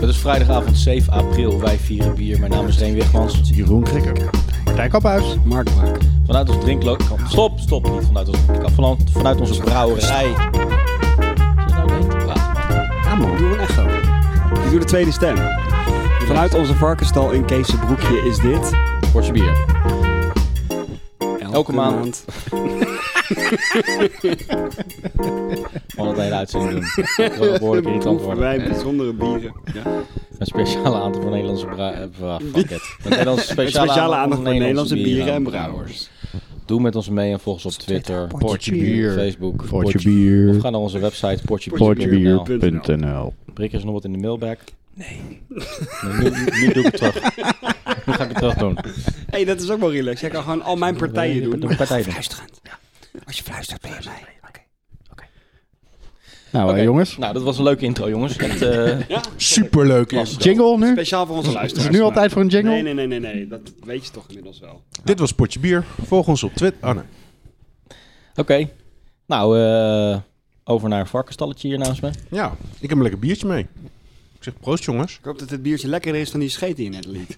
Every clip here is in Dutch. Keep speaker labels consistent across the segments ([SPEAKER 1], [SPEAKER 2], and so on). [SPEAKER 1] Het is vrijdagavond 7 april. Wij vieren bier. Mijn naam is Reen Wigmans.
[SPEAKER 2] Jeroen Krikker. Martijn Kamphuis.
[SPEAKER 3] Mark Bakker.
[SPEAKER 1] Vanuit ons drinklood. Stop, stop. Niet vanuit ons vanuit, vanuit onze brouwerij. Zit nou mee te praten?
[SPEAKER 3] Ja man, doe een echo. Ik doe de tweede stem. Vanuit onze varkenstal in Kees' broekje is dit...
[SPEAKER 1] Portje bier. maand. Van het hele uitzending doen. Dat wil behoorlijk irritant
[SPEAKER 3] proeven
[SPEAKER 1] worden.
[SPEAKER 3] wij bijzondere bieren. Ja.
[SPEAKER 1] Een speciale aandaal voor Nederlandse brouwers. Fuck it. Een Nederlandse speciale,
[SPEAKER 3] Met speciale aandacht voor Nederlandse bieren en
[SPEAKER 1] brouwers.
[SPEAKER 3] brouwers.
[SPEAKER 1] Doe met ons mee en volg ons op Twitter,
[SPEAKER 2] Potje bier.
[SPEAKER 1] Facebook,
[SPEAKER 2] Potje
[SPEAKER 1] Of
[SPEAKER 2] bier.
[SPEAKER 1] ga naar onze website portjebier.nl.
[SPEAKER 2] Potjebier.nl
[SPEAKER 1] Prik is nog wat in de mailbag. Nee. nu, nu- nu doe ik het terug. Nu ga ik het terug doen.
[SPEAKER 3] Hé, hey, dat is ook wel relaxed. Jij kan gewoon al mijn partijen doen.
[SPEAKER 1] Doe partijen.
[SPEAKER 3] Fluisterend. Als je fluistert, ben je mij. Oké.
[SPEAKER 2] Nou
[SPEAKER 1] Oké.
[SPEAKER 2] eh, jongens,
[SPEAKER 1] Nou, dat was een leuke intro, jongens. Echt, eh,
[SPEAKER 2] superleuk.
[SPEAKER 1] Klasse.
[SPEAKER 2] Jingle nu?
[SPEAKER 3] Speciaal voor onze
[SPEAKER 2] Is
[SPEAKER 3] luisteraars.
[SPEAKER 2] het nu al tijd voor een jingle?
[SPEAKER 3] Nee, nee, nee, nee, nee. Dat weet je toch inmiddels wel.
[SPEAKER 4] Dit was Potje Bier. Volg ons op Twitter. Oh nee.
[SPEAKER 1] Oké. Nou, eh, over naar een varkenstalletje hier naast me.
[SPEAKER 4] Ja, ik heb een lekker biertje mee. Ik zeg proost jongens.
[SPEAKER 3] Ik hoop dat het biertje lekkerder is dan die scheet die je net liet.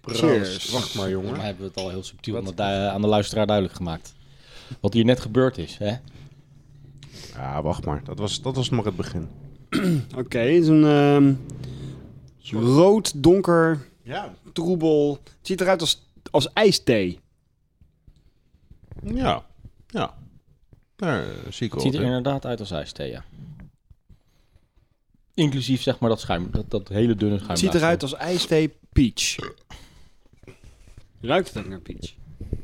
[SPEAKER 4] Proost. Wacht maar
[SPEAKER 1] Maar
[SPEAKER 4] jongen.
[SPEAKER 1] hebben we het al heel subtiel aan de, du- aan de luisteraar duidelijk gemaakt. Wat hier net gebeurd is, hè?
[SPEAKER 4] Ja, wacht maar. Dat was, dat was nog het begin.
[SPEAKER 3] Oké, het is een ehm, rood, donker,
[SPEAKER 4] Ja.
[SPEAKER 3] troebel. Het ziet eruit als, als ijsthee.
[SPEAKER 4] Ja. Ja. Daar eh, zie
[SPEAKER 1] Het
[SPEAKER 4] ik wel.
[SPEAKER 1] ziet er
[SPEAKER 4] wat in.
[SPEAKER 1] inderdaad uit als ijsthee, ja. Inclusief, zeg maar, dat schuim. Dat, dat hele dunne schuim.
[SPEAKER 3] Het ziet eruit als ijsthee peach. Ruikt het ook naar peach?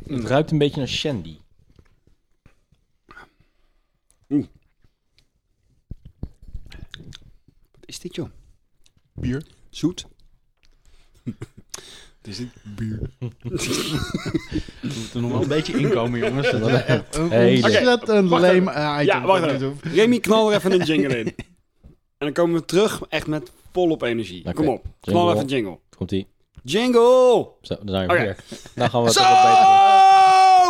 [SPEAKER 1] Het ruikt een beetje naar shandy.
[SPEAKER 3] Wat is dit, joh?
[SPEAKER 4] Bier.
[SPEAKER 3] Zoet? het is niet bier.
[SPEAKER 2] er nog wel een beetje inkomen, jongens. Dat is echt een
[SPEAKER 1] Hele-
[SPEAKER 2] ontzettend
[SPEAKER 3] wacht
[SPEAKER 2] lame item.
[SPEAKER 3] Ja, wacht
[SPEAKER 2] Wat
[SPEAKER 3] even.
[SPEAKER 2] dit hoeft.
[SPEAKER 3] Remy, knal er even een jingle in. En dan komen we terug echt met volop energie.
[SPEAKER 1] Oké.
[SPEAKER 3] Kom op, knal
[SPEAKER 1] Jingle.
[SPEAKER 3] even een jingle.
[SPEAKER 1] Komt-ie.
[SPEAKER 3] Jingle!
[SPEAKER 1] Zo, daar zijn we
[SPEAKER 4] Oh
[SPEAKER 3] Oké.
[SPEAKER 1] weer. Nou gaan we het
[SPEAKER 3] Zo!
[SPEAKER 1] wat beter doen.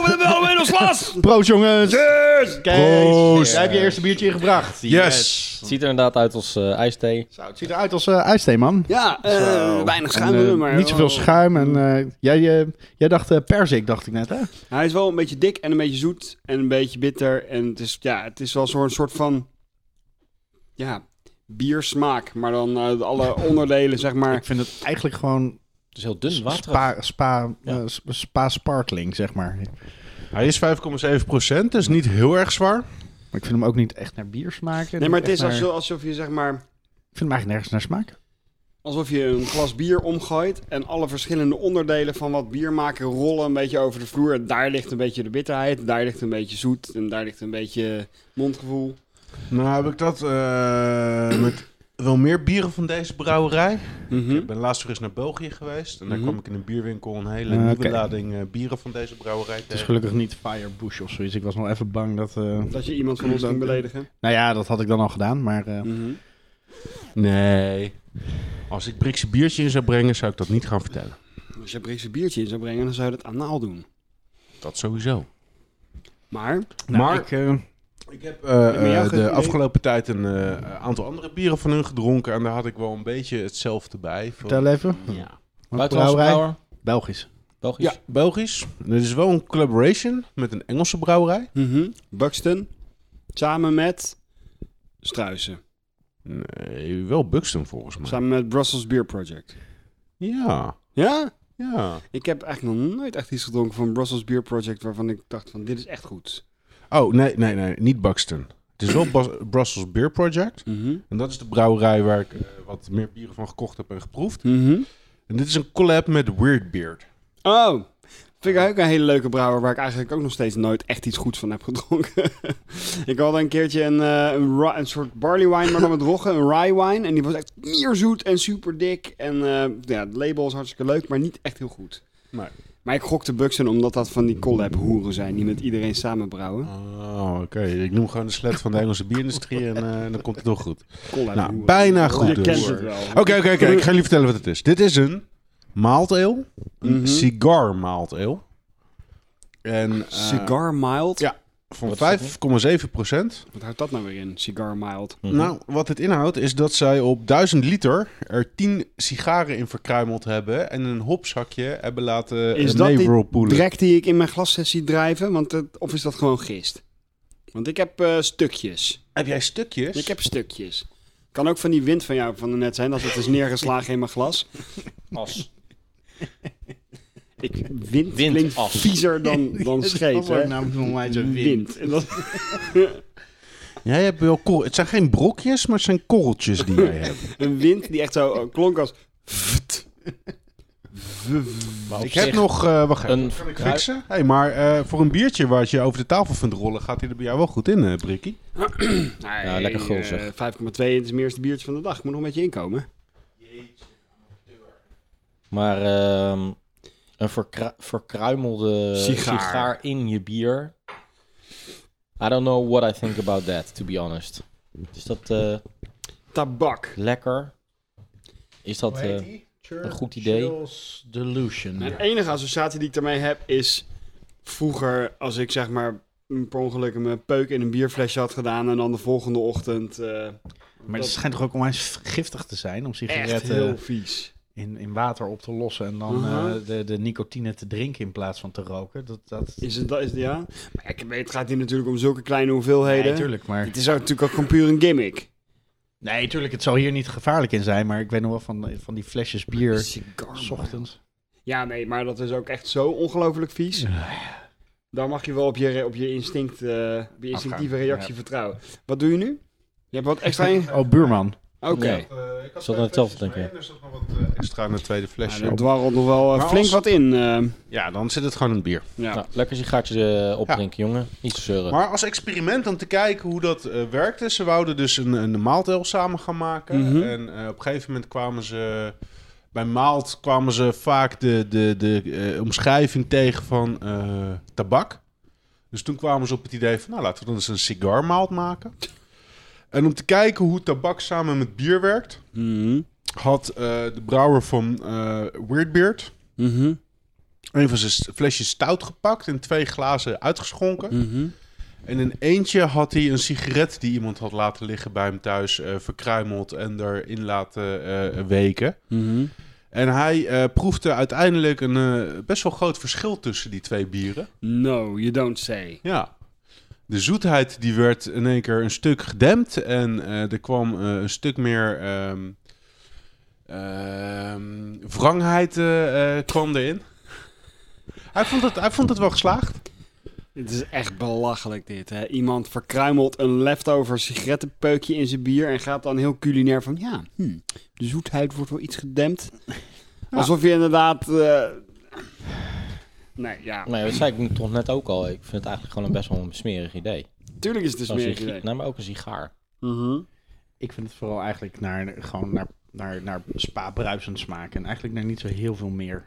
[SPEAKER 3] We hebben wel ons glas!
[SPEAKER 2] Proost jongens.
[SPEAKER 3] Cheers!
[SPEAKER 2] Kees,
[SPEAKER 4] Proost.
[SPEAKER 2] Jij hebt je eerste biertje ingebracht.
[SPEAKER 4] Yes.
[SPEAKER 1] Het ziet er inderdaad uit als eh, ijsthee.
[SPEAKER 2] Zo, het ziet eruit als eh ijsthee, man.
[SPEAKER 3] Ja, eh,
[SPEAKER 2] Zo.
[SPEAKER 3] weinig
[SPEAKER 2] En,
[SPEAKER 3] schuim,
[SPEAKER 2] eh,
[SPEAKER 3] maar...
[SPEAKER 2] Niet zoveel schuim. En, eh, jij, eh, jij dacht eh, perzik, dacht ik net, hè?
[SPEAKER 3] Hij is wel een beetje dik en een beetje zoet en een beetje bitter. En het is, ja, het is wel zo'n soort van... Ja, biersmaak. Maar dan eh, alle onderdelen, zeg maar...
[SPEAKER 2] Ik vind het eigenlijk gewoon
[SPEAKER 1] Het is heel dun water.
[SPEAKER 2] spa, spa,
[SPEAKER 1] Ja.
[SPEAKER 2] eh, sp- spa sparkling, zeg maar.
[SPEAKER 4] Hij is 5,7 procent. Dus niet heel erg zwaar.
[SPEAKER 2] Maar ik vind hem ook niet echt naar bier smaken.
[SPEAKER 3] Nee, maar
[SPEAKER 2] niet
[SPEAKER 3] het is
[SPEAKER 2] echt naar-
[SPEAKER 3] alsof, alsof je, zeg maar...
[SPEAKER 2] Ik vind hem eigenlijk nergens naar smaken.
[SPEAKER 3] Alsof je een glas bier omgooit en alle verschillende onderdelen van wat bier maken rollen een beetje over de vloer. En daar ligt een beetje de bitterheid, daar ligt een beetje zoet en daar ligt een beetje mondgevoel.
[SPEAKER 4] Nou heb ik dat eh, met wel meer bieren van deze brouwerij.
[SPEAKER 2] Mhm.
[SPEAKER 4] Ik ben laatst weer eens naar België geweest. En daar
[SPEAKER 3] Mhm.
[SPEAKER 4] kwam ik in een bierwinkel een hele
[SPEAKER 2] Ah,
[SPEAKER 4] nieuwe
[SPEAKER 2] oké.
[SPEAKER 4] lading eh, bieren van deze brouwerij
[SPEAKER 2] Het is
[SPEAKER 4] tegen.
[SPEAKER 2] gelukkig niet Firebush of zoiets. Ik was nog even bang dat... eh,
[SPEAKER 3] Dat je iemand van ons ging beledigen.
[SPEAKER 2] Nou ja, dat had ik dan al gedaan, maar... eh,
[SPEAKER 3] Mhm.
[SPEAKER 4] Nee. Als ik Brikse biertje in zou brengen, zou ik dat niet gaan vertellen.
[SPEAKER 3] Als je Brikse biertje in zou brengen, dan zou je dat anaal doen.
[SPEAKER 4] Dat sowieso.
[SPEAKER 3] Maar
[SPEAKER 2] nou,
[SPEAKER 4] maar-
[SPEAKER 2] ik, eh,
[SPEAKER 4] Ik heb eh,
[SPEAKER 3] maar jou
[SPEAKER 4] eh,
[SPEAKER 3] geen
[SPEAKER 4] de
[SPEAKER 3] idee.
[SPEAKER 4] afgelopen tijd een eh, aantal andere bieren van hun gedronken. En daar had ik wel een beetje hetzelfde bij. Van-
[SPEAKER 2] vertel even.
[SPEAKER 4] ja.
[SPEAKER 2] Wat
[SPEAKER 1] Buitenlandse
[SPEAKER 2] brouwerij?
[SPEAKER 1] brouwer.
[SPEAKER 2] Belgisch.
[SPEAKER 1] Belgisch.
[SPEAKER 4] ja, Belgisch. Dit is wel een collaboration met een Engelse brouwerij.
[SPEAKER 3] mhm, Buxton samen met Struisen,
[SPEAKER 4] Nee, wel Buxton volgens mij.
[SPEAKER 3] samen met Brussels Beer Project.
[SPEAKER 4] Ja,
[SPEAKER 3] Ja,
[SPEAKER 4] ja.
[SPEAKER 3] ik heb echt nog nooit echt iets gedronken van Brussels Beer Project waarvan ik dacht van dit is echt goed.
[SPEAKER 4] Oh, nee, nee, nee. Niet Buxton. Het is wel Bas- Brussels Beer Project.
[SPEAKER 3] Mhm.
[SPEAKER 4] En dat is de brouwerij waar ik eh, wat meer bieren van gekocht heb en geproefd.
[SPEAKER 3] Mhm.
[SPEAKER 4] En dit is een collab met Weird Beard.
[SPEAKER 3] Oh, vind ik ook een hele leuke brouwer waar ik eigenlijk ook nog steeds nooit echt iets goeds van heb gedronken. ik had een keertje een, eh, een, ra- een soort barley wine, maar dan met roggen, een rye wine. En die was echt mierzoet en super dik. En eh, ja, het label is hartstikke leuk, maar niet echt heel goed.
[SPEAKER 4] Nee.
[SPEAKER 3] Maar ik gokte Buxen omdat dat van die collab hoeren zijn die met iedereen samen brouwen.
[SPEAKER 4] Oh, oké. Ik noem gewoon de slet van de Engelse bierindustrie en eh, dan komt het wel goed.
[SPEAKER 3] Collab
[SPEAKER 4] Nou,
[SPEAKER 3] hoeren.
[SPEAKER 4] bijna goed
[SPEAKER 3] Je
[SPEAKER 4] dus.
[SPEAKER 3] kent het wel.
[SPEAKER 4] Oké, oké, oké. Ik ga jullie vertellen wat het is. Dit is een maalt ale. Een
[SPEAKER 3] Mhm.
[SPEAKER 4] cigar maalt ale. En, eh,
[SPEAKER 3] Cigar mild.
[SPEAKER 4] Ja. van
[SPEAKER 1] Wat is dat
[SPEAKER 4] 5,7 procent.
[SPEAKER 3] Wat houdt dat nou weer in? Cigar mild.
[SPEAKER 1] Mhm.
[SPEAKER 4] Nou, wat dit inhoudt is dat zij op 1000 liter er 10 sigaren in verkruimeld hebben en een hopzakje hebben laten
[SPEAKER 3] Is
[SPEAKER 4] eh,
[SPEAKER 3] dat die
[SPEAKER 4] meeroepoelen.
[SPEAKER 3] Drek die ik in mijn glassessie drijven, want het, of is dat gewoon gist? Want ik heb eh, stukjes.
[SPEAKER 4] Heb jij stukjes?
[SPEAKER 3] Ik heb stukjes. Kan ook van die wind van jou van net zijn, als het is neergeslagen in mijn glas.
[SPEAKER 1] As.
[SPEAKER 3] Ik, wind,
[SPEAKER 1] Wind
[SPEAKER 3] klinkt
[SPEAKER 1] af.
[SPEAKER 3] viezer dan, dan scheet,
[SPEAKER 2] Dat wordt
[SPEAKER 3] hè?
[SPEAKER 2] namelijk nog maar zo'n wind.
[SPEAKER 3] Wind. En dat-
[SPEAKER 4] Jij hebt wel korrel. Het zijn geen brokjes, maar het zijn korreltjes die jij hebt.
[SPEAKER 3] Een wind die echt zo eh, klonk als...
[SPEAKER 1] Maar op
[SPEAKER 4] ik heb
[SPEAKER 1] zich
[SPEAKER 4] nog. eh wacht even.
[SPEAKER 1] een
[SPEAKER 4] Kan ik
[SPEAKER 1] kruip-
[SPEAKER 4] fixen? Hey, maar eh, voor een biertje wat je over de tafel vindt rollen, gaat hij er bij jou wel goed in, eh Brikkie.
[SPEAKER 3] Nee,
[SPEAKER 1] Ja, lekker gul,
[SPEAKER 3] eh,
[SPEAKER 1] zeg.
[SPEAKER 3] 5,2 het is mijn eerste biertje van de dag. Ik moet nog een beetje inkomen.
[SPEAKER 1] Maar ehm, een verkru- verkruimelde
[SPEAKER 3] Sigaar.
[SPEAKER 1] sigaar. in je bier. I don't know what I think about that, to be honest. Is dat eh,
[SPEAKER 3] Tabak.
[SPEAKER 1] lekker? Is dat... eh,
[SPEAKER 2] Church-
[SPEAKER 1] een goed idee.
[SPEAKER 2] Churchill's Delusion.
[SPEAKER 3] Mijn enige associatie die ik daarmee heb is vroeger als ik zeg maar per ongeluk mijn peuk in een bierflesje had gedaan en dan de volgende ochtend eh,
[SPEAKER 2] Maar
[SPEAKER 3] dat-
[SPEAKER 2] het schijnt eh, toch ook onwijs giftig te zijn om
[SPEAKER 3] echt
[SPEAKER 2] sigaretten
[SPEAKER 3] heel vies.
[SPEAKER 2] in, in water op te lossen en dan
[SPEAKER 3] Mhm.
[SPEAKER 2] eh, de, de nicotine te drinken in plaats van te roken. Dat, dat...
[SPEAKER 3] Is het, dat is, het- ja? Maar ik weet, het gaat hier natuurlijk om zulke kleine
[SPEAKER 2] Nee,
[SPEAKER 3] hoeveelheden.
[SPEAKER 2] tuurlijk, maar...
[SPEAKER 3] het is ook natuurlijk ook gewoon puur een gimmick.
[SPEAKER 2] Nee, tuurlijk, het zal hier niet gevaarlijk in zijn, maar ik weet nog wel van, van die flesjes bier...
[SPEAKER 3] Sigaar,
[SPEAKER 2] S
[SPEAKER 3] man.
[SPEAKER 2] ochtends.
[SPEAKER 3] Ja, nee, maar dat is ook echt zo ongelooflijk vies. Daar mag je wel op je, op je, instinct, eh, op je instinctieve
[SPEAKER 2] Afgaan,
[SPEAKER 3] reactie vertrouwen. Wat doe je nu? Je hebt wat extra in...
[SPEAKER 2] Oh, buurman.
[SPEAKER 3] Oké.
[SPEAKER 1] Ja. Zat aan hetzelfde denken.
[SPEAKER 4] Er zat nog wat eh, extra in het tweede flesje.
[SPEAKER 3] Nou, er dwarrelt nog wel eh,
[SPEAKER 4] Maar
[SPEAKER 3] flink
[SPEAKER 4] als-
[SPEAKER 3] wat in. eh,
[SPEAKER 4] Ja, dan zit het gewoon in het bier.
[SPEAKER 3] ja.
[SPEAKER 1] Nou, lekker sigaartje eh, opdrinken, jongen. Niet zeuren.
[SPEAKER 4] Maar als experiment om te kijken hoe dat eh, werkte. Ze wouden dus een, een maaltel samen gaan maken.
[SPEAKER 3] Mhm.
[SPEAKER 4] En eh, op een gegeven moment kwamen ze... Bij maalt kwamen ze vaak de, de, de eh, omschrijving tegen van eh, tabak. Dus toen kwamen ze op het idee van... Nou, laten we dan eens een sigaarmaalt maken. En om te kijken hoe tabak samen met bier werkt...
[SPEAKER 3] Mhm.
[SPEAKER 4] had eh, de brouwer van eh Weirdbeard...
[SPEAKER 3] Mhm.
[SPEAKER 4] een van zijn st- flesjes stout gepakt en twee glazen uitgeschonken.
[SPEAKER 3] Mhm.
[SPEAKER 4] En in eentje had hij een sigaret die iemand had laten liggen bij hem thuis, eh, verkruimeld en erin laten eh, weken.
[SPEAKER 3] Mhm.
[SPEAKER 4] En hij eh, proefde uiteindelijk een eh, best wel groot verschil tussen die twee bieren.
[SPEAKER 3] No, you don't say.
[SPEAKER 4] Ja. De zoetheid die werd in één keer een stuk gedempt en eh, er kwam eh, een stuk meer ehm ehm, wrangheid eh, eh, kwam erin. Hij vond, het, hij vond het wel geslaagd.
[SPEAKER 3] Het is echt belachelijk dit, hè? Iemand verkruimelt een leftover sigarettenpeukje in zijn bier en gaat dan heel culinair van... Ja, hm, de zoetheid wordt wel iets gedempt. Alsof je inderdaad... eh, Nee, ja.
[SPEAKER 1] Nee, dat zei ik nu toch net ook al. Ik vind het eigenlijk gewoon een best wel een smerig idee.
[SPEAKER 3] Tuurlijk is het dus een
[SPEAKER 1] Zo'n
[SPEAKER 3] smerig
[SPEAKER 1] siga-
[SPEAKER 2] Nou.
[SPEAKER 3] idee.
[SPEAKER 1] Nee, maar ook een sigaar.
[SPEAKER 3] Mhm.
[SPEAKER 2] Ik vind het vooral eigenlijk naar, gewoon naar, naar, naar spa-bruisend smaak en eigenlijk naar niet zo heel veel meer.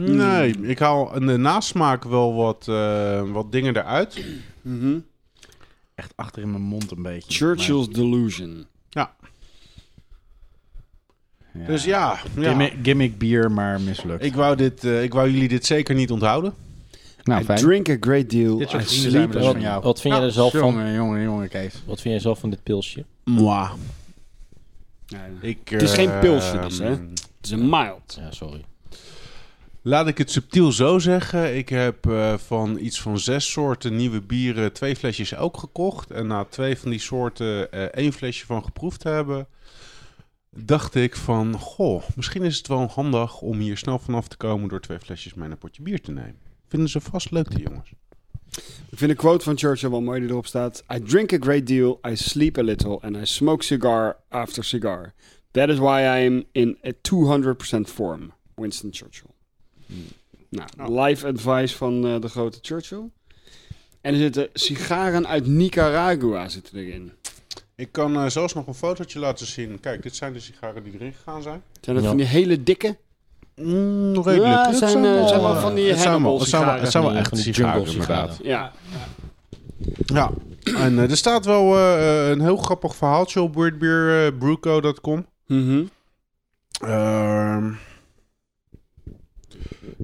[SPEAKER 4] Nee, ik haal in de nasmaak wel wat, eh, wat dingen eruit.
[SPEAKER 3] Mhm.
[SPEAKER 2] Echt achter in mijn mond een beetje.
[SPEAKER 3] Churchill's Delusion.
[SPEAKER 2] Maar, ja.
[SPEAKER 4] Dus ja, ja.
[SPEAKER 2] Gimmick, gimmick bier, maar mislukt.
[SPEAKER 4] Ik, wou dit, eh, ik wou jullie dit zeker niet onthouden.
[SPEAKER 2] nou,
[SPEAKER 3] I drink a great deal.
[SPEAKER 2] Dit soort
[SPEAKER 3] I
[SPEAKER 2] vrienden zijn we
[SPEAKER 3] sleep
[SPEAKER 2] dus
[SPEAKER 3] a-
[SPEAKER 1] wat,
[SPEAKER 2] van jou.
[SPEAKER 1] wat vind jij er zelf van?
[SPEAKER 2] Jongen, jongen, jongen, Kees.
[SPEAKER 1] Wat vind jij zelf van dit pilsje?
[SPEAKER 4] Mwah.
[SPEAKER 3] Nee, nee.
[SPEAKER 4] Ik,
[SPEAKER 3] is
[SPEAKER 4] eh,
[SPEAKER 3] geen pilsje dus, hè?
[SPEAKER 4] mm,
[SPEAKER 3] Het is een mild.
[SPEAKER 1] Ja, sorry.
[SPEAKER 4] Laat ik het subtiel zo zeggen. Ik heb eh, van iets van zes soorten nieuwe bieren twee flesjes elk gekocht. En na twee van die soorten eh, één flesje van geproefd te hebben... dacht ik van, goh, misschien is het wel handig om hier snel vanaf te komen... door twee flesjes mee een potje bier te nemen. Vinden ze vast leuk, die jongens.
[SPEAKER 3] Ik vind de quote van Churchill wel mooi die erop staat. I drink a great deal, I sleep a little, and I smoke cigar after cigar. That is why I am in a 200% form. Winston Churchill. Nou, live advice van eh, de grote Churchill. En er zitten sigaren uit Nicaragua zitten erin.
[SPEAKER 4] Ik kan eh, zelfs nog een fotootje laten zien. Kijk, dit zijn de sigaren die erin gegaan zijn.
[SPEAKER 3] Zijn dat
[SPEAKER 1] Ja.
[SPEAKER 3] van die hele dikke?
[SPEAKER 4] Mm, redelijk.
[SPEAKER 3] Ja,
[SPEAKER 4] Het
[SPEAKER 3] zijn, eh,
[SPEAKER 4] wel,
[SPEAKER 3] zijn wel
[SPEAKER 4] eh,
[SPEAKER 3] van die
[SPEAKER 4] het zijn wel- het zijn wel-
[SPEAKER 3] Hannibal-sigaren.
[SPEAKER 4] Het zijn
[SPEAKER 1] Van
[SPEAKER 4] wel
[SPEAKER 1] die-
[SPEAKER 4] echt
[SPEAKER 1] van die
[SPEAKER 4] sigaren,
[SPEAKER 1] jungle sigaren.
[SPEAKER 4] inderdaad.
[SPEAKER 3] Ja.
[SPEAKER 4] Ja, en eh, er staat wel eh, een heel grappig verhaaltje op eh, weirdbeerbrewco.com.
[SPEAKER 3] Mhm.
[SPEAKER 4] Ehm,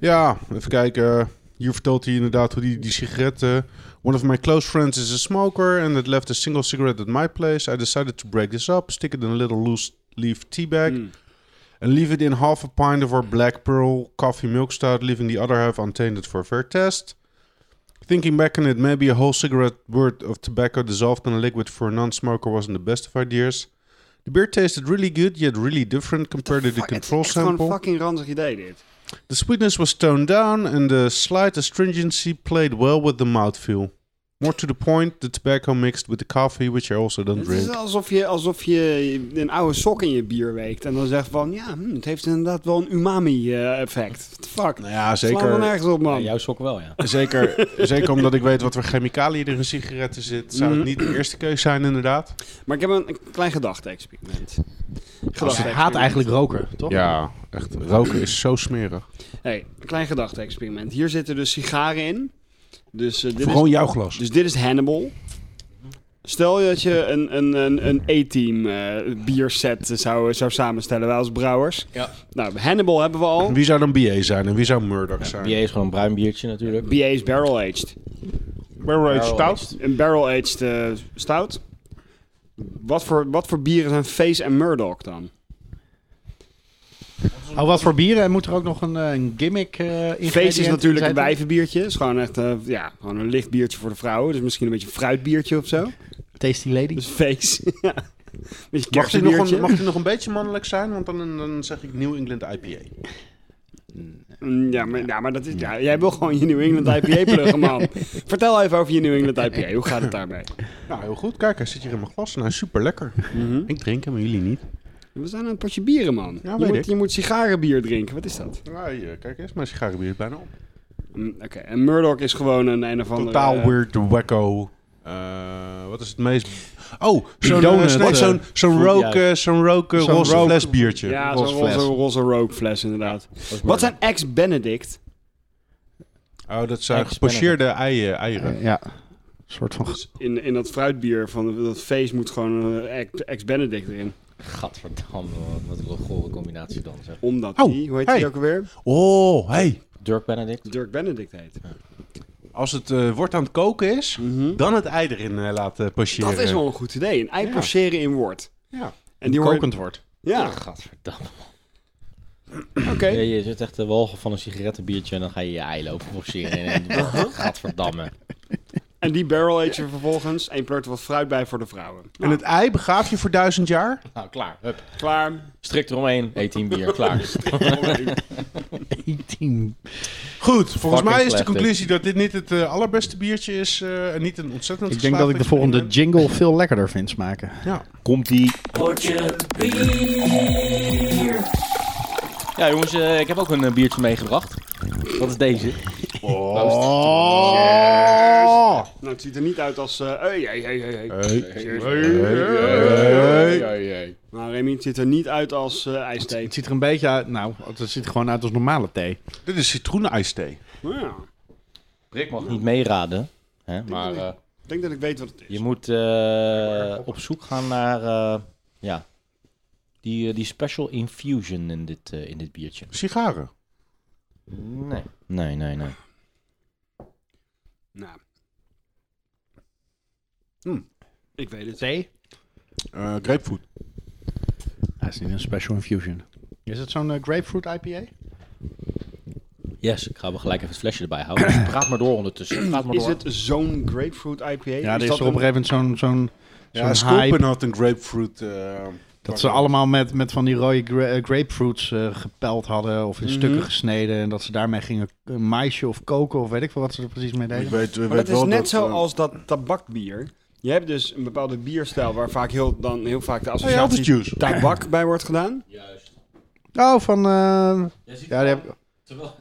[SPEAKER 4] ja, even kijken. Hier vertelt hij inderdaad hoe die, die sigaretten... One of my close friends is a smoker and had left a single cigarette at my place. I decided to break this up, stick it in a little loose leaf tea bag...
[SPEAKER 3] Hmm.
[SPEAKER 4] And leave it in half a pint of our black pearl coffee milk stout, leaving the other half untainted for a fair test. Thinking back on it, maybe a whole cigarette worth of tobacco dissolved in a liquid for a non-smoker wasn't the best of ideas. The beer tasted really good, yet really different compared to the
[SPEAKER 3] Fuck, het is
[SPEAKER 4] control
[SPEAKER 3] echt gewoon
[SPEAKER 4] sample.
[SPEAKER 3] een fucking ranzig idee dit.
[SPEAKER 4] The sweetness was toned down, and the slight astringency played well with the mouthfeel. More to the point, the tobacco mixed with the coffee, which I also don't
[SPEAKER 3] Het is
[SPEAKER 4] drink.
[SPEAKER 3] alsof je, alsof je een oude sok in je bier weekt en dan zegt van, ja, hm, het heeft inderdaad wel een umami-effect. What the fuck?
[SPEAKER 4] Nou ja,
[SPEAKER 3] Sla er nergens op,
[SPEAKER 1] Ja,
[SPEAKER 3] man.
[SPEAKER 1] jouw sok wel, ja.
[SPEAKER 4] Zeker, zeker omdat ik weet wat voor chemicaliën er in sigaretten zit, zou het
[SPEAKER 3] Mhm.
[SPEAKER 4] niet de eerste keus zijn, inderdaad.
[SPEAKER 3] Maar ik heb een, een klein gedachte-experiment.
[SPEAKER 2] Gast, hij haat Dus eigenlijk roken, toch?
[SPEAKER 4] Ja, echt. Roken is zo smerig.
[SPEAKER 3] hey, een klein gedachte-experiment. Hier zitten dus sigaren in. Dus, eh, dit, is,
[SPEAKER 4] Gewoon jouw glas.
[SPEAKER 3] dus dit is Hannibal. Stel dat je een, een, een, een A-team eh, bierset zou, zou samenstellen, wij als brouwers.
[SPEAKER 1] Ja.
[SPEAKER 3] Nou, Hannibal hebben we al.
[SPEAKER 4] Wie zou dan BA zijn en wie zou Murdoch zijn?
[SPEAKER 1] Bier is gewoon een bruin biertje natuurlijk.
[SPEAKER 3] BA is barrel-aged.
[SPEAKER 4] Barrel-aged
[SPEAKER 1] Barrel-aged.
[SPEAKER 4] stout.
[SPEAKER 3] Een barrel-aged eh, stout. Wat voor, wat voor bieren zijn Face en Murdoch dan?
[SPEAKER 2] Oh, wat voor bieren? En Moet er ook nog een, eh, een gimmick eh in
[SPEAKER 3] Face is natuurlijk een wijvenbiertje. is gewoon echt eh, ja, gewoon een licht biertje voor de vrouwen. Dus misschien een beetje een fruitbiertje of zo.
[SPEAKER 2] Tasty Lady.
[SPEAKER 3] Dus Face. ja. Beetje
[SPEAKER 4] Mag hij, nog
[SPEAKER 3] kersenbiertje.
[SPEAKER 4] een, mag hij nog een beetje mannelijk zijn? Want dan, dan zeg ik New England IPA.
[SPEAKER 3] Mm, Ja, maar, ja, maar dat is, ja, jij wil gewoon je New England IPA pluggen, man. Vertel even over je New England IPA. Hoe gaat het daarmee?
[SPEAKER 4] Nou, heel goed. Kijk, hij zit hier in mijn glas Nou, en hij is super lekker. Ik drink hem, maar jullie niet.
[SPEAKER 3] We zijn aan het potje bieren, man.
[SPEAKER 4] Mhm. Ja,
[SPEAKER 3] je,
[SPEAKER 4] weet
[SPEAKER 3] moet,
[SPEAKER 4] ik.
[SPEAKER 3] je moet sigarenbier drinken. Wat is dat?
[SPEAKER 4] Nou, hier, kijk eens, mijn sigarenbier is bijna op.
[SPEAKER 3] Mm, Oké, en Murdoch is gewoon een een of andere...
[SPEAKER 4] Totaal
[SPEAKER 3] eh,
[SPEAKER 4] weird, wacko. Eh, wat is het meest... Oh, zo'n
[SPEAKER 2] donut,
[SPEAKER 4] eh, snap-
[SPEAKER 2] eh,
[SPEAKER 4] zo'n zo'n
[SPEAKER 1] fruit,
[SPEAKER 4] rook,
[SPEAKER 1] ja.
[SPEAKER 4] eh, zo'n rook eh,
[SPEAKER 3] Zo'n
[SPEAKER 4] roze
[SPEAKER 3] rook-
[SPEAKER 4] fles biertje.
[SPEAKER 3] Ja, zo'n
[SPEAKER 4] Roze fles.
[SPEAKER 3] roze, roze rookfles inderdaad. Wat zijn ex-Benedict?
[SPEAKER 4] Oh, dat zijn
[SPEAKER 1] Echt
[SPEAKER 4] gepocheerde eieren. eieren.
[SPEAKER 2] Eh, ja. Een soort van...
[SPEAKER 3] Dus In, in dat fruitbier van dat feest moet gewoon eh, ex- ex-Benedict erin.
[SPEAKER 1] Gadverdamme, wat- wat een gore combinatie dan. Zeg.
[SPEAKER 3] Omdat
[SPEAKER 4] Oh,
[SPEAKER 3] die, hoe heet
[SPEAKER 4] hey.
[SPEAKER 3] die ook alweer?
[SPEAKER 4] Oh, hey.
[SPEAKER 1] Dirk Benedict.
[SPEAKER 3] Dirk Benedict heet.
[SPEAKER 4] Als het eh wort aan het koken is, dan het ei erin eh, laten pocheren.
[SPEAKER 3] Dat is wel een goed idee. Een ei
[SPEAKER 4] Ja.
[SPEAKER 3] pocheren in wort.
[SPEAKER 4] Ja.
[SPEAKER 3] En die hoor-
[SPEAKER 2] Kokend wordt.
[SPEAKER 3] Ja,
[SPEAKER 1] Gadverdamme.
[SPEAKER 3] oké.
[SPEAKER 1] Ja, je zit echt de walgen van een sigarettenbiertje en dan ga je je ei lopen forceren. En
[SPEAKER 3] Uh-huh.
[SPEAKER 1] Gadverdamme.
[SPEAKER 3] En die barrel eet je vervolgens en je pleurt er wat fruit bij voor de vrouwen. Nou,
[SPEAKER 4] En het ei begaaf je voor duizend jaar?
[SPEAKER 1] Nou, klaar. Hup.
[SPEAKER 3] Klaar.
[SPEAKER 1] Strikt eromheen. 18 bier. Klaar.
[SPEAKER 2] 18.
[SPEAKER 4] Goed, volgens
[SPEAKER 1] Fucking
[SPEAKER 4] mij is de
[SPEAKER 1] slecht,
[SPEAKER 4] conclusie dat dit niet het eh, allerbeste biertje is eh, en niet een ontzettend
[SPEAKER 2] Ik denk dat ik de
[SPEAKER 4] geslaagd
[SPEAKER 2] volgende jingle veel lekkerder vind smaken.
[SPEAKER 4] experiment. Ja.
[SPEAKER 1] Komt-ie. Ja, jongens, eh, ik heb ook een eh, biertje meegebracht. Dat is deze.
[SPEAKER 4] Oh.
[SPEAKER 3] Nou, het ziet er niet uit als... eh hey, hey, hey, hey, hey. Cheers. Nou, Remy, het ziet er niet uit als eh ijsthee.
[SPEAKER 2] Het ziet er een beetje uit... Nou, het ziet er gewoon uit als normale thee.
[SPEAKER 4] Dit is citroenijsthee.
[SPEAKER 3] Ja,
[SPEAKER 1] Rick mag niet meeraden. Hè, maar eh,
[SPEAKER 3] ik denk dat ik weet wat het is.
[SPEAKER 1] je moet eh, op zoek gaan naar eh, ja, die, eh, die special infusion in dit, eh, in dit biertje.
[SPEAKER 4] Sigaren.
[SPEAKER 1] Nee. Nee, nee, nee.
[SPEAKER 3] Nou. Ik weet het.
[SPEAKER 2] Thee?
[SPEAKER 4] Eh grapefruit.
[SPEAKER 2] Dat is niet een special infusion. Is het zo'n eh, grapefruit IPA?
[SPEAKER 1] Yes, ik ga wel gelijk even het flesje erbij houden. Dus praat maar door ondertussen. Praat maar
[SPEAKER 3] Is
[SPEAKER 1] door.
[SPEAKER 3] het zo'n grapefruit IPA?
[SPEAKER 2] Ja, er is
[SPEAKER 3] dat
[SPEAKER 2] er op een gegeven
[SPEAKER 3] een-
[SPEAKER 2] moment zo'n... zo'n
[SPEAKER 4] Ja,
[SPEAKER 2] zo'n hype.
[SPEAKER 4] Sculpin had een grapefruit. eh,
[SPEAKER 2] Dat ze allemaal met, met van die rode gra- eh, grapefruits eh, gepeld hadden of in
[SPEAKER 3] Mhm.
[SPEAKER 2] stukken gesneden. En dat ze daarmee gingen k- maisje of koken of weet ik veel wat ze er precies mee
[SPEAKER 4] Ik
[SPEAKER 2] deden.
[SPEAKER 4] weet, weet
[SPEAKER 3] Maar dat is
[SPEAKER 4] wel
[SPEAKER 3] net
[SPEAKER 4] dat,
[SPEAKER 3] zo
[SPEAKER 4] eh,
[SPEAKER 3] als dat tabakbier. Je hebt dus een bepaalde bierstijl waar vaak heel, dan heel vaak de
[SPEAKER 4] Oh, ja, altijd
[SPEAKER 3] associatie
[SPEAKER 4] juice.
[SPEAKER 3] tabak bij wordt gedaan.
[SPEAKER 1] Juist.
[SPEAKER 2] Oh, van... eh,
[SPEAKER 1] Jij ziet
[SPEAKER 2] ja, die heb ik-
[SPEAKER 1] terwijl,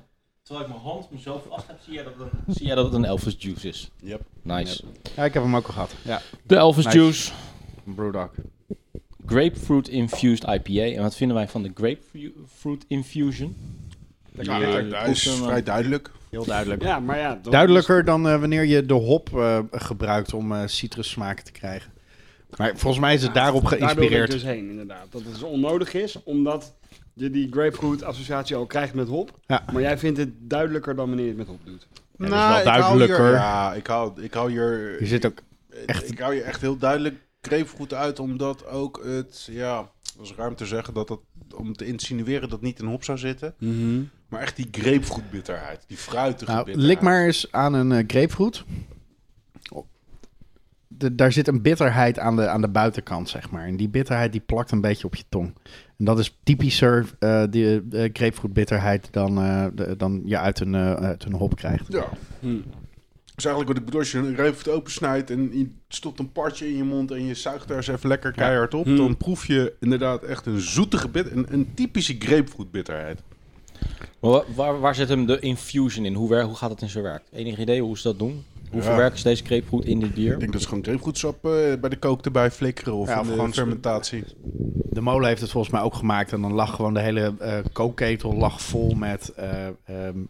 [SPEAKER 1] terwijl ik mijn hand mezelf vast heb, zie jij dat het een, zie jij dat het een Elvis Juice is.
[SPEAKER 4] Yep.
[SPEAKER 1] Nice.
[SPEAKER 2] ja, ik heb hem ook al gehad. Ja,
[SPEAKER 1] De Elvis
[SPEAKER 2] Nice.
[SPEAKER 1] Juice.
[SPEAKER 2] een Brewdog.
[SPEAKER 1] Grapefruit Infused IPA. En wat vinden wij van de Grapefruit Infusion?
[SPEAKER 4] Ja,
[SPEAKER 1] Die, eh,
[SPEAKER 4] hij- hij is
[SPEAKER 1] proeft hem, eh,
[SPEAKER 4] vrij duidelijk.
[SPEAKER 2] Heel duidelijk.
[SPEAKER 3] Ja, maar ja. dat-
[SPEAKER 2] Duidelijker dan eh, wanneer je de hop eh, gebruikt om eh citrussmaken te krijgen. Maar volgens mij is het daarop
[SPEAKER 3] Daar wil ik
[SPEAKER 2] geïnspireerd.
[SPEAKER 3] dus heen, inderdaad. Dat het onnodig is, omdat je die grapefruit associatie al krijgt met hop.
[SPEAKER 2] Ja.
[SPEAKER 3] Maar jij vindt het duidelijker dan wanneer je het met hop doet.
[SPEAKER 1] dat is wel duidelijker.
[SPEAKER 4] Nou, Ik hou hier, ja, ik hou, ik hou hier...
[SPEAKER 2] Je zit ook...
[SPEAKER 4] Echt. Ik hou je echt heel duidelijk goed uit, omdat ook het, ja, dat is ruim te zeggen, dat dat, om te insinueren dat het niet in hop zou zitten.
[SPEAKER 3] Mhm.
[SPEAKER 4] Maar echt die grapefruitbitterheid, die fruitige
[SPEAKER 2] Nou,
[SPEAKER 4] bitterheid.
[SPEAKER 2] lik maar eens aan een eh, grapefruit. De- daar zit een bitterheid aan de, aan de buitenkant, zeg maar. En die bitterheid die plakt een beetje op je tong. En dat is typischer, eh die eh grapefruitbitterheid, dan, eh, de- dan je uit een, eh, uit een hop krijgt.
[SPEAKER 4] Ja,
[SPEAKER 3] Hm.
[SPEAKER 4] dat is eigenlijk wat ik bedoel. Als je een grapefruit opensnijdt en je stopt een partje in je mond en je zuigt daar eens even lekker keihard op,
[SPEAKER 3] Hm.
[SPEAKER 4] dan proef je inderdaad echt een zoetige bit, een, een typische grapefruitbitterheid.
[SPEAKER 1] Maar wa- waar, waar zit hem de infusion in? Hoe, wer- hoe gaat het in zijn werk? Enig idee hoe ze dat doen? Hoe
[SPEAKER 4] Ja.
[SPEAKER 1] verwerken ze deze grapefruit in dit bier?
[SPEAKER 4] Ik denk dat ze gewoon grapefruitsap eh, bij de kook erbij flikkeren of,
[SPEAKER 2] Ja, of
[SPEAKER 4] in de
[SPEAKER 2] gewoon-
[SPEAKER 4] fermentatie.
[SPEAKER 2] De molen heeft het volgens mij ook gemaakt. En dan lag gewoon de hele eh, kookketel lag vol met eh, ehm,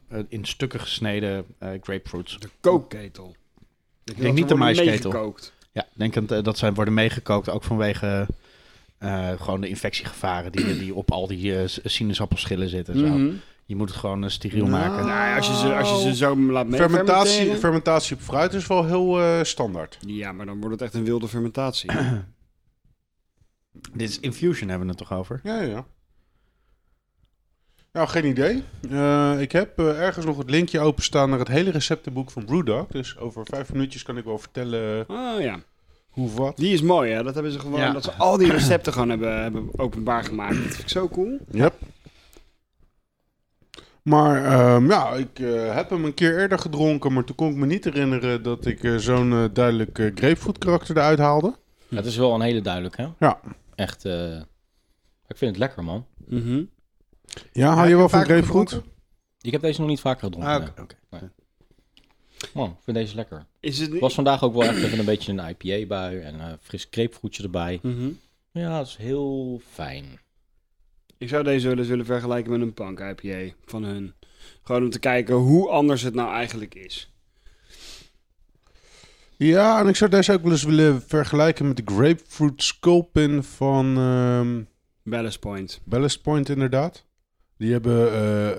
[SPEAKER 2] eh, in stukken gesneden eh grapefruits.
[SPEAKER 3] De kookketel. Ik
[SPEAKER 2] denk niet de maisketel.
[SPEAKER 3] Meegekookt.
[SPEAKER 2] Ja, ik denk dat, eh, dat zij worden meegekookt. Ook vanwege eh, gewoon de infectiegevaren die, die op al die eh, s- sinaasappelschillen zitten. en Zo.
[SPEAKER 3] Mhm.
[SPEAKER 2] Je moet het gewoon eh, steriel
[SPEAKER 4] Mm-hmm. Nou.
[SPEAKER 2] maken.
[SPEAKER 3] Nou, ja, als je, ze, als je ze zo laat
[SPEAKER 4] Fermentatie,
[SPEAKER 3] meefermenteren-
[SPEAKER 4] fermentatie op fruit is wel heel eh, standaard.
[SPEAKER 3] Ja, maar dan wordt het echt een wilde fermentatie.
[SPEAKER 2] Dit is infusion hebben we het toch over?
[SPEAKER 4] Ja, ja. Nou, geen idee. Eh, ik heb eh, ergens nog het linkje openstaan naar het hele receptenboek van Brewdog. Dus over vijf minuutjes kan ik wel vertellen
[SPEAKER 3] Oh ja.
[SPEAKER 4] hoe of wat.
[SPEAKER 3] Die is mooi, hè? Dat hebben ze gewoon.
[SPEAKER 2] Ja.
[SPEAKER 3] Dat ze al die recepten gewoon hebben, hebben openbaar gemaakt. Dat vind ik zo cool.
[SPEAKER 4] Yep. Maar ehm, ja, ik eh, heb hem een keer eerder gedronken, maar toen kon ik me niet herinneren dat ik eh, zo'n eh, duidelijk eh, grapefruit karakter eruit haalde.
[SPEAKER 1] Het is wel een hele duidelijke. hè?
[SPEAKER 4] Ja.
[SPEAKER 1] Echt, eh, ik vind het lekker, man.
[SPEAKER 4] Ja,
[SPEAKER 2] Heb
[SPEAKER 4] hou
[SPEAKER 2] je
[SPEAKER 4] je wel
[SPEAKER 2] hem
[SPEAKER 4] van
[SPEAKER 2] vaker
[SPEAKER 4] grapefruit? Oh,
[SPEAKER 2] gedronken?
[SPEAKER 1] Ik heb deze nog niet vaker gedronken.
[SPEAKER 2] Ah,
[SPEAKER 1] nee.
[SPEAKER 2] oké, oké.
[SPEAKER 1] Man, ik vind deze lekker.
[SPEAKER 3] Is het niet?
[SPEAKER 1] was vandaag ook wel echt even een beetje een IPA-bui en eh, fris grapefruitje erbij.
[SPEAKER 3] Mhm.
[SPEAKER 1] Ja, dat is heel fijn.
[SPEAKER 3] Ik zou deze wel eens willen vergelijken met een punk IPA van hun. Gewoon om te kijken hoe anders het nou eigenlijk is.
[SPEAKER 4] Ja, en ik zou deze ook wel eens willen vergelijken met de grapefruit sculpin van... ehm,
[SPEAKER 3] Ballast Point.
[SPEAKER 4] Ballast Point inderdaad. Die hebben eh,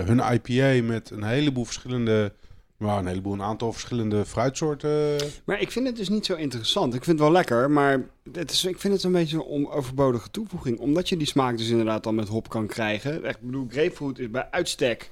[SPEAKER 4] eh, hun IPA met een heleboel verschillende... Nou, een heleboel, een aantal verschillende fruitsoorten.
[SPEAKER 3] Maar ik vind het dus niet zo interessant. Ik vind het wel lekker, maar het is, ik vind het een beetje een on- overbodige toevoeging. Omdat je die smaak dus inderdaad dan met hop kan krijgen. Echt, ik bedoel, grapefruit is bij uitstek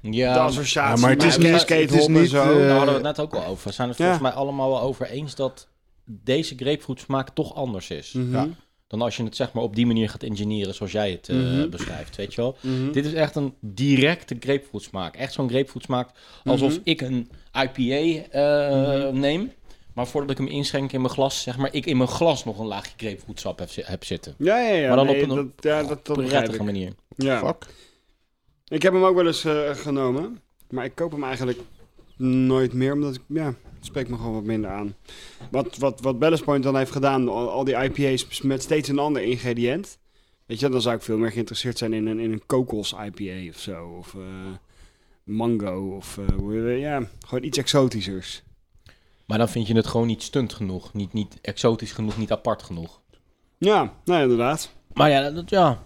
[SPEAKER 1] Ja,
[SPEAKER 3] de
[SPEAKER 4] ja,
[SPEAKER 3] associatie
[SPEAKER 4] maar het
[SPEAKER 3] met
[SPEAKER 4] is niet-
[SPEAKER 3] cascade
[SPEAKER 4] het is
[SPEAKER 3] hop en
[SPEAKER 4] niet,
[SPEAKER 3] zo.
[SPEAKER 4] eh,
[SPEAKER 1] daar hadden we het net ook al over. We zijn het
[SPEAKER 3] Ja.
[SPEAKER 1] volgens mij allemaal wel over eens dat deze grapefruit smaak toch anders is.
[SPEAKER 3] Mhm.
[SPEAKER 4] ja.
[SPEAKER 1] Dan als je het zeg maar op die manier gaat engineeren zoals jij het eh,
[SPEAKER 3] Mhm.
[SPEAKER 1] beschrijft, weet je wel.
[SPEAKER 3] Mhm.
[SPEAKER 1] Dit is echt een directe grapefruit smaak. Echt zo'n grapefruit smaak alsof
[SPEAKER 3] Mhm.
[SPEAKER 1] ik een IPA eh, neem. Maar voordat ik hem inschenk in mijn glas, zeg maar, ik in mijn glas nog een laagje grapefruitsap heb, zi- heb zitten.
[SPEAKER 3] Ja, ja, ja.
[SPEAKER 1] Maar dan op
[SPEAKER 3] nee,
[SPEAKER 1] een-
[SPEAKER 3] dat, ja, dat,
[SPEAKER 1] Op
[SPEAKER 3] dat
[SPEAKER 1] een
[SPEAKER 3] begrijp
[SPEAKER 1] prettige
[SPEAKER 3] ik.
[SPEAKER 1] manier.
[SPEAKER 3] Ja.
[SPEAKER 4] Fuck.
[SPEAKER 3] Ik heb hem ook wel eens eh, genomen. Maar ik koop hem eigenlijk nooit meer. Omdat ik, ja, het spreekt me gewoon wat minder aan. Wat, wat, wat Ballast Point dan heeft gedaan. Al, al die IPA's met steeds een ander ingrediënt. Weet je, dan zou ik veel meer geïnteresseerd zijn in een, in een kokos IPA of zo. Of eh, mango. Of eh, hoe- ja, gewoon iets exotischers.
[SPEAKER 1] Maar dan vind je het gewoon niet stunt genoeg. Niet, niet exotisch genoeg, niet apart genoeg.
[SPEAKER 3] Ja, nou inderdaad.
[SPEAKER 1] Maar ja dat, ja,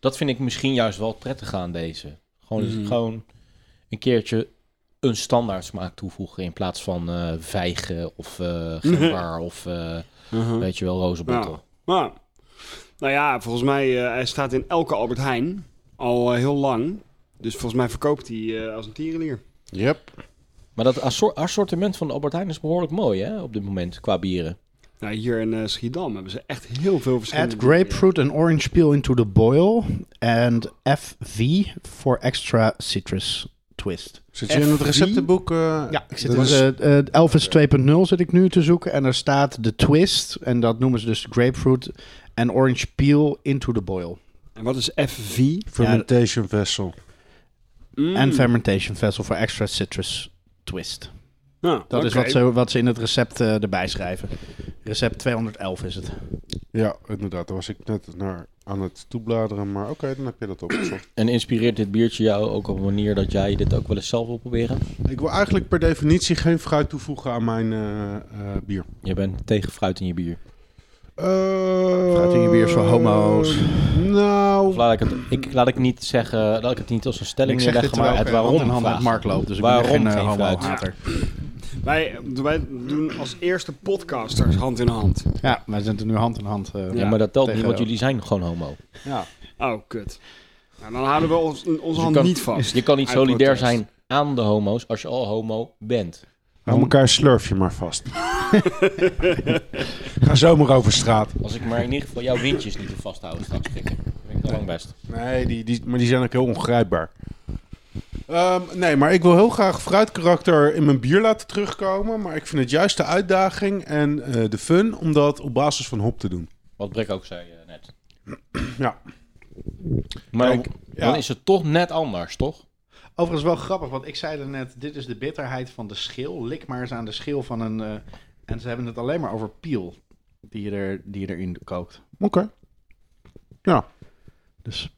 [SPEAKER 1] dat vind ik misschien juist wel prettig aan deze. Gewoon,
[SPEAKER 3] Mhm.
[SPEAKER 1] gewoon een keertje een standaard smaak toevoegen in plaats van eh, vijgen of eh
[SPEAKER 2] Mhm.
[SPEAKER 1] gember of eh, weet je wel, rozenbottel.
[SPEAKER 3] Maar, nou ja, volgens mij eh, hij staat in elke Albert Heijn al eh, heel lang. Dus volgens mij verkoopt hij eh, als een tierenlier.
[SPEAKER 4] Yep.
[SPEAKER 1] Maar dat assor- assortiment van de Albert Heijn is behoorlijk mooi hè, op dit moment qua bieren.
[SPEAKER 3] Nou, hier in eh, Schiedam hebben ze echt heel veel verschillende...
[SPEAKER 2] Add grapefruit and orange peel into the boil. And FV for extra citrus twist.
[SPEAKER 4] Zit je in het
[SPEAKER 2] FV?
[SPEAKER 4] receptenboek? eh,
[SPEAKER 2] Ja, ik zit
[SPEAKER 4] dat
[SPEAKER 2] in
[SPEAKER 4] is-
[SPEAKER 2] de, eh, Elvis 2.0 zit ik nu te zoeken. En daar staat de twist. En dat noemen ze dus grapefruit and orange peel into the boil.
[SPEAKER 3] En wat is FV?
[SPEAKER 4] Fermentation vessel. Mm.
[SPEAKER 3] Mm.
[SPEAKER 2] En fermentation vessel for extra citrus twist.
[SPEAKER 3] Nou,
[SPEAKER 2] Dat is
[SPEAKER 3] oké.
[SPEAKER 2] wat ze, wat ze in het recept eh, erbij schrijven. Recept 211 is het.
[SPEAKER 4] Ja, inderdaad. Daar was ik net naar aan het toebladeren. Maar oké, dan heb je dat opgezocht.
[SPEAKER 1] En inspireert dit biertje jou ook op een manier dat jij dit ook wel eens zelf wil proberen?
[SPEAKER 4] ik wil eigenlijk per definitie geen fruit toevoegen aan mijn eh, eh, bier.
[SPEAKER 1] Je bent tegen fruit in je bier.
[SPEAKER 4] Fruit
[SPEAKER 2] in je bier is voor homo's.
[SPEAKER 1] Of
[SPEAKER 4] Nou,
[SPEAKER 1] laat ik, het, ik, laat ik niet zeggen, laat ik het niet als een stelling
[SPEAKER 2] ik zeg dit
[SPEAKER 1] neerleggen, maar
[SPEAKER 2] terwijl
[SPEAKER 1] het
[SPEAKER 2] ik waarom hand
[SPEAKER 1] waarom
[SPEAKER 2] in
[SPEAKER 1] vraag.
[SPEAKER 2] hand met Mark loop. Dus ik
[SPEAKER 1] Waarom
[SPEAKER 2] ben geen,
[SPEAKER 1] geen
[SPEAKER 2] eh,
[SPEAKER 1] fruit?
[SPEAKER 2] homo-hater.
[SPEAKER 3] Wij, wij doen als eerste podcasters hand in hand.
[SPEAKER 2] Ja, wij zitten nu hand in hand. eh,
[SPEAKER 1] Ja, maar dat telt niet,
[SPEAKER 2] tegen-
[SPEAKER 1] want jullie zijn gewoon homo.
[SPEAKER 3] Ja. Oh, kut. Nou, dan houden we ons, onze
[SPEAKER 1] Je
[SPEAKER 3] hand
[SPEAKER 1] kan-
[SPEAKER 3] niet vast.
[SPEAKER 1] Dus Je kan niet
[SPEAKER 3] Uit
[SPEAKER 1] solidair
[SPEAKER 3] protest.
[SPEAKER 1] zijn aan de homo's als je al homo bent.
[SPEAKER 4] hou elkaar slurf je maar vast. Ga zomaar over straat.
[SPEAKER 1] Als ik maar in ieder geval jouw windjes niet te vasthouden straks, kikken. Dan ben ik al lang best.
[SPEAKER 4] Nee, die, die, maar die zijn ook heel ongrijpbaar. Ehm, nee, maar ik wil heel graag fruitkarakter in mijn bier laten terugkomen. Maar ik vind het juist de uitdaging en eh, de fun om dat op basis van hop te doen.
[SPEAKER 1] Wat Brik ook zei eh, net.
[SPEAKER 4] Ja.
[SPEAKER 1] Maar
[SPEAKER 4] Kijk,
[SPEAKER 1] dan-
[SPEAKER 4] ja.
[SPEAKER 1] dan is het toch net anders, toch?
[SPEAKER 2] Overigens wel grappig, want ik zei er net, dit is de bitterheid van de schil. Lik maar eens aan de schil van een... eh, en ze hebben het alleen maar over peel die je, er, die je erin kookt.
[SPEAKER 4] Oké. Ja.
[SPEAKER 2] Dus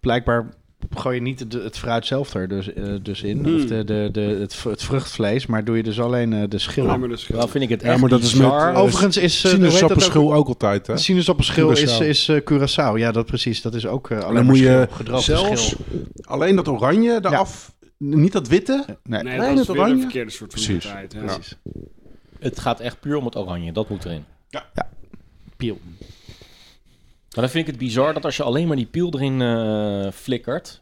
[SPEAKER 2] blijkbaar gooi je niet de- het fruit zelf er dus, eh, dus in,
[SPEAKER 3] Hmm.
[SPEAKER 2] of de, de, de, het, v- het vruchtvlees, maar doe je dus alleen eh, de schil.
[SPEAKER 3] Ja, maar dus dat is
[SPEAKER 1] Dan vind ik het
[SPEAKER 4] Ja,
[SPEAKER 1] echt
[SPEAKER 4] maar dat is met,
[SPEAKER 1] bizar. Oh.
[SPEAKER 4] eh,
[SPEAKER 2] Overigens is... eh, hoe heet dat ook?
[SPEAKER 4] Sinaasappelschil ook altijd, hè?
[SPEAKER 2] Sinaasappelschil is,
[SPEAKER 4] Curaçao.
[SPEAKER 2] is eh, Curaçao. Ja, dat precies. Dat is ook eh, alleen
[SPEAKER 4] Dan
[SPEAKER 2] maar
[SPEAKER 4] moet je
[SPEAKER 2] schil, gedroogde
[SPEAKER 4] zelfs
[SPEAKER 2] schil.
[SPEAKER 4] alleen dat oranje eraf, niet dat witte.
[SPEAKER 2] Nee,
[SPEAKER 3] Nee,
[SPEAKER 4] Nee,
[SPEAKER 3] dat
[SPEAKER 4] dat
[SPEAKER 3] is weer een
[SPEAKER 4] oranje.
[SPEAKER 3] verkeerde soort van
[SPEAKER 4] Precies.
[SPEAKER 3] tijd. Ja.
[SPEAKER 2] precies.
[SPEAKER 1] Het gaat echt puur om het oranje, dat moet erin.
[SPEAKER 2] Peel.
[SPEAKER 1] Maar dan vind ik het bizar dat als je alleen maar die piel erin eh, flikkert,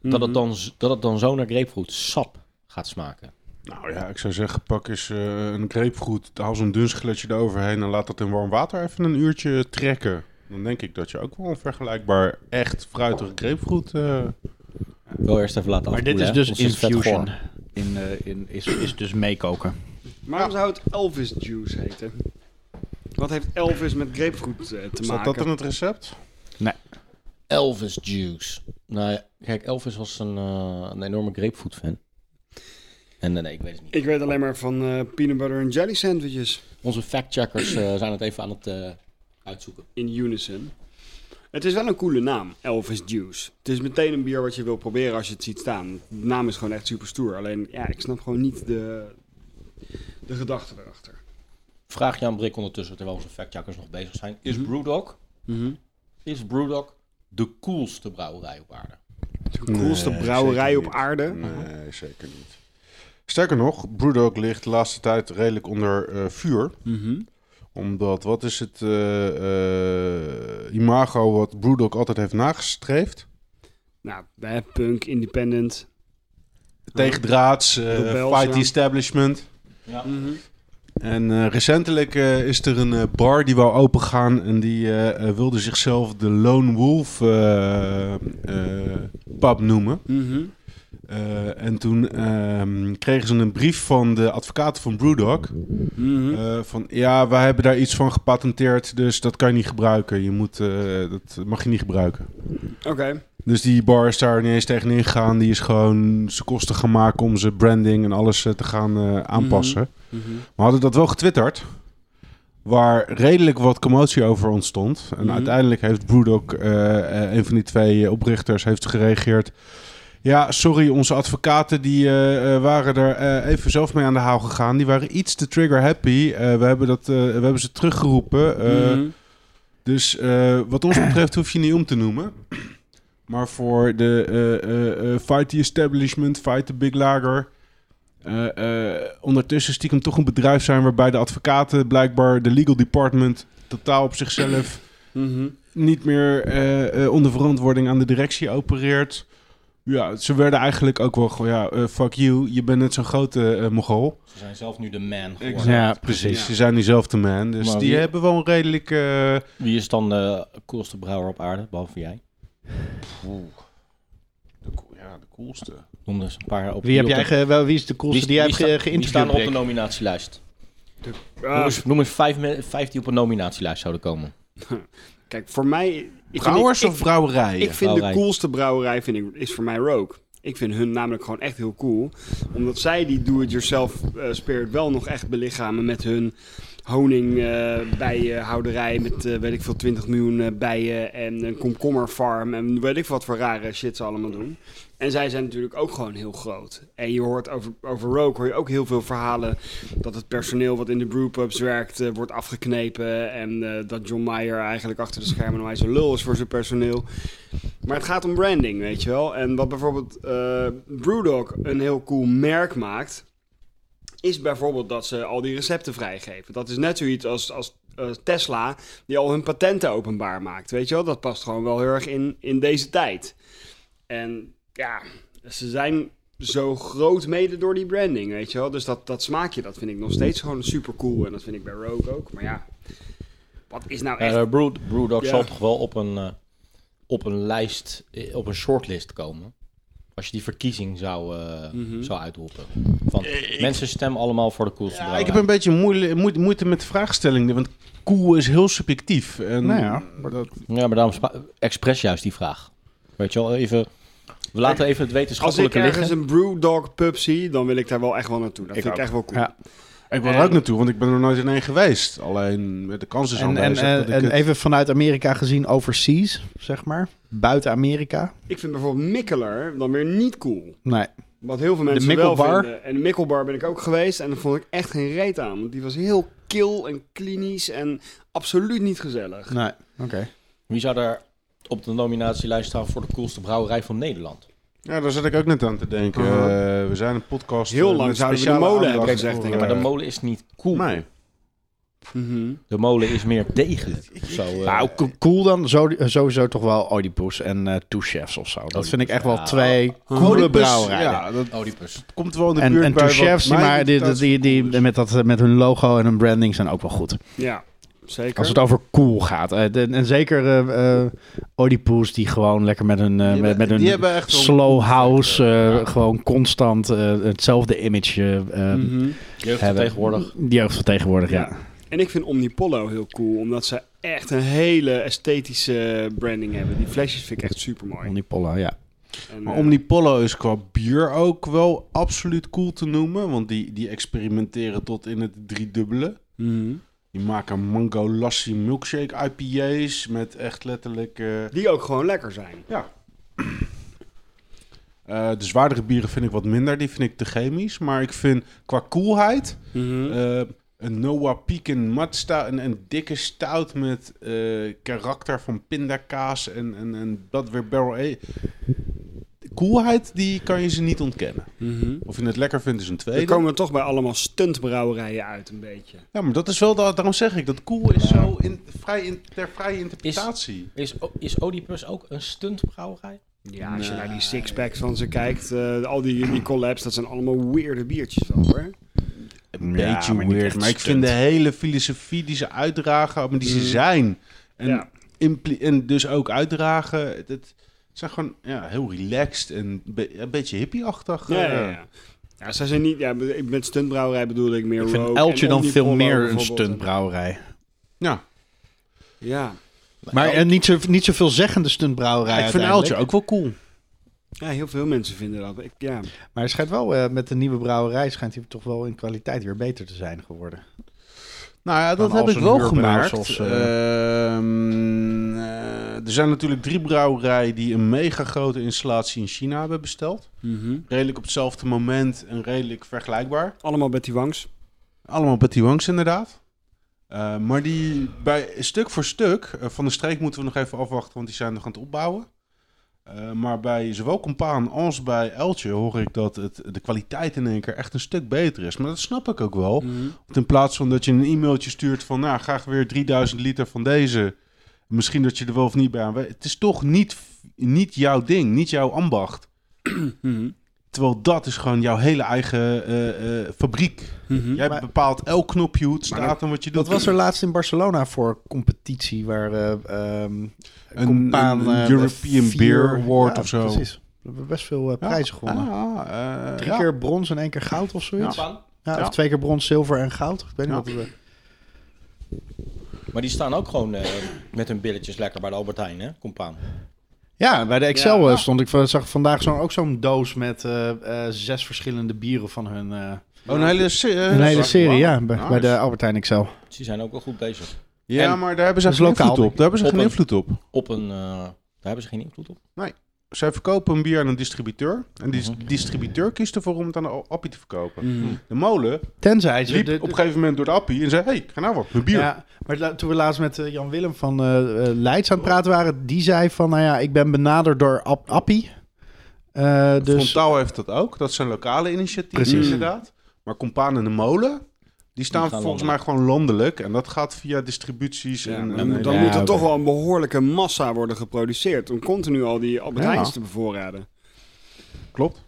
[SPEAKER 1] dat,
[SPEAKER 4] Mhm.
[SPEAKER 1] het dan, z- dat het dan zo naar grapefruit sap gaat smaken.
[SPEAKER 4] Nou ja, ik zou zeggen, pak eens eh, een grapefruit, haal zo'n dun skilletje eroverheen en laat dat in warm water even een uurtje trekken. Dan denk ik dat je ook wel een vergelijkbaar echt fruitige grapefruit... eh,
[SPEAKER 1] Wel eerst even laten
[SPEAKER 2] Maar dit
[SPEAKER 1] afkoelen,
[SPEAKER 2] is
[SPEAKER 1] hè,
[SPEAKER 2] dus
[SPEAKER 1] anders het vet
[SPEAKER 2] infusion.
[SPEAKER 1] goor.
[SPEAKER 2] In, eh, in, is, is dus meekoken.
[SPEAKER 3] Waarom zou het Elvis juice heten? Wat heeft Elvis met grapefruit eh, te
[SPEAKER 4] Staat
[SPEAKER 3] maken?
[SPEAKER 4] dat in het recept?
[SPEAKER 1] Elvis juice. Nou ja, kijk, Elvis was een, eh, een enorme grapefruit fan. En eh, nee, ik weet het niet.
[SPEAKER 3] Ik weet alleen maar van eh, peanut butter en jelly sandwiches
[SPEAKER 1] Onze factcheckers eh, zijn het even aan het eh, uitzoeken.
[SPEAKER 3] in unison. Het is wel een coole naam, Elvis Juice. Het is meteen een bier wat je wil proberen als je het ziet staan. De naam is gewoon echt super stoer. Alleen, ja, ik snap gewoon niet de, de gedachte erachter.
[SPEAKER 1] Vraag je aan Brik ondertussen, terwijl onze factcheckers nog bezig zijn.
[SPEAKER 2] Mhm.
[SPEAKER 1] Is Brewdog,
[SPEAKER 4] Mhm.
[SPEAKER 1] is Brewdog de coolste brouwerij op aarde?
[SPEAKER 3] De coolste
[SPEAKER 4] Nee,
[SPEAKER 3] brouwerij
[SPEAKER 4] zeker
[SPEAKER 3] op
[SPEAKER 4] niet.
[SPEAKER 3] aarde.
[SPEAKER 4] Nee, zeker niet. Sterker nog, Brewdog ligt de laatste tijd redelijk onder eh, vuur.
[SPEAKER 3] Mhm.
[SPEAKER 4] Omdat, wat is het eh, eh, imago wat Brewdog altijd heeft nagestreefd?
[SPEAKER 3] Nou, hè, punk, independent.
[SPEAKER 4] Tegendraads, eh,
[SPEAKER 3] Rebels,
[SPEAKER 4] fight the
[SPEAKER 3] ja.
[SPEAKER 4] establishment.
[SPEAKER 1] Ja.
[SPEAKER 4] Mhm. En eh, recentelijk eh, is er een eh, bar die wou opengaan en die eh, eh, wilde zichzelf de Lone Wolf eh, eh, pub noemen.
[SPEAKER 3] Mhm.
[SPEAKER 4] Eh, en toen ehm, kregen ze een brief van de advocaten van Brewdog.
[SPEAKER 3] Mhm.
[SPEAKER 4] Eh, van ja, wij hebben daar iets van gepatenteerd, dus dat kan je niet gebruiken. Je moet, eh, dat mag je niet gebruiken.
[SPEAKER 3] Oké.
[SPEAKER 4] Dus die bar is daar niet eens tegen ingegaan. Die is gewoon ze kosten gaan maken om zijn branding en alles eh, te gaan eh, aanpassen.
[SPEAKER 3] Mhm.
[SPEAKER 4] We hadden dat wel getwitterd. Waar redelijk wat commotie over ontstond. En
[SPEAKER 3] Mhm.
[SPEAKER 4] uiteindelijk heeft Brewdog, eh, eh, een van die twee eh, oprichters, heeft gereageerd. Ja, sorry, onze advocaten die, eh, eh, waren er eh, even zelf mee aan de haal gegaan. Die waren iets te trigger happy. Eh, we, hebben dat, eh, we hebben ze teruggeroepen. Eh,
[SPEAKER 3] Mhm.
[SPEAKER 4] Dus eh, wat ons betreft hoef je niet om te noemen. Maar voor de eh, eh, eh, fight the establishment, fight the big lager. eh, eh, ondertussen stiekem toch een bedrijf zijn waarbij de advocaten blijkbaar de legal department totaal op zichzelf
[SPEAKER 3] Mhm.
[SPEAKER 4] niet meer eh, eh, onder verantwoording aan de directie opereert. Ja, ze werden eigenlijk ook wel gewoon, ja, eh, fuck you, je bent net zo'n grote eh mogol.
[SPEAKER 1] Ze zijn zelf nu de man geworden.
[SPEAKER 4] Exact.
[SPEAKER 2] Ja,
[SPEAKER 4] Precies,
[SPEAKER 3] Ja.
[SPEAKER 4] ze zijn diezelfde man. Dus
[SPEAKER 1] Maar
[SPEAKER 4] die
[SPEAKER 1] wie-
[SPEAKER 4] hebben wel een redelijk... eh,
[SPEAKER 1] Wie is dan de coolste brouwer op aarde, behalve jij?
[SPEAKER 4] de ko- ja, de coolste.
[SPEAKER 1] Noem dus een paar op.
[SPEAKER 2] Wie, heb
[SPEAKER 1] op
[SPEAKER 2] jij
[SPEAKER 1] de-
[SPEAKER 2] ge- wel, wie is de coolste die jij hebt
[SPEAKER 1] sta-
[SPEAKER 2] ge-
[SPEAKER 1] Die staan
[SPEAKER 2] geïnterviewd?
[SPEAKER 1] op de
[SPEAKER 2] Rick?
[SPEAKER 1] nominatielijst. Noem
[SPEAKER 3] Ah,
[SPEAKER 1] eens, noem eens vijf, me- vijf die op een nominatielijst zouden komen.
[SPEAKER 3] kijk, voor mij... ik vind-
[SPEAKER 4] Brouwers
[SPEAKER 3] ik,
[SPEAKER 4] of brouwerijen?
[SPEAKER 3] Ik vind de
[SPEAKER 1] Brouwerij.
[SPEAKER 3] coolste brouwerij vind ik, is voor mij Rogue. Ik vind hun namelijk gewoon echt heel cool. Omdat zij die do-it-yourself eh, spirit wel nog echt belichamen met hun honingbijenhouderij met eh, weet ik veel 20 miljoen eh, bijen en een komkommerfarm en weet ik wat voor rare shit ze allemaal doen. En zij zijn natuurlijk ook gewoon heel groot. En je hoort over, over Rogue hoor je ook heel veel verhalen dat het personeel wat in de brewpubs werkt eh, wordt afgeknepen en eh, dat John Mayer eigenlijk achter de schermen nou zo'n lul is voor zijn personeel. Maar het gaat om branding, weet je wel. En wat bijvoorbeeld eh Brewdog een heel cool merk maakt, is bijvoorbeeld dat ze al die recepten vrijgeven. Dat is net zoiets als, als eh, Tesla, die al hun patenten openbaar maakt. Weet je wel, dat past gewoon wel heel erg in, in deze tijd. En ja, ze zijn zo groot mede door die branding, weet je wel. Dus dat, dat smaakje, dat vind ik nog steeds gewoon super cool. En dat vind ik bij Rogue ook. Maar ja, wat is nou echt...
[SPEAKER 1] Eh Brew, Brewdog
[SPEAKER 3] Ja.
[SPEAKER 1] zal toch wel op een, eh, op een lijst, eh, op een shortlist komen. Als je die verkiezing zou, eh, zou uitroepen. Van, mensen stemmen allemaal voor de coolste
[SPEAKER 4] Ja,
[SPEAKER 1] brouwerij.
[SPEAKER 4] ik heb een beetje moeite, moeite, moeite met de vraagstelling, want cool is heel subjectief. En
[SPEAKER 2] Nou ja,
[SPEAKER 4] dat,
[SPEAKER 1] Ja, maar daarom spa- expres juist die vraag. Weet je wel, even... We laten even het
[SPEAKER 3] Als ik
[SPEAKER 1] wetenschappelijke liggen.
[SPEAKER 3] ergens een Brewdog pub zie, dan wil ik daar wel echt wel naartoe. Dat
[SPEAKER 4] Ik
[SPEAKER 3] vind ik
[SPEAKER 4] ook.
[SPEAKER 3] echt wel cool.
[SPEAKER 2] Ja.
[SPEAKER 4] ik wil er
[SPEAKER 3] En-
[SPEAKER 4] ook naartoe, want ik ben er nooit in één geweest. Alleen de kans is
[SPEAKER 2] En, en,
[SPEAKER 4] aanwezig
[SPEAKER 2] en,
[SPEAKER 4] dat ik
[SPEAKER 2] en
[SPEAKER 4] het-
[SPEAKER 2] even vanuit Amerika gezien, overseas, zeg maar. Buiten Amerika.
[SPEAKER 3] Ik vind bijvoorbeeld Mikkeler dan weer niet cool.
[SPEAKER 2] Nee.
[SPEAKER 3] Wat heel veel mensen wel
[SPEAKER 2] Mikkelbar.
[SPEAKER 3] vinden. En de Mikkelbar ben ik ook geweest en daar vond ik echt geen reet aan. Want die was heel kil en klinisch en absoluut niet gezellig.
[SPEAKER 2] Nee. Oké.
[SPEAKER 1] Wie zou daar op de nominatielijst staan voor de coolste brouwerij van Nederland?
[SPEAKER 4] Ja, daar zat ik ook net aan te denken.
[SPEAKER 3] Uh-huh.
[SPEAKER 4] Eh, we zijn een podcast.
[SPEAKER 3] Heel
[SPEAKER 4] eh,
[SPEAKER 3] lang
[SPEAKER 4] met
[SPEAKER 3] zouden we de
[SPEAKER 4] speciale
[SPEAKER 3] molen
[SPEAKER 4] aandacht
[SPEAKER 3] hebben gezegd,
[SPEAKER 4] voor,
[SPEAKER 3] denk
[SPEAKER 1] Ja,
[SPEAKER 3] ik.
[SPEAKER 1] maar de
[SPEAKER 4] eh,
[SPEAKER 1] molen is niet cool.
[SPEAKER 4] Nee.
[SPEAKER 3] Mhm.
[SPEAKER 1] De molen is meer degelijk. of Zo, eh.
[SPEAKER 2] Nou, co- cool dan zo, sowieso toch wel Oedipus en eh Two Chefs of zo. Dat vind ik echt wel
[SPEAKER 1] ja.
[SPEAKER 2] twee coole
[SPEAKER 4] Oedipus,
[SPEAKER 2] brouwerijen.
[SPEAKER 4] Ja, dat
[SPEAKER 1] Oedipus.
[SPEAKER 4] komt wel in de
[SPEAKER 2] En,
[SPEAKER 4] buurt
[SPEAKER 2] en
[SPEAKER 4] bij
[SPEAKER 2] Two
[SPEAKER 4] wat
[SPEAKER 2] Chefs, die,
[SPEAKER 4] mijn
[SPEAKER 2] maar die, die, die, die-
[SPEAKER 4] irritatie
[SPEAKER 2] met, dat, eh, met hun logo en hun branding zijn ook wel goed.
[SPEAKER 3] Ja, zeker.
[SPEAKER 2] Als het over cool gaat. eh, de- en zeker eh eh, Oedipus die gewoon lekker met hun, eh, met,
[SPEAKER 4] Die hebben-
[SPEAKER 2] met hun
[SPEAKER 4] die hebben echt wel een
[SPEAKER 2] slow
[SPEAKER 4] cool
[SPEAKER 2] house, eh,
[SPEAKER 1] ja.
[SPEAKER 2] gewoon constant eh, hetzelfde image eh, eh,
[SPEAKER 3] Mhm.
[SPEAKER 1] Jeugd van
[SPEAKER 2] hebben.
[SPEAKER 1] tegenwoordig.
[SPEAKER 2] Jeugd van tegenwoordig, ja.
[SPEAKER 3] Ja. En ik vind Omnipollo heel cool, omdat ze echt een hele esthetische branding hebben. Die flesjes vind ik echt eh, super mooi.
[SPEAKER 2] Omnipollo, ja.
[SPEAKER 4] Maar Omnipollo is qua bier ook wel absoluut cool te noemen. Want die, die experimenteren tot in het driedubbele.
[SPEAKER 3] mhm.
[SPEAKER 4] Die maken mango lassi milkshake IPA's met echt letterlijk... eh,
[SPEAKER 3] Die ook gewoon lekker zijn.
[SPEAKER 4] eh, de zwaardere bieren vind ik wat minder. Die vind ik te chemisch. Maar ik vind qua coolheid...
[SPEAKER 2] Mhm.
[SPEAKER 4] Eh, een Noah Pecan mat stout en een dikke stout met eh, karakter van pindakaas en, en, en dat weer barrel eh, De Koelheid, die kan je ze niet ontkennen.
[SPEAKER 3] Mhm.
[SPEAKER 4] Of je het lekker vindt is een
[SPEAKER 3] Dan
[SPEAKER 4] tweede.
[SPEAKER 3] komen we toch bij allemaal stuntbrouwerijen uit een beetje.
[SPEAKER 4] Ja, maar dat is wel, da- daarom zeg ik, dat koel is zo in, vrij in, ter vrije interpretatie.
[SPEAKER 1] Is, O- is Oedipus ook een stuntbrouwerij?
[SPEAKER 3] Ja, als je naar die sixpacks van ze kijkt, eh, al die, die collabs, dat zijn allemaal weirde biertjes wel hoor.
[SPEAKER 4] Een
[SPEAKER 2] Ja,
[SPEAKER 4] beetje
[SPEAKER 2] maar niet
[SPEAKER 4] weird,
[SPEAKER 2] echt
[SPEAKER 4] maar ik
[SPEAKER 2] stunt.
[SPEAKER 4] vind de hele filosofie die ze uitdragen, maar die ze
[SPEAKER 3] Mm.
[SPEAKER 4] zijn en,
[SPEAKER 3] Ja.
[SPEAKER 4] impli- en dus ook uitdragen, het, het zijn gewoon ja, heel relaxed en be- een beetje hippie-achtig.
[SPEAKER 3] Ja,
[SPEAKER 4] eh.
[SPEAKER 3] ja, ja. ja zij zijn niet, ja, met stuntbrouwerij bedoel ik meer
[SPEAKER 2] Ik vind
[SPEAKER 3] Rogue
[SPEAKER 2] Eltje
[SPEAKER 3] en
[SPEAKER 2] dan veel
[SPEAKER 3] Omnipollo
[SPEAKER 2] meer een
[SPEAKER 3] bijvoorbeeld.
[SPEAKER 2] stuntbrouwerij.
[SPEAKER 4] Ja,
[SPEAKER 3] Ja.
[SPEAKER 2] Maar en niet, zo, niet zo veelzeggende
[SPEAKER 4] Ja,
[SPEAKER 2] stuntbrouwerij
[SPEAKER 4] ik vind
[SPEAKER 2] uiteindelijk.
[SPEAKER 4] Aaltje ook wel cool.
[SPEAKER 3] ja, heel veel mensen vinden dat. Ik, ja.
[SPEAKER 2] Maar hij schijnt wel, eh, met de nieuwe brouwerij schijnt hij toch wel in kwaliteit weer beter te zijn geworden.
[SPEAKER 4] Nou ja, dat
[SPEAKER 2] Dan
[SPEAKER 4] heb
[SPEAKER 2] als
[SPEAKER 4] ik
[SPEAKER 2] een
[SPEAKER 4] wel
[SPEAKER 2] huurbrouwers
[SPEAKER 4] gemerkt.
[SPEAKER 2] of,
[SPEAKER 4] Ehm, eh, er zijn natuurlijk drie brouwerijen die een mega grote installatie in China hebben besteld. Redelijk op hetzelfde moment en redelijk vergelijkbaar.
[SPEAKER 3] Allemaal Betty Wangs.
[SPEAKER 4] Allemaal Betty Wangs inderdaad. Eh, maar die bij stuk voor stuk, eh, van de streek moeten we nog even afwachten, want die zijn nog aan het opbouwen. Eh, maar bij zowel Compaan als bij Eltje hoor ik dat het, de kwaliteit in één keer echt een stuk beter is. Maar dat snap ik ook wel.
[SPEAKER 3] Mhm.
[SPEAKER 4] Want in plaats van dat je een e-mailtje stuurt van, nou, graag weer 3000 liter van deze. Misschien dat je er wel of niet bij aan weet. Het is toch niet, niet jouw ding, niet jouw ambacht. Terwijl dat is gewoon jouw hele eigen eh, eh, fabriek.
[SPEAKER 3] Mhm.
[SPEAKER 4] Jij
[SPEAKER 2] Maar-
[SPEAKER 4] bepaalt elk knopje hoe het
[SPEAKER 3] Maar
[SPEAKER 4] staat en wat je doet.
[SPEAKER 2] Dat was er laatst in Barcelona voor competitie waar eh, ehm,
[SPEAKER 4] Een-
[SPEAKER 2] Compaan,
[SPEAKER 4] een
[SPEAKER 2] eh,
[SPEAKER 4] European
[SPEAKER 2] vier-
[SPEAKER 4] Beer Award
[SPEAKER 2] Ja,
[SPEAKER 4] of zo.
[SPEAKER 2] Precies. We hebben best veel eh,
[SPEAKER 4] Ja.
[SPEAKER 2] prijzen gewonnen.
[SPEAKER 4] Ah, eh,
[SPEAKER 2] Drie
[SPEAKER 4] ja.
[SPEAKER 2] keer brons en één keer goud of zoiets. Ja.
[SPEAKER 1] Ja.
[SPEAKER 4] Ja.
[SPEAKER 2] Of twee keer brons, zilver en goud. Ik weet niet
[SPEAKER 4] Ja.
[SPEAKER 2] wat het,
[SPEAKER 1] Maar die staan ook gewoon eh, met hun billetjes lekker bij de Albert Heijn, hè? Compaan.
[SPEAKER 2] ja, bij de Excel
[SPEAKER 3] Ja.
[SPEAKER 2] eh, stond ik van- zag vandaag zo'n ook zo'n doos met eh, eh, zes verschillende bieren van hun. eh,
[SPEAKER 4] Oh, een hele, se- eh,
[SPEAKER 2] Een hele
[SPEAKER 4] zak-
[SPEAKER 2] serie,
[SPEAKER 4] wow.
[SPEAKER 2] ja, bij,
[SPEAKER 4] Nice.
[SPEAKER 2] bij de Albert Heijn Excel.
[SPEAKER 1] Ze zijn ook wel goed bezig.
[SPEAKER 4] Ja,
[SPEAKER 2] En-
[SPEAKER 4] maar daar hebben ze
[SPEAKER 2] Dat is
[SPEAKER 4] geen
[SPEAKER 2] lokaal,
[SPEAKER 4] invloed op. Daar hebben ze
[SPEAKER 1] Op
[SPEAKER 4] geen
[SPEAKER 1] een-
[SPEAKER 4] invloed op.
[SPEAKER 1] Op een... eh, daar hebben ze geen invloed op.
[SPEAKER 4] Zij verkopen een bier aan een distributeur. En die
[SPEAKER 1] Mhm.
[SPEAKER 4] distributeur kiest ervoor om het aan de appie te verkopen. De molen
[SPEAKER 2] Tenzij ze...
[SPEAKER 4] liep
[SPEAKER 2] Dus de- de-
[SPEAKER 4] op een gegeven moment door de appie en zei... hey, ik ga nou wat, mijn bier.
[SPEAKER 2] Ja, maar la- toen we laatst met eh, Jan Willem van eh eh, Leids aan het praten waren, die zei van, nou ja, ik ben benaderd door Ap- Appie. Eh, dus
[SPEAKER 4] Frontaal heeft dat ook. Dat zijn lokale initiatieven
[SPEAKER 2] Precies.
[SPEAKER 4] inderdaad. Maar Compaan en de Molen, die staan
[SPEAKER 1] gaan
[SPEAKER 4] volgens
[SPEAKER 1] landelijk.
[SPEAKER 4] mij gewoon landelijk. En dat gaat via distributies.
[SPEAKER 3] Ja,
[SPEAKER 4] en,
[SPEAKER 3] maar
[SPEAKER 4] en-
[SPEAKER 3] dan dan
[SPEAKER 2] ja,
[SPEAKER 3] moet er
[SPEAKER 2] oké.
[SPEAKER 3] toch wel een behoorlijke massa worden geproduceerd om continu al die Albert
[SPEAKER 2] Ja.
[SPEAKER 3] Heijn's te bevoorraden.
[SPEAKER 4] Klopt.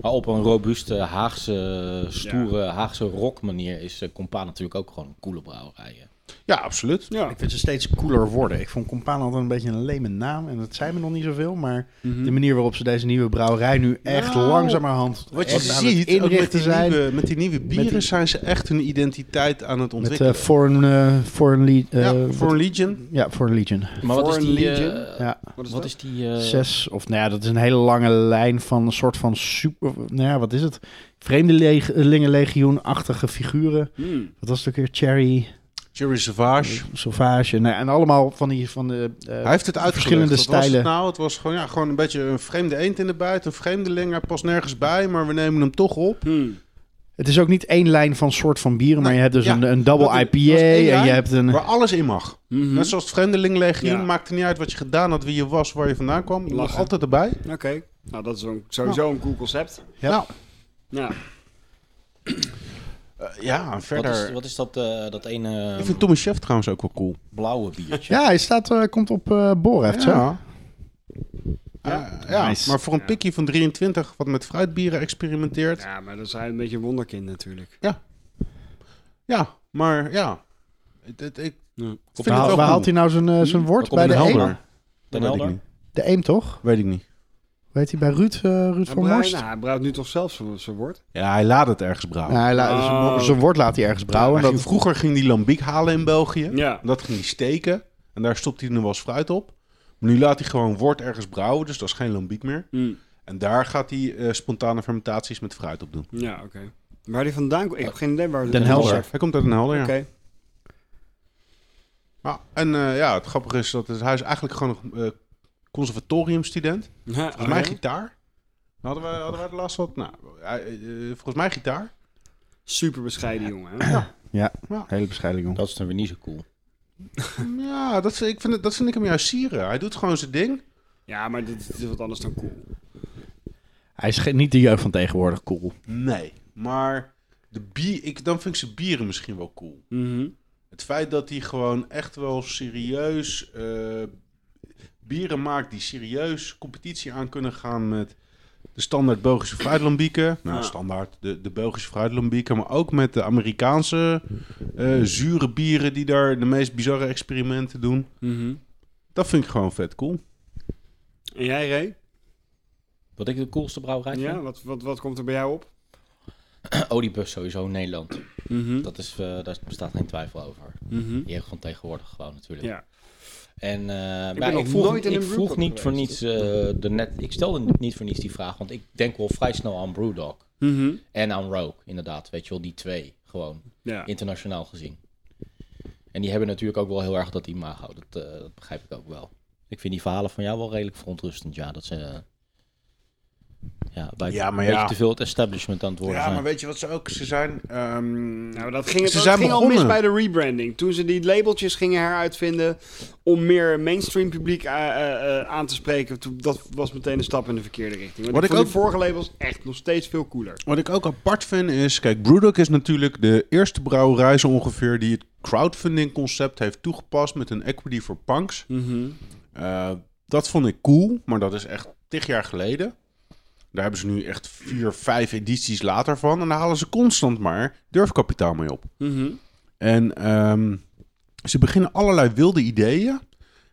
[SPEAKER 1] Maar op een robuuste Haagse, stoere Haagse rock manier is eh, Compaan natuurlijk ook gewoon een coole brouwerij. hè.
[SPEAKER 4] Ja, absoluut.
[SPEAKER 3] Ja.
[SPEAKER 2] ik vind ze steeds cooler worden. Ik vond Compaan altijd een beetje een leme naam en dat zei me nog niet zoveel, maar de manier waarop ze deze nieuwe brouwerij nu echt
[SPEAKER 4] Mhm. Nou,
[SPEAKER 2] langzamerhand
[SPEAKER 4] Wat je
[SPEAKER 2] echt aan het
[SPEAKER 4] ziet, ook met, die
[SPEAKER 2] zijn.
[SPEAKER 4] nieuwe, met die nieuwe bieren
[SPEAKER 2] die-
[SPEAKER 4] zijn ze echt hun identiteit aan het
[SPEAKER 2] Met
[SPEAKER 4] ontwikkelen.
[SPEAKER 2] eh foreign, eh, foreign, Le- eh,
[SPEAKER 4] ja, voor een Legion.
[SPEAKER 2] wat- ja, Foreign Legion.
[SPEAKER 1] Maar wat is
[SPEAKER 3] Foreign
[SPEAKER 1] die... eh,
[SPEAKER 3] Legion?
[SPEAKER 2] Ja,
[SPEAKER 3] Wat is
[SPEAKER 1] wat
[SPEAKER 3] dat?
[SPEAKER 1] is die... eh,
[SPEAKER 2] zes of nou ja, dat is een hele lange lijn van een soort van super, nou ja, wat is het? Vreemdelingenlegioen-achtige figuren.
[SPEAKER 3] Hmm.
[SPEAKER 2] Wat was het ook weer? Cherry,
[SPEAKER 4] Jerry Savage.
[SPEAKER 2] Sauvage, nou, en allemaal van die van de. eh,
[SPEAKER 4] Hij heeft het uitgelegd.
[SPEAKER 2] verschillende
[SPEAKER 4] Wat was het
[SPEAKER 2] stijlen.
[SPEAKER 4] nou, het was gewoon, ja, gewoon een beetje een vreemde eend in de buit. Een vreemdeling. Hij past nergens bij, maar we nemen hem toch op.
[SPEAKER 3] Hmm.
[SPEAKER 2] het is ook niet één lijn van soort van bieren, maar je hebt dus
[SPEAKER 4] ja,
[SPEAKER 2] een, een
[SPEAKER 4] dat
[SPEAKER 2] double
[SPEAKER 4] is-
[SPEAKER 2] IPA
[SPEAKER 4] dat is één
[SPEAKER 2] en
[SPEAKER 4] lijn.
[SPEAKER 2] je hebt een.
[SPEAKER 4] Waar alles in mag.
[SPEAKER 3] Mhm.
[SPEAKER 4] Net zoals het Vreemdelinglegioen,
[SPEAKER 3] Ja.
[SPEAKER 4] maakte niet uit wat je gedaan had, wie je was, waar je vandaan kwam. Je lag
[SPEAKER 3] Lachen.
[SPEAKER 4] altijd erbij.
[SPEAKER 3] Oké, nou dat is een- sowieso een cool concept.
[SPEAKER 2] Ja.
[SPEAKER 4] Nou,
[SPEAKER 3] Ja.
[SPEAKER 4] eh, ja, en
[SPEAKER 1] wat,
[SPEAKER 4] verder...
[SPEAKER 1] is, wat is dat, eh, dat ene
[SPEAKER 4] Ik vind Tommy Chef trouwens ook wel cool.
[SPEAKER 1] blauwe biertje?
[SPEAKER 2] Ja, hij staat, eh, komt op eh Boreft, hè?
[SPEAKER 4] Ja. Ja, Ah, ja,
[SPEAKER 2] Nice.
[SPEAKER 4] maar voor een
[SPEAKER 3] Ja.
[SPEAKER 4] pikkie van 23 wat met fruitbieren experimenteert. Ja,
[SPEAKER 3] ja, maar dat zijn een beetje een wonderkind natuurlijk.
[SPEAKER 4] maar ja. Het, het- ik
[SPEAKER 3] Ja.
[SPEAKER 4] vind
[SPEAKER 2] Waar,
[SPEAKER 4] het wel
[SPEAKER 2] waar
[SPEAKER 4] cool.
[SPEAKER 2] haalt hij nou zijn, eh, zijn woord?
[SPEAKER 1] komt
[SPEAKER 2] Bij
[SPEAKER 1] in
[SPEAKER 2] de
[SPEAKER 1] de
[SPEAKER 2] Eem?
[SPEAKER 1] helder.
[SPEAKER 4] Maar
[SPEAKER 1] Den
[SPEAKER 4] weet ik
[SPEAKER 1] Helder?
[SPEAKER 4] niet.
[SPEAKER 2] De Eem, toch?
[SPEAKER 4] Weet ik niet.
[SPEAKER 2] Weet hij bij Ruud, eh, Ruud
[SPEAKER 3] Hij,
[SPEAKER 2] van
[SPEAKER 3] brouwt,
[SPEAKER 2] Morst?
[SPEAKER 3] nou, hij brouwt nu toch zelf zijn zijn woord?
[SPEAKER 4] Ja, hij laat het ergens brouwen.
[SPEAKER 2] Nou, hij laat-
[SPEAKER 3] Oh.
[SPEAKER 2] zijn wo- Zijn woord laat hij ergens brouwen.
[SPEAKER 4] Hij
[SPEAKER 2] Dat,
[SPEAKER 4] ging- vroeger ging hij lambiek halen in België.
[SPEAKER 3] Ja.
[SPEAKER 4] Dat ging hij steken. En daar stopte hij nog wel eens fruit op. Maar nu laat hij gewoon wort ergens brouwen, dus dat is geen lambiek meer.
[SPEAKER 3] Hmm.
[SPEAKER 4] En daar gaat hij eh, spontane fermentaties met fruit op doen.
[SPEAKER 3] Ja, oké. Waar die vandaan komt? Ik heb geen idee waar
[SPEAKER 2] Den Helder.
[SPEAKER 3] Oké.
[SPEAKER 4] Hij komt uit een helder, ja. Ja, en eh, ja, het grappige is dat het, hij is eigenlijk gewoon een eh, conservatoriumstudent.
[SPEAKER 3] Ja,
[SPEAKER 4] Volgens mij
[SPEAKER 3] oké.
[SPEAKER 4] gitaar. Hadden wij, hadden wij de laatste wat? Nou, hij, eh, volgens mij gitaar.
[SPEAKER 3] Super bescheiden jongen. hè?
[SPEAKER 2] hele bescheiden jongen.
[SPEAKER 1] Dat is dan weer niet zo cool.
[SPEAKER 4] ja, dat, vind- ik vind, het- dat vind ik hem juist sieren. Hij doet gewoon zijn ding.
[SPEAKER 3] Ja, maar dit is wat anders dan cool.
[SPEAKER 2] Hij is geen- niet de jeugd van tegenwoordig cool.
[SPEAKER 4] Nee. Maar de bier, ik, dan vind ik zijn bieren misschien wel cool.
[SPEAKER 3] Mhm.
[SPEAKER 4] Het feit dat hij gewoon echt wel serieus eh, bieren maakt die serieus competitie aan kunnen gaan met de standaard Belgische fruitlambieken. Nou,
[SPEAKER 3] Ja.
[SPEAKER 4] standaard de, de Belgische fruitlambieken, maar ook met de Amerikaanse eh, zure bieren die daar de meest bizarre experimenten doen.
[SPEAKER 3] Mhm.
[SPEAKER 4] Dat vind ik gewoon vet cool.
[SPEAKER 3] En jij, Ray?
[SPEAKER 1] Wat ik de coolste brouwerij vind?
[SPEAKER 3] Ja, wat, wat, wat komt er bij jou op?
[SPEAKER 1] Olibus sowieso in Nederland.
[SPEAKER 3] Mhm.
[SPEAKER 1] Dat is, eh, daar bestaat geen twijfel over.
[SPEAKER 3] Mhm.
[SPEAKER 1] Die heeft gewoon tegenwoordig gewoon natuurlijk.
[SPEAKER 3] Ja.
[SPEAKER 1] En eh,
[SPEAKER 3] Ik
[SPEAKER 1] maar
[SPEAKER 3] ben
[SPEAKER 1] ik
[SPEAKER 3] nog
[SPEAKER 1] vroeg,
[SPEAKER 3] nooit in
[SPEAKER 1] ik
[SPEAKER 3] een
[SPEAKER 1] vroeg
[SPEAKER 3] brewpub
[SPEAKER 1] niet voor
[SPEAKER 3] geweest. dus-
[SPEAKER 1] niets eh, de net. Ik stelde niet voor niets die vraag, want ik denk wel vrij snel aan Brewdog
[SPEAKER 3] Mhm.
[SPEAKER 1] en aan Rogue, inderdaad. Weet je wel, die twee gewoon
[SPEAKER 3] Ja.
[SPEAKER 1] internationaal gezien. En die hebben natuurlijk ook wel heel erg dat imago. Dat, eh, dat begrijp ik ook wel. Ik vind die verhalen van jou wel redelijk verontrustend. Ja, dat ze. eh, ja, bij
[SPEAKER 4] Ja, maar
[SPEAKER 1] een beetje
[SPEAKER 4] ja.
[SPEAKER 1] te veel het establishment aan het worden zijn.
[SPEAKER 4] weet je wat ze ook? Ze zijn... Ehm,
[SPEAKER 3] Nou, dat ging, het,
[SPEAKER 4] Ze
[SPEAKER 3] dat
[SPEAKER 4] zijn
[SPEAKER 3] ging al mis
[SPEAKER 4] begonnen.
[SPEAKER 3] bij de rebranding. Toen ze die labeltjes gingen heruitvinden om meer mainstream publiek eh, eh, eh, aan te spreken, toen, dat was meteen een stap in de verkeerde richting. Want
[SPEAKER 4] Wat
[SPEAKER 3] ik
[SPEAKER 4] ik
[SPEAKER 3] vond die
[SPEAKER 4] ook-
[SPEAKER 3] vorige labels echt nog steeds veel cooler.
[SPEAKER 4] Wat ik ook apart vind is, kijk, Brewdog is natuurlijk de eerste brouwerij zo ongeveer die het crowdfunding concept heeft toegepast met een equity voor punks. Eh, dat vond ik cool, maar dat is echt tig jaar geleden. Daar hebben ze nu echt vier, vijf edities later van en daar halen ze constant maar durfkapitaal mee op.
[SPEAKER 3] Mhm.
[SPEAKER 4] En ehm, ze beginnen allerlei wilde ideeën.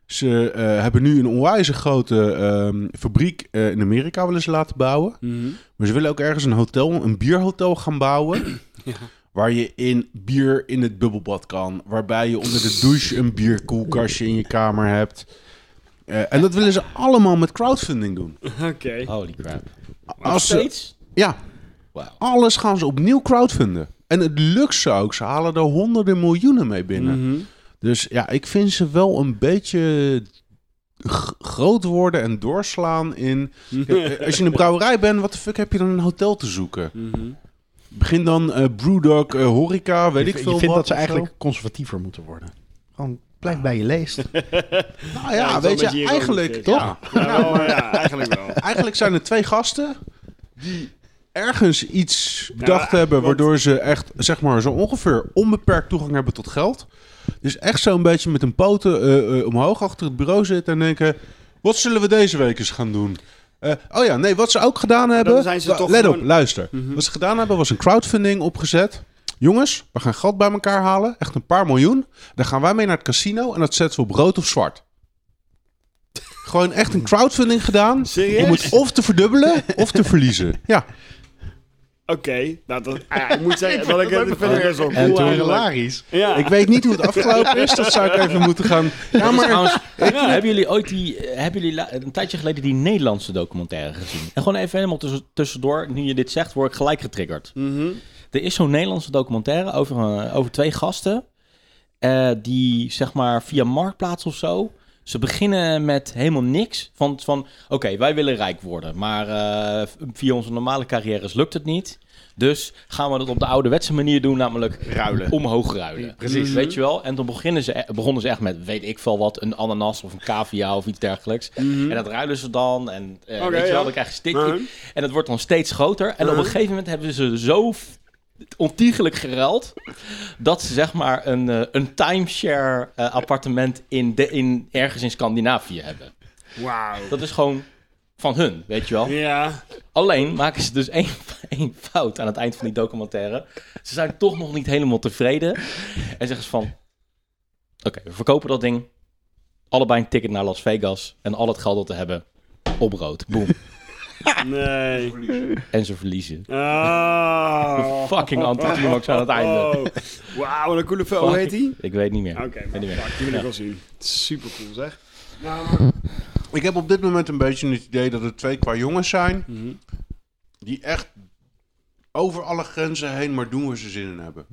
[SPEAKER 4] Ze eh, hebben nu een onwijs grote ehm, fabriek eh, in Amerika willen ze laten bouwen.
[SPEAKER 3] Mhm.
[SPEAKER 4] Maar ze willen ook ergens een hotel, een bierhotel gaan bouwen.
[SPEAKER 3] Ja.
[SPEAKER 4] Waar je in bier in het bubbelbad kan. Waarbij je onder de douche een bierkoelkastje in je kamer hebt. Eh, en dat willen ze allemaal met crowdfunding doen.
[SPEAKER 3] Oké.
[SPEAKER 1] Holy crap.
[SPEAKER 4] Als ze,
[SPEAKER 1] steeds?
[SPEAKER 4] ja,
[SPEAKER 1] Wauw.
[SPEAKER 4] Alles gaan ze opnieuw crowdfunden. En het lukt ze ook. Ze halen er honderden miljoenen mee binnen.
[SPEAKER 3] Mhm.
[SPEAKER 4] Dus ja, ik vind ze wel een beetje g- groot worden en doorslaan in...
[SPEAKER 2] Mhm.
[SPEAKER 4] Kijk, eh, Als je in een brouwerij bent, wat de fuck heb je dan een hotel te zoeken?
[SPEAKER 3] Mhm.
[SPEAKER 4] Begin dan eh Brewdog, eh, horeca, weet
[SPEAKER 2] je,
[SPEAKER 4] ik
[SPEAKER 2] je
[SPEAKER 4] veel
[SPEAKER 2] vindt
[SPEAKER 4] wat
[SPEAKER 2] dat ze
[SPEAKER 4] of zo.
[SPEAKER 2] eigenlijk conservatiever moeten worden. Gewoon blijf bij je leest.
[SPEAKER 4] Nou
[SPEAKER 3] Ja, dat
[SPEAKER 4] ja,
[SPEAKER 3] is wel
[SPEAKER 4] weet
[SPEAKER 3] een beetje
[SPEAKER 4] je,
[SPEAKER 3] ironisch,
[SPEAKER 4] eigenlijk...
[SPEAKER 3] dit.
[SPEAKER 4] Toch?
[SPEAKER 3] Ja. Ja, wel, ja, eigenlijk wel.
[SPEAKER 4] Eigenlijk zijn er twee gasten die ergens iets bedacht hebben...
[SPEAKER 3] want-
[SPEAKER 4] waardoor ze echt, zeg maar, zo ongeveer onbeperkt toegang hebben tot geld. Dus echt zo'n beetje met hun poten eh, eh, omhoog achter het bureau zitten en denken... wat zullen we deze week eens gaan doen? Eh, oh ja, nee, wat ze ook gedaan hebben...
[SPEAKER 3] zijn ze
[SPEAKER 4] Wa-
[SPEAKER 3] toch
[SPEAKER 4] let op,
[SPEAKER 3] gewoon- Mhm.
[SPEAKER 4] luister. Wat ze gedaan hebben was een crowdfunding opgezet... Jongens, we gaan geld bij elkaar halen. Echt een paar miljoen. Dan gaan wij mee naar het casino en dat zetten we op rood of zwart. Gewoon echt een crowdfunding gedaan.
[SPEAKER 3] Serieus?
[SPEAKER 4] Om het of te verdubbelen of te verliezen. Ja.
[SPEAKER 3] Oké, nou, dat, ah, ja, ik moet zeggen dat ik het vind ik best wel
[SPEAKER 2] En
[SPEAKER 3] cool
[SPEAKER 2] toen
[SPEAKER 3] eigenlijk.
[SPEAKER 2] hilarisch.
[SPEAKER 3] Ja.
[SPEAKER 4] Ik weet niet hoe het afgelopen is. Dat zou ik even moeten gaan. Ja,
[SPEAKER 1] Maar
[SPEAKER 4] maar.
[SPEAKER 1] trouwens, hebben jullie ooit die, eh, hebben jullie la- een tijdje geleden die Nederlandse documentaire gezien? En gewoon even helemaal tussen- tussendoor, nu je dit zegt, word ik gelijk getriggerd.
[SPEAKER 3] Mhm.
[SPEAKER 1] Er is zo'n Nederlandse documentaire over, eh, over twee gasten. eh, die zeg maar via Marktplaats of zo. Ze beginnen met helemaal niks. Van, van oké, wij willen rijk worden. Maar eh, via onze normale carrières lukt het niet. Dus gaan we het op de ouderwetse manier doen, namelijk
[SPEAKER 2] Ruilen.
[SPEAKER 1] omhoog ruilen.
[SPEAKER 2] Precies.
[SPEAKER 1] Weet je wel? En toen beginnen ze, e- begonnen ze echt met, weet ik veel wat, een ananas of een cavia of iets dergelijks. En dat ruilen ze dan. En eh,
[SPEAKER 3] Oké,
[SPEAKER 1] weet je wel,
[SPEAKER 3] ja.
[SPEAKER 1] dan krijg je stitje.
[SPEAKER 3] Mhm.
[SPEAKER 1] En dat wordt dan steeds groter. En op een gegeven moment hebben ze zo f- ontiegelijk geruild... dat ze zeg maar een, eh, een timeshare eh, appartement in de, in, ergens in Scandinavië hebben.
[SPEAKER 3] Wauw.
[SPEAKER 1] Dat is gewoon van hun, weet je wel.
[SPEAKER 3] Ja.
[SPEAKER 1] Alleen maken ze dus één, één fout aan het eind van die documentaire. Ze zijn toch nog niet helemaal tevreden. En zeggen ze van... Oké, we verkopen dat ding. Allebei een ticket naar Las Vegas. En al het geld dat we hebben, op rood. Boom.
[SPEAKER 3] Nee.
[SPEAKER 1] En ze verliezen.
[SPEAKER 3] Oh.
[SPEAKER 1] Fucking anticlimax aan het einde.
[SPEAKER 3] Oh. Wauw, wat een coole film. Hoe heet die?
[SPEAKER 1] Ik weet niet meer.
[SPEAKER 3] Oké, maar
[SPEAKER 1] weet niet meer.
[SPEAKER 3] fuck, die wil ik wel zien. Super cool zeg.
[SPEAKER 4] Ik heb op dit moment een beetje het idee dat er twee qua jongens zijn. Die echt over alle grenzen heen maar doen waar ze zin in hebben.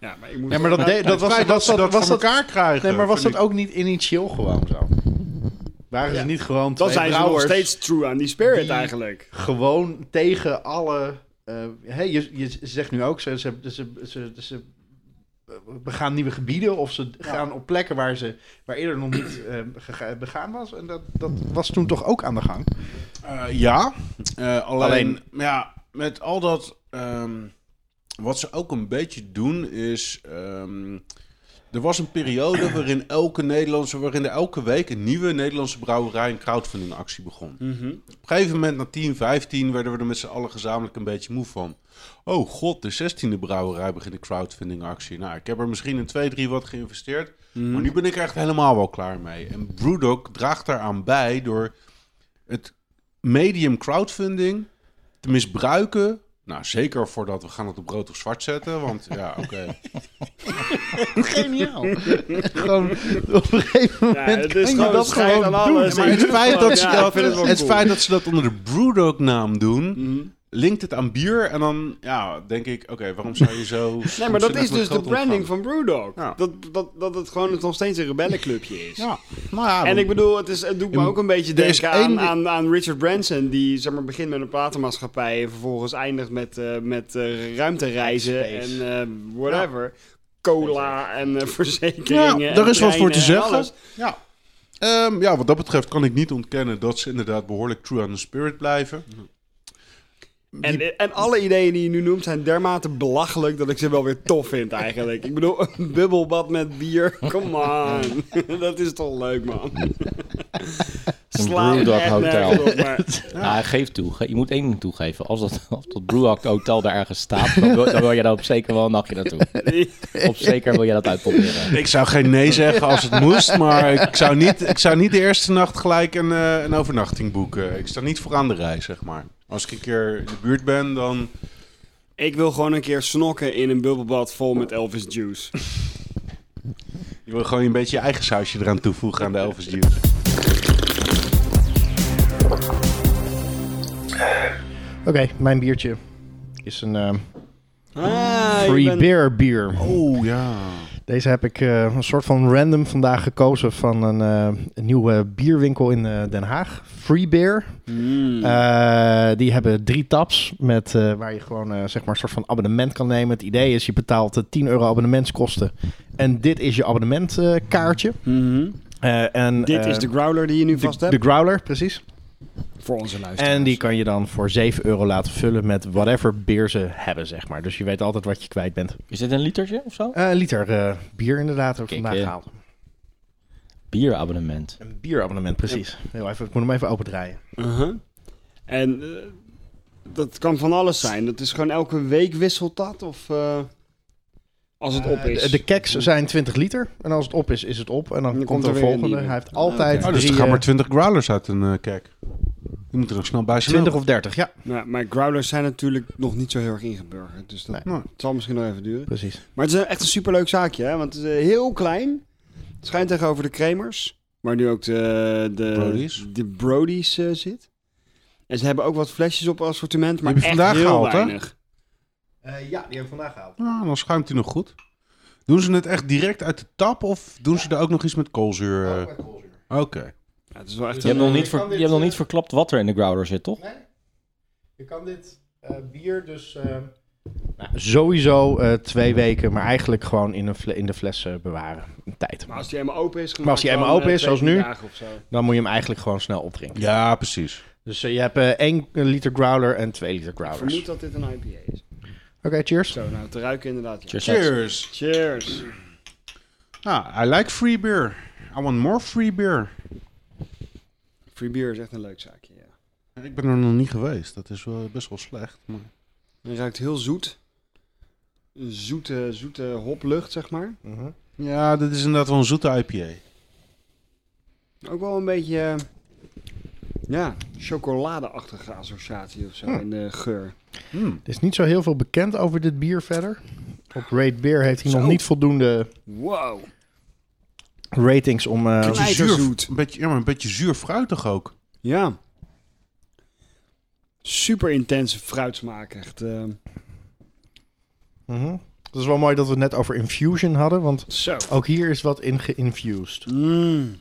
[SPEAKER 3] Ja, maar ik moet...
[SPEAKER 2] Ja, maar dat, deed- dat was, dat,
[SPEAKER 4] dat ze dat
[SPEAKER 2] was
[SPEAKER 4] voor
[SPEAKER 2] dat,
[SPEAKER 4] elkaar krijgen.
[SPEAKER 2] nee, maar was
[SPEAKER 4] vind
[SPEAKER 2] dat ook niet initieel gewoon zo? Waren ze niet gewoon
[SPEAKER 3] Dan
[SPEAKER 2] twee
[SPEAKER 3] zijn ze nog
[SPEAKER 2] brouwers
[SPEAKER 3] steeds true aan die spirit
[SPEAKER 2] die-
[SPEAKER 3] eigenlijk.
[SPEAKER 2] gewoon tegen alle... eh hey, je, je zegt nu ook, ze, ze, ze, ze, ze begaan nieuwe gebieden of ze gaan op plekken waar, ze, waar eerder nog niet eh, gega- begaan was. En dat, dat was toen toch ook aan de gang.
[SPEAKER 4] Eh, ja, Eh, alleen,
[SPEAKER 2] Alleen-
[SPEAKER 4] Ja, met al dat... ehm, wat ze ook een beetje doen is... ehm, er was een periode waarin elke Nederlandse... waarin er elke week een nieuwe Nederlandse brouwerij... een crowdfundingactie begon.
[SPEAKER 2] Mhm.
[SPEAKER 4] Op een gegeven moment, na 10, 15... werden we er met z'n allen gezamenlijk een beetje moe van. Oh god, de 16e brouwerij begint een crowdfundingactie. Nou, ik heb er misschien in 2, 3 wat geïnvesteerd... maar nu ben ik er echt helemaal wel klaar mee. En Brewdog draagt daaraan bij door het medium crowdfunding te misbruiken. Nou, zeker voordat we gaan het op rood of zwart zetten. Want ja, oké.
[SPEAKER 2] Geniaal. gewoon op een gegeven
[SPEAKER 3] Ja,
[SPEAKER 2] moment
[SPEAKER 3] het
[SPEAKER 2] kan
[SPEAKER 3] is gewoon
[SPEAKER 2] je dat
[SPEAKER 3] scheid
[SPEAKER 2] gewoon
[SPEAKER 3] aan
[SPEAKER 2] doen.
[SPEAKER 3] alles.
[SPEAKER 4] Maar het feit dat ze
[SPEAKER 3] Ja, ik
[SPEAKER 4] dat,
[SPEAKER 3] vind het
[SPEAKER 4] het Mhm.
[SPEAKER 3] wel cool.
[SPEAKER 4] feit dat, ze dat onder de Brewdog-naam doen, linkt het aan bier. En dan ja, denk ik, oké, waarom zou je zo...
[SPEAKER 3] Nee, maar dat
[SPEAKER 4] ontzettend
[SPEAKER 3] is
[SPEAKER 4] veel
[SPEAKER 3] dus de
[SPEAKER 4] geld
[SPEAKER 3] branding
[SPEAKER 4] ontvangen?
[SPEAKER 3] van Brewdog.
[SPEAKER 4] Ja.
[SPEAKER 3] Dat, dat, dat het gewoon nog steeds een rebellenclubje is.
[SPEAKER 4] Ja, nou ja.
[SPEAKER 3] En
[SPEAKER 4] dan-
[SPEAKER 3] ik bedoel, het, is, het doet me
[SPEAKER 4] In-
[SPEAKER 3] ook een beetje
[SPEAKER 4] er is
[SPEAKER 3] denken aan,
[SPEAKER 4] één-
[SPEAKER 3] aan, aan Richard Branson, die zeg maar, begint met een platenmaatschappij en vervolgens eindigt met, eh, met eh, ruimtereizen en
[SPEAKER 2] Space.
[SPEAKER 3] eh, whatever. Cola en eh, verzekeringen.
[SPEAKER 4] Ja,
[SPEAKER 3] en
[SPEAKER 4] daar is wat voor te
[SPEAKER 3] treinen en
[SPEAKER 4] zeggen.
[SPEAKER 3] alles.
[SPEAKER 4] Ja. Ehm, ja, wat dat betreft kan ik niet ontkennen dat ze inderdaad behoorlijk true aan the spirit blijven.
[SPEAKER 3] En, eh, en alle ideeën die je nu noemt zijn dermate belachelijk dat ik ze wel weer tof vind eigenlijk. Ik bedoel, een bubbelbad met bier, come on. dat is toch leuk, man. Sla
[SPEAKER 1] Brewdog
[SPEAKER 3] echt
[SPEAKER 1] Hotel.
[SPEAKER 3] nergens op, maar-
[SPEAKER 1] Nou, hij geeft toe. Ge- Je moet één ding toegeven. Als dat, als dat Brewhawk Hotel daar ergens staat, dan wil, dan wil je daar op zeker wel een nachtje naartoe. Op zeker wil je dat uitproberen.
[SPEAKER 4] Ik zou geen nee zeggen als het moest, maar ik zou niet, ik zou niet de eerste nacht gelijk een, eh, een overnachting boeken. Ik sta niet voor aan de rij, zeg maar. Als ik een keer in de buurt ben, dan...
[SPEAKER 3] Ik wil gewoon een keer snokken in een bubbelbad vol met Elvis juice.
[SPEAKER 4] Je wil gewoon een beetje je eigen sausje eraan toevoegen aan de Elvis Juice.
[SPEAKER 2] Oké, mijn biertje. Is een eh,
[SPEAKER 3] Ah, je
[SPEAKER 2] free
[SPEAKER 3] bent-
[SPEAKER 2] beer bier.
[SPEAKER 4] Oh ja.
[SPEAKER 2] Deze heb ik eh, een soort van random vandaag gekozen van een, eh, een nieuwe bierwinkel in eh, Den Haag. Free Beer.
[SPEAKER 3] Mm.
[SPEAKER 2] Eh, die hebben drie tabs met, eh, waar je gewoon eh, zeg maar een soort van abonnement kan nemen. Het idee is, je betaalt eh, 10 euro abonnementskosten. En dit is je abonnementkaartje.
[SPEAKER 3] Mhm.
[SPEAKER 2] en,
[SPEAKER 3] Dit
[SPEAKER 2] eh,
[SPEAKER 3] is de growler die je nu vast
[SPEAKER 2] de,
[SPEAKER 3] hebt.
[SPEAKER 2] de growler, precies.
[SPEAKER 3] voor onze luisteraars.
[SPEAKER 2] En die kan je dan voor 7 euro laten vullen met whatever bier ze hebben, zeg maar. Dus je weet altijd wat je kwijt bent.
[SPEAKER 1] Is dit een litertje of zo?
[SPEAKER 2] Eh, Een liter eh, bier inderdaad, heb ik
[SPEAKER 1] Kijk,
[SPEAKER 2] vandaag
[SPEAKER 1] eh.
[SPEAKER 2] gehaald.
[SPEAKER 1] Bierabonnement.
[SPEAKER 2] Een bierabonnement, precies. Heel even, ik moet hem even opendraaien.
[SPEAKER 3] Uh-huh. En eh, dat kan van alles zijn. Dat is gewoon elke week wisselt dat? Of eh, als het op
[SPEAKER 2] Eh,
[SPEAKER 3] is?
[SPEAKER 2] de, de keks zijn 20 liter. En als het op is, is het op. En dan, komt, er
[SPEAKER 3] weer
[SPEAKER 2] een
[SPEAKER 3] een
[SPEAKER 2] volgende.
[SPEAKER 3] nieuwe.
[SPEAKER 2] Hij heeft altijd
[SPEAKER 4] Oh, dus er
[SPEAKER 2] drie,
[SPEAKER 4] gaan
[SPEAKER 2] eh,
[SPEAKER 4] maar 20 growlers uit een eh kek. Die moeten er ook snel bij
[SPEAKER 2] 20
[SPEAKER 4] zijn.
[SPEAKER 2] of 30, ja.
[SPEAKER 3] Nou, maar growlers zijn natuurlijk nog niet zo heel erg ingeburgerd. Dus dat
[SPEAKER 4] Nou,
[SPEAKER 2] Nee.
[SPEAKER 3] het zal misschien nog even duren.
[SPEAKER 2] Precies.
[SPEAKER 3] Maar het is een- echt een superleuk zaakje, hè? Want het is eh, heel klein. Het schijnt tegenover de Kremers. Waar nu ook de, de
[SPEAKER 4] Brodies.
[SPEAKER 3] de Brodies eh, zit. En ze hebben ook wat flesjes op assortiment, maar
[SPEAKER 4] heb je
[SPEAKER 3] echt
[SPEAKER 4] vandaag
[SPEAKER 3] heel
[SPEAKER 4] gehaald, hè?
[SPEAKER 3] weinig.
[SPEAKER 2] Eh, ja, die hebben we vandaag gehaald.
[SPEAKER 4] Nou, dan schuimt hij nog goed. Doen ze het echt direct uit de tap of doen ze er ook nog iets met koolzuur? eh?
[SPEAKER 2] Oh.
[SPEAKER 4] Oké.
[SPEAKER 3] Ja, het is wel
[SPEAKER 2] Dus
[SPEAKER 3] echt
[SPEAKER 1] Je hebt,
[SPEAKER 3] een-
[SPEAKER 1] nog niet
[SPEAKER 2] kan
[SPEAKER 1] ver-
[SPEAKER 2] dit,
[SPEAKER 1] je hebt nog
[SPEAKER 2] eh,
[SPEAKER 1] niet verklapt wat er in de growler zit, toch?
[SPEAKER 2] Je kan dit bier dus... Nou, sowieso eh, twee weken, maar eigenlijk gewoon in, een fle- in de fles eh, bewaren. Een tijd.
[SPEAKER 3] Maar als die eenmaal open is,
[SPEAKER 2] Maar als die eenmaal
[SPEAKER 3] gemaakt, dan,
[SPEAKER 2] open
[SPEAKER 3] eh,
[SPEAKER 2] is, zoals
[SPEAKER 3] twee,
[SPEAKER 2] nu.
[SPEAKER 3] drie dagen of zo.
[SPEAKER 2] Dan moet je hem eigenlijk gewoon snel opdrinken.
[SPEAKER 4] Ja, precies.
[SPEAKER 2] Dus eh, je hebt eh 1 liter growler en 2 liter
[SPEAKER 3] Ik
[SPEAKER 2] growlers.
[SPEAKER 3] vermoed
[SPEAKER 2] Oké,
[SPEAKER 3] dat dit een IPA is.
[SPEAKER 2] cheers.
[SPEAKER 3] Zo, nou, te ruiken inderdaad. ja.
[SPEAKER 1] Cheers.
[SPEAKER 4] Cheers.
[SPEAKER 3] Cheers.
[SPEAKER 4] Nou, I like free beer. I want more free beer.
[SPEAKER 3] Free beer is echt een leuk zaakje, ja.
[SPEAKER 4] Ik ben er nog niet geweest. Dat is wel best wel slecht. Maar...
[SPEAKER 3] Hij ruikt heel zoet. Een Zoete, zoete hoplucht, zeg maar.
[SPEAKER 4] Ja, dit is inderdaad wel een zoete IPA.
[SPEAKER 3] Ook wel een beetje, eh, ja, chocoladeachtige associatie of zo
[SPEAKER 4] Hm.
[SPEAKER 3] in de geur.
[SPEAKER 4] Hmm.
[SPEAKER 2] Er is niet zo heel veel bekend over dit bier verder. Op Rate Beer heeft hij
[SPEAKER 3] Zo.
[SPEAKER 2] nog niet voldoende
[SPEAKER 3] Wow.
[SPEAKER 2] ratings om... eh,
[SPEAKER 4] Beetje
[SPEAKER 3] Knijterzoet.
[SPEAKER 4] zuur, een beetje, ja, maar een beetje zuur fruitig ook.
[SPEAKER 3] Ja. Super intense fruitsmaak, echt. eh,
[SPEAKER 2] Mhm. Dat is wel mooi dat we het net over infusion hadden, want
[SPEAKER 3] zo.
[SPEAKER 2] ook hier is wat in geïnfused.
[SPEAKER 3] Mm,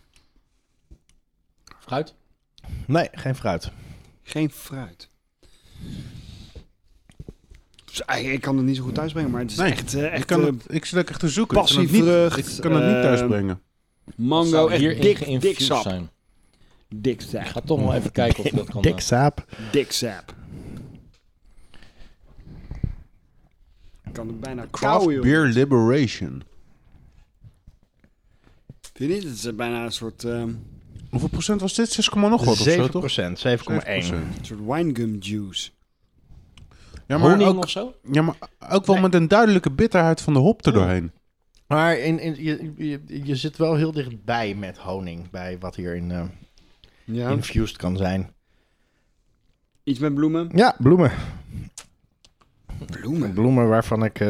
[SPEAKER 1] Fruit?
[SPEAKER 2] Nee, geen fruit.
[SPEAKER 3] geen fruit. Dus, eh, Ik kan het niet zo goed thuisbrengen, maar het is
[SPEAKER 4] Nee,
[SPEAKER 3] echt, eh,
[SPEAKER 4] Ik,
[SPEAKER 3] echt
[SPEAKER 4] kan
[SPEAKER 3] eh,
[SPEAKER 4] het, ik zit ook echt te zoeken. ik kan het
[SPEAKER 3] passievrucht,
[SPEAKER 4] niet, ik kan het niet
[SPEAKER 3] eh,
[SPEAKER 4] thuisbrengen.
[SPEAKER 3] mango,
[SPEAKER 1] Zou hierin
[SPEAKER 3] echt dik, dik
[SPEAKER 1] geïnfused
[SPEAKER 3] sap.
[SPEAKER 1] zijn.
[SPEAKER 3] Dik
[SPEAKER 1] Ik
[SPEAKER 3] sap.
[SPEAKER 1] ga toch wel even kijken of ik dat kan. eh,
[SPEAKER 2] Dik saap.
[SPEAKER 3] Dik sap. Ik kan het bijna
[SPEAKER 4] Craft
[SPEAKER 3] kauwen, joh.
[SPEAKER 4] Beer Liberation.
[SPEAKER 3] Vind je niet? Het is eh, bijna een soort, ehm,
[SPEAKER 4] Hoeveel procent was dit? 6, nog wat of zo,
[SPEAKER 2] 7
[SPEAKER 4] toch?
[SPEAKER 2] procent, 7,1.
[SPEAKER 4] 7%.
[SPEAKER 3] een soort winegum juice.
[SPEAKER 4] Ja, maar
[SPEAKER 1] Honing
[SPEAKER 4] ook,
[SPEAKER 1] of zo?
[SPEAKER 4] ja, maar ook wel
[SPEAKER 2] Nee.
[SPEAKER 4] met een duidelijke bitterheid van de hop erdoorheen.
[SPEAKER 2] Maar in, in, je, je, je zit wel heel dichtbij met honing, bij wat hierin eh
[SPEAKER 3] Ja.
[SPEAKER 2] infused kan zijn.
[SPEAKER 3] Iets met bloemen.
[SPEAKER 2] Ja, bloemen.
[SPEAKER 3] Bloemen?
[SPEAKER 2] Bloemen waarvan ik eh,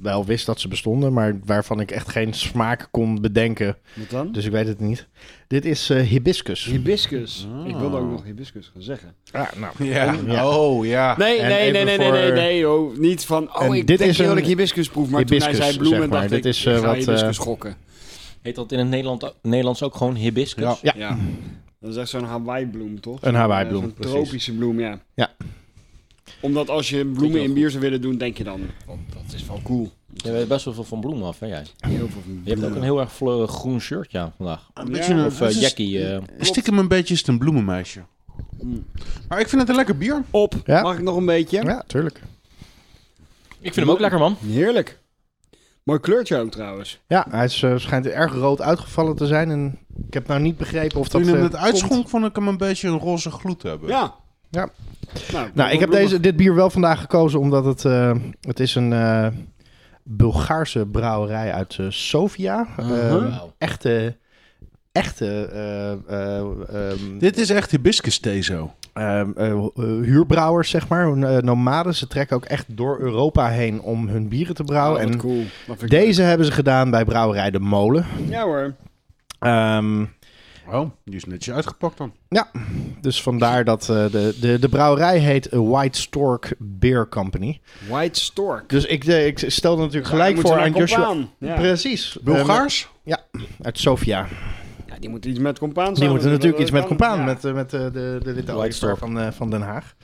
[SPEAKER 2] wel wist dat ze bestonden, maar waarvan ik echt geen smaak kon bedenken.
[SPEAKER 3] Wat dan?
[SPEAKER 2] Dus ik weet het niet. Dit is eh hibiscus.
[SPEAKER 3] Hibiscus.
[SPEAKER 4] Ah.
[SPEAKER 3] Ik wilde ook nog hibiscus gaan zeggen.
[SPEAKER 2] Ah, nou.
[SPEAKER 4] Ja.
[SPEAKER 2] Ja.
[SPEAKER 4] Oh, ja.
[SPEAKER 3] Nee,
[SPEAKER 2] En
[SPEAKER 3] nee, nee,
[SPEAKER 2] even
[SPEAKER 3] nee, nee, nee,
[SPEAKER 2] voor-
[SPEAKER 3] nee, oh, niet van, oh,
[SPEAKER 2] En
[SPEAKER 3] ik
[SPEAKER 2] dit
[SPEAKER 3] denk
[SPEAKER 2] is
[SPEAKER 3] heel
[SPEAKER 2] een
[SPEAKER 3] dat ik hibiscus proef, maar toen hij
[SPEAKER 2] hibiscus,
[SPEAKER 3] zei bloemen,
[SPEAKER 2] zeg maar.
[SPEAKER 3] dacht
[SPEAKER 2] Dit
[SPEAKER 3] ik,
[SPEAKER 2] is,
[SPEAKER 3] ik
[SPEAKER 2] eh,
[SPEAKER 3] ga
[SPEAKER 2] wat,
[SPEAKER 3] hibiscus
[SPEAKER 2] eh,
[SPEAKER 3] gokken.
[SPEAKER 1] Heet dat in het Nederland, Nederlands ook gewoon hibiscus?
[SPEAKER 4] Ja.
[SPEAKER 2] Ja.
[SPEAKER 3] Ja. Dat is echt zo'n Hawaii-bloem, toch?
[SPEAKER 2] Een Hawaii-bloem,
[SPEAKER 3] Zo'n
[SPEAKER 2] precies.
[SPEAKER 3] tropische bloem, ja.
[SPEAKER 2] Ja.
[SPEAKER 3] Omdat als je
[SPEAKER 1] Vind ik
[SPEAKER 3] bloemen
[SPEAKER 1] wel
[SPEAKER 3] in bier zou willen doen, denk je dan, oh, dat is wel cool.
[SPEAKER 1] Je weet best wel veel van bloemen af, hè jij?
[SPEAKER 3] Heel veel van
[SPEAKER 1] Je hebt ook een
[SPEAKER 3] bloemen.
[SPEAKER 1] heel erg fleurig groen shirtje aan vandaag.
[SPEAKER 4] Een beetje een,
[SPEAKER 1] Of eh,
[SPEAKER 4] het is-
[SPEAKER 1] Jackie. eh,
[SPEAKER 4] Stiekem een beetje is het een bloemenmeisje.
[SPEAKER 3] Mm.
[SPEAKER 4] Maar ik vind het een lekker bier.
[SPEAKER 3] Op,
[SPEAKER 2] Ja.
[SPEAKER 3] mag ik nog een beetje?
[SPEAKER 2] ja, tuurlijk.
[SPEAKER 1] ik vind hem ook lekker, man.
[SPEAKER 3] Heerlijk. Mooi kleurtje ook trouwens.
[SPEAKER 2] Ja, hij is, eh, schijnt erg rood uitgevallen te zijn. En ik heb nou niet begrepen of dat...
[SPEAKER 4] Toen je hem
[SPEAKER 2] eh,
[SPEAKER 4] net uitschonk,
[SPEAKER 2] komt.
[SPEAKER 4] vond ik hem een beetje een roze gloed hebben.
[SPEAKER 3] Ja.
[SPEAKER 2] Ja.
[SPEAKER 3] Nou,
[SPEAKER 2] Nou, ik heb deze, dit bier wel vandaag gekozen omdat het... eh, het is een eh, Bulgaarse brouwerij uit eh, Sofia.
[SPEAKER 1] Uh-huh.
[SPEAKER 2] Ehm,
[SPEAKER 1] Wauw.
[SPEAKER 2] echte... Echte eh, eh, ehm,
[SPEAKER 4] Dit is echt hibiscus thee zo.
[SPEAKER 2] ehm, eh, hu- eh, huurbrouwers, zeg maar. Hun, eh, nomaden, ze trekken ook echt door Europa heen om hun bieren te
[SPEAKER 3] Oh,
[SPEAKER 2] brouwen.
[SPEAKER 3] wat
[SPEAKER 2] en
[SPEAKER 3] cool. Dat vind ik
[SPEAKER 2] deze hebben ze gedaan bij brouwerij De Molen.
[SPEAKER 3] leuk. Ja hoor.
[SPEAKER 2] Ehm,
[SPEAKER 4] Oh, die is netjes uitgepakt dan.
[SPEAKER 2] Dus vandaar dat eh, de, de, de brouwerij heet eh, White Stork Beer Company.
[SPEAKER 3] White Stork.
[SPEAKER 2] Dus ik, eh, ik stelde natuurlijk
[SPEAKER 3] Daar
[SPEAKER 2] gelijk
[SPEAKER 3] moeten
[SPEAKER 2] voor
[SPEAKER 3] we
[SPEAKER 2] aan
[SPEAKER 3] naar
[SPEAKER 2] Joshua.
[SPEAKER 3] Compaan. Ja.
[SPEAKER 2] Precies.
[SPEAKER 4] Bulgaars?
[SPEAKER 2] Ehm, uit Sofia.
[SPEAKER 3] Ja, die moeten iets met compaan
[SPEAKER 2] Die moeten natuurlijk iets met Compaan,
[SPEAKER 3] Compaan.
[SPEAKER 2] met, eh, met eh, de, de witte
[SPEAKER 1] White
[SPEAKER 2] oliestar
[SPEAKER 1] Stork.
[SPEAKER 2] van, eh, van Den Haag.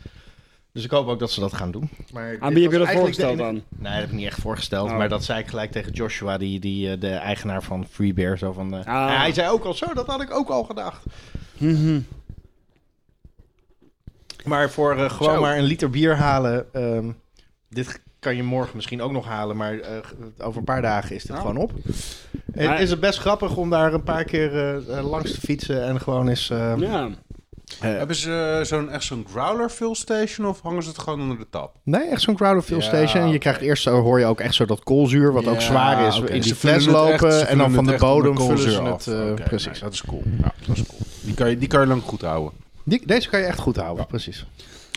[SPEAKER 2] Dus ik hoop ook dat ze dat gaan doen. Maar dit
[SPEAKER 3] Aan wie heb
[SPEAKER 2] was
[SPEAKER 3] Ah, je dat
[SPEAKER 2] eigenlijk de
[SPEAKER 3] voorgesteld
[SPEAKER 2] enige-
[SPEAKER 3] dan?
[SPEAKER 2] Nee, dat heb ik niet echt voorgesteld.
[SPEAKER 3] Oh.
[SPEAKER 2] Maar dat zei ik gelijk tegen Joshua, die, die, eh, de eigenaar van Free Beer. Zo van, eh,
[SPEAKER 3] Ah.
[SPEAKER 2] en Hij zei ook al zo, dat had ik ook al gedacht.
[SPEAKER 3] Mhm.
[SPEAKER 2] Maar voor eh, gewoon
[SPEAKER 4] Zo.
[SPEAKER 2] maar een liter bier halen. ehm, dit kan je morgen misschien ook nog halen, maar eh, over een paar dagen is dit
[SPEAKER 3] Oh.
[SPEAKER 2] gewoon op.
[SPEAKER 3] Maar-
[SPEAKER 2] Het is het best grappig om daar een paar keer eh, eh, langs te fietsen en gewoon eens... eh,
[SPEAKER 3] Ja.
[SPEAKER 4] Hebben ze eh, zo'n echt zo'n growler fill station of hangen ze het gewoon onder de tap?
[SPEAKER 2] Nee, echt zo'n crowd of fill
[SPEAKER 4] Ja,
[SPEAKER 2] station. Je
[SPEAKER 4] oké.
[SPEAKER 2] krijgt eerst, zo- hoor je ook echt zo dat koolzuur, wat ook
[SPEAKER 4] Ja,
[SPEAKER 2] zwaar is,
[SPEAKER 4] oké.
[SPEAKER 2] in
[SPEAKER 4] Ze
[SPEAKER 2] die fles
[SPEAKER 4] vullen het echt-
[SPEAKER 2] lopen.
[SPEAKER 4] ze
[SPEAKER 2] en dan
[SPEAKER 4] vullen
[SPEAKER 2] van de
[SPEAKER 4] het echt
[SPEAKER 2] bodem
[SPEAKER 4] onder
[SPEAKER 2] vullen ze
[SPEAKER 4] koolzuur
[SPEAKER 2] het.
[SPEAKER 4] af.
[SPEAKER 2] eh,
[SPEAKER 4] Oké,
[SPEAKER 2] precies.
[SPEAKER 4] nee, dat is cool. Ja, dat is cool. Die kan je, die kan je lang goed houden.
[SPEAKER 2] Die- deze kan je echt goed houden, precies.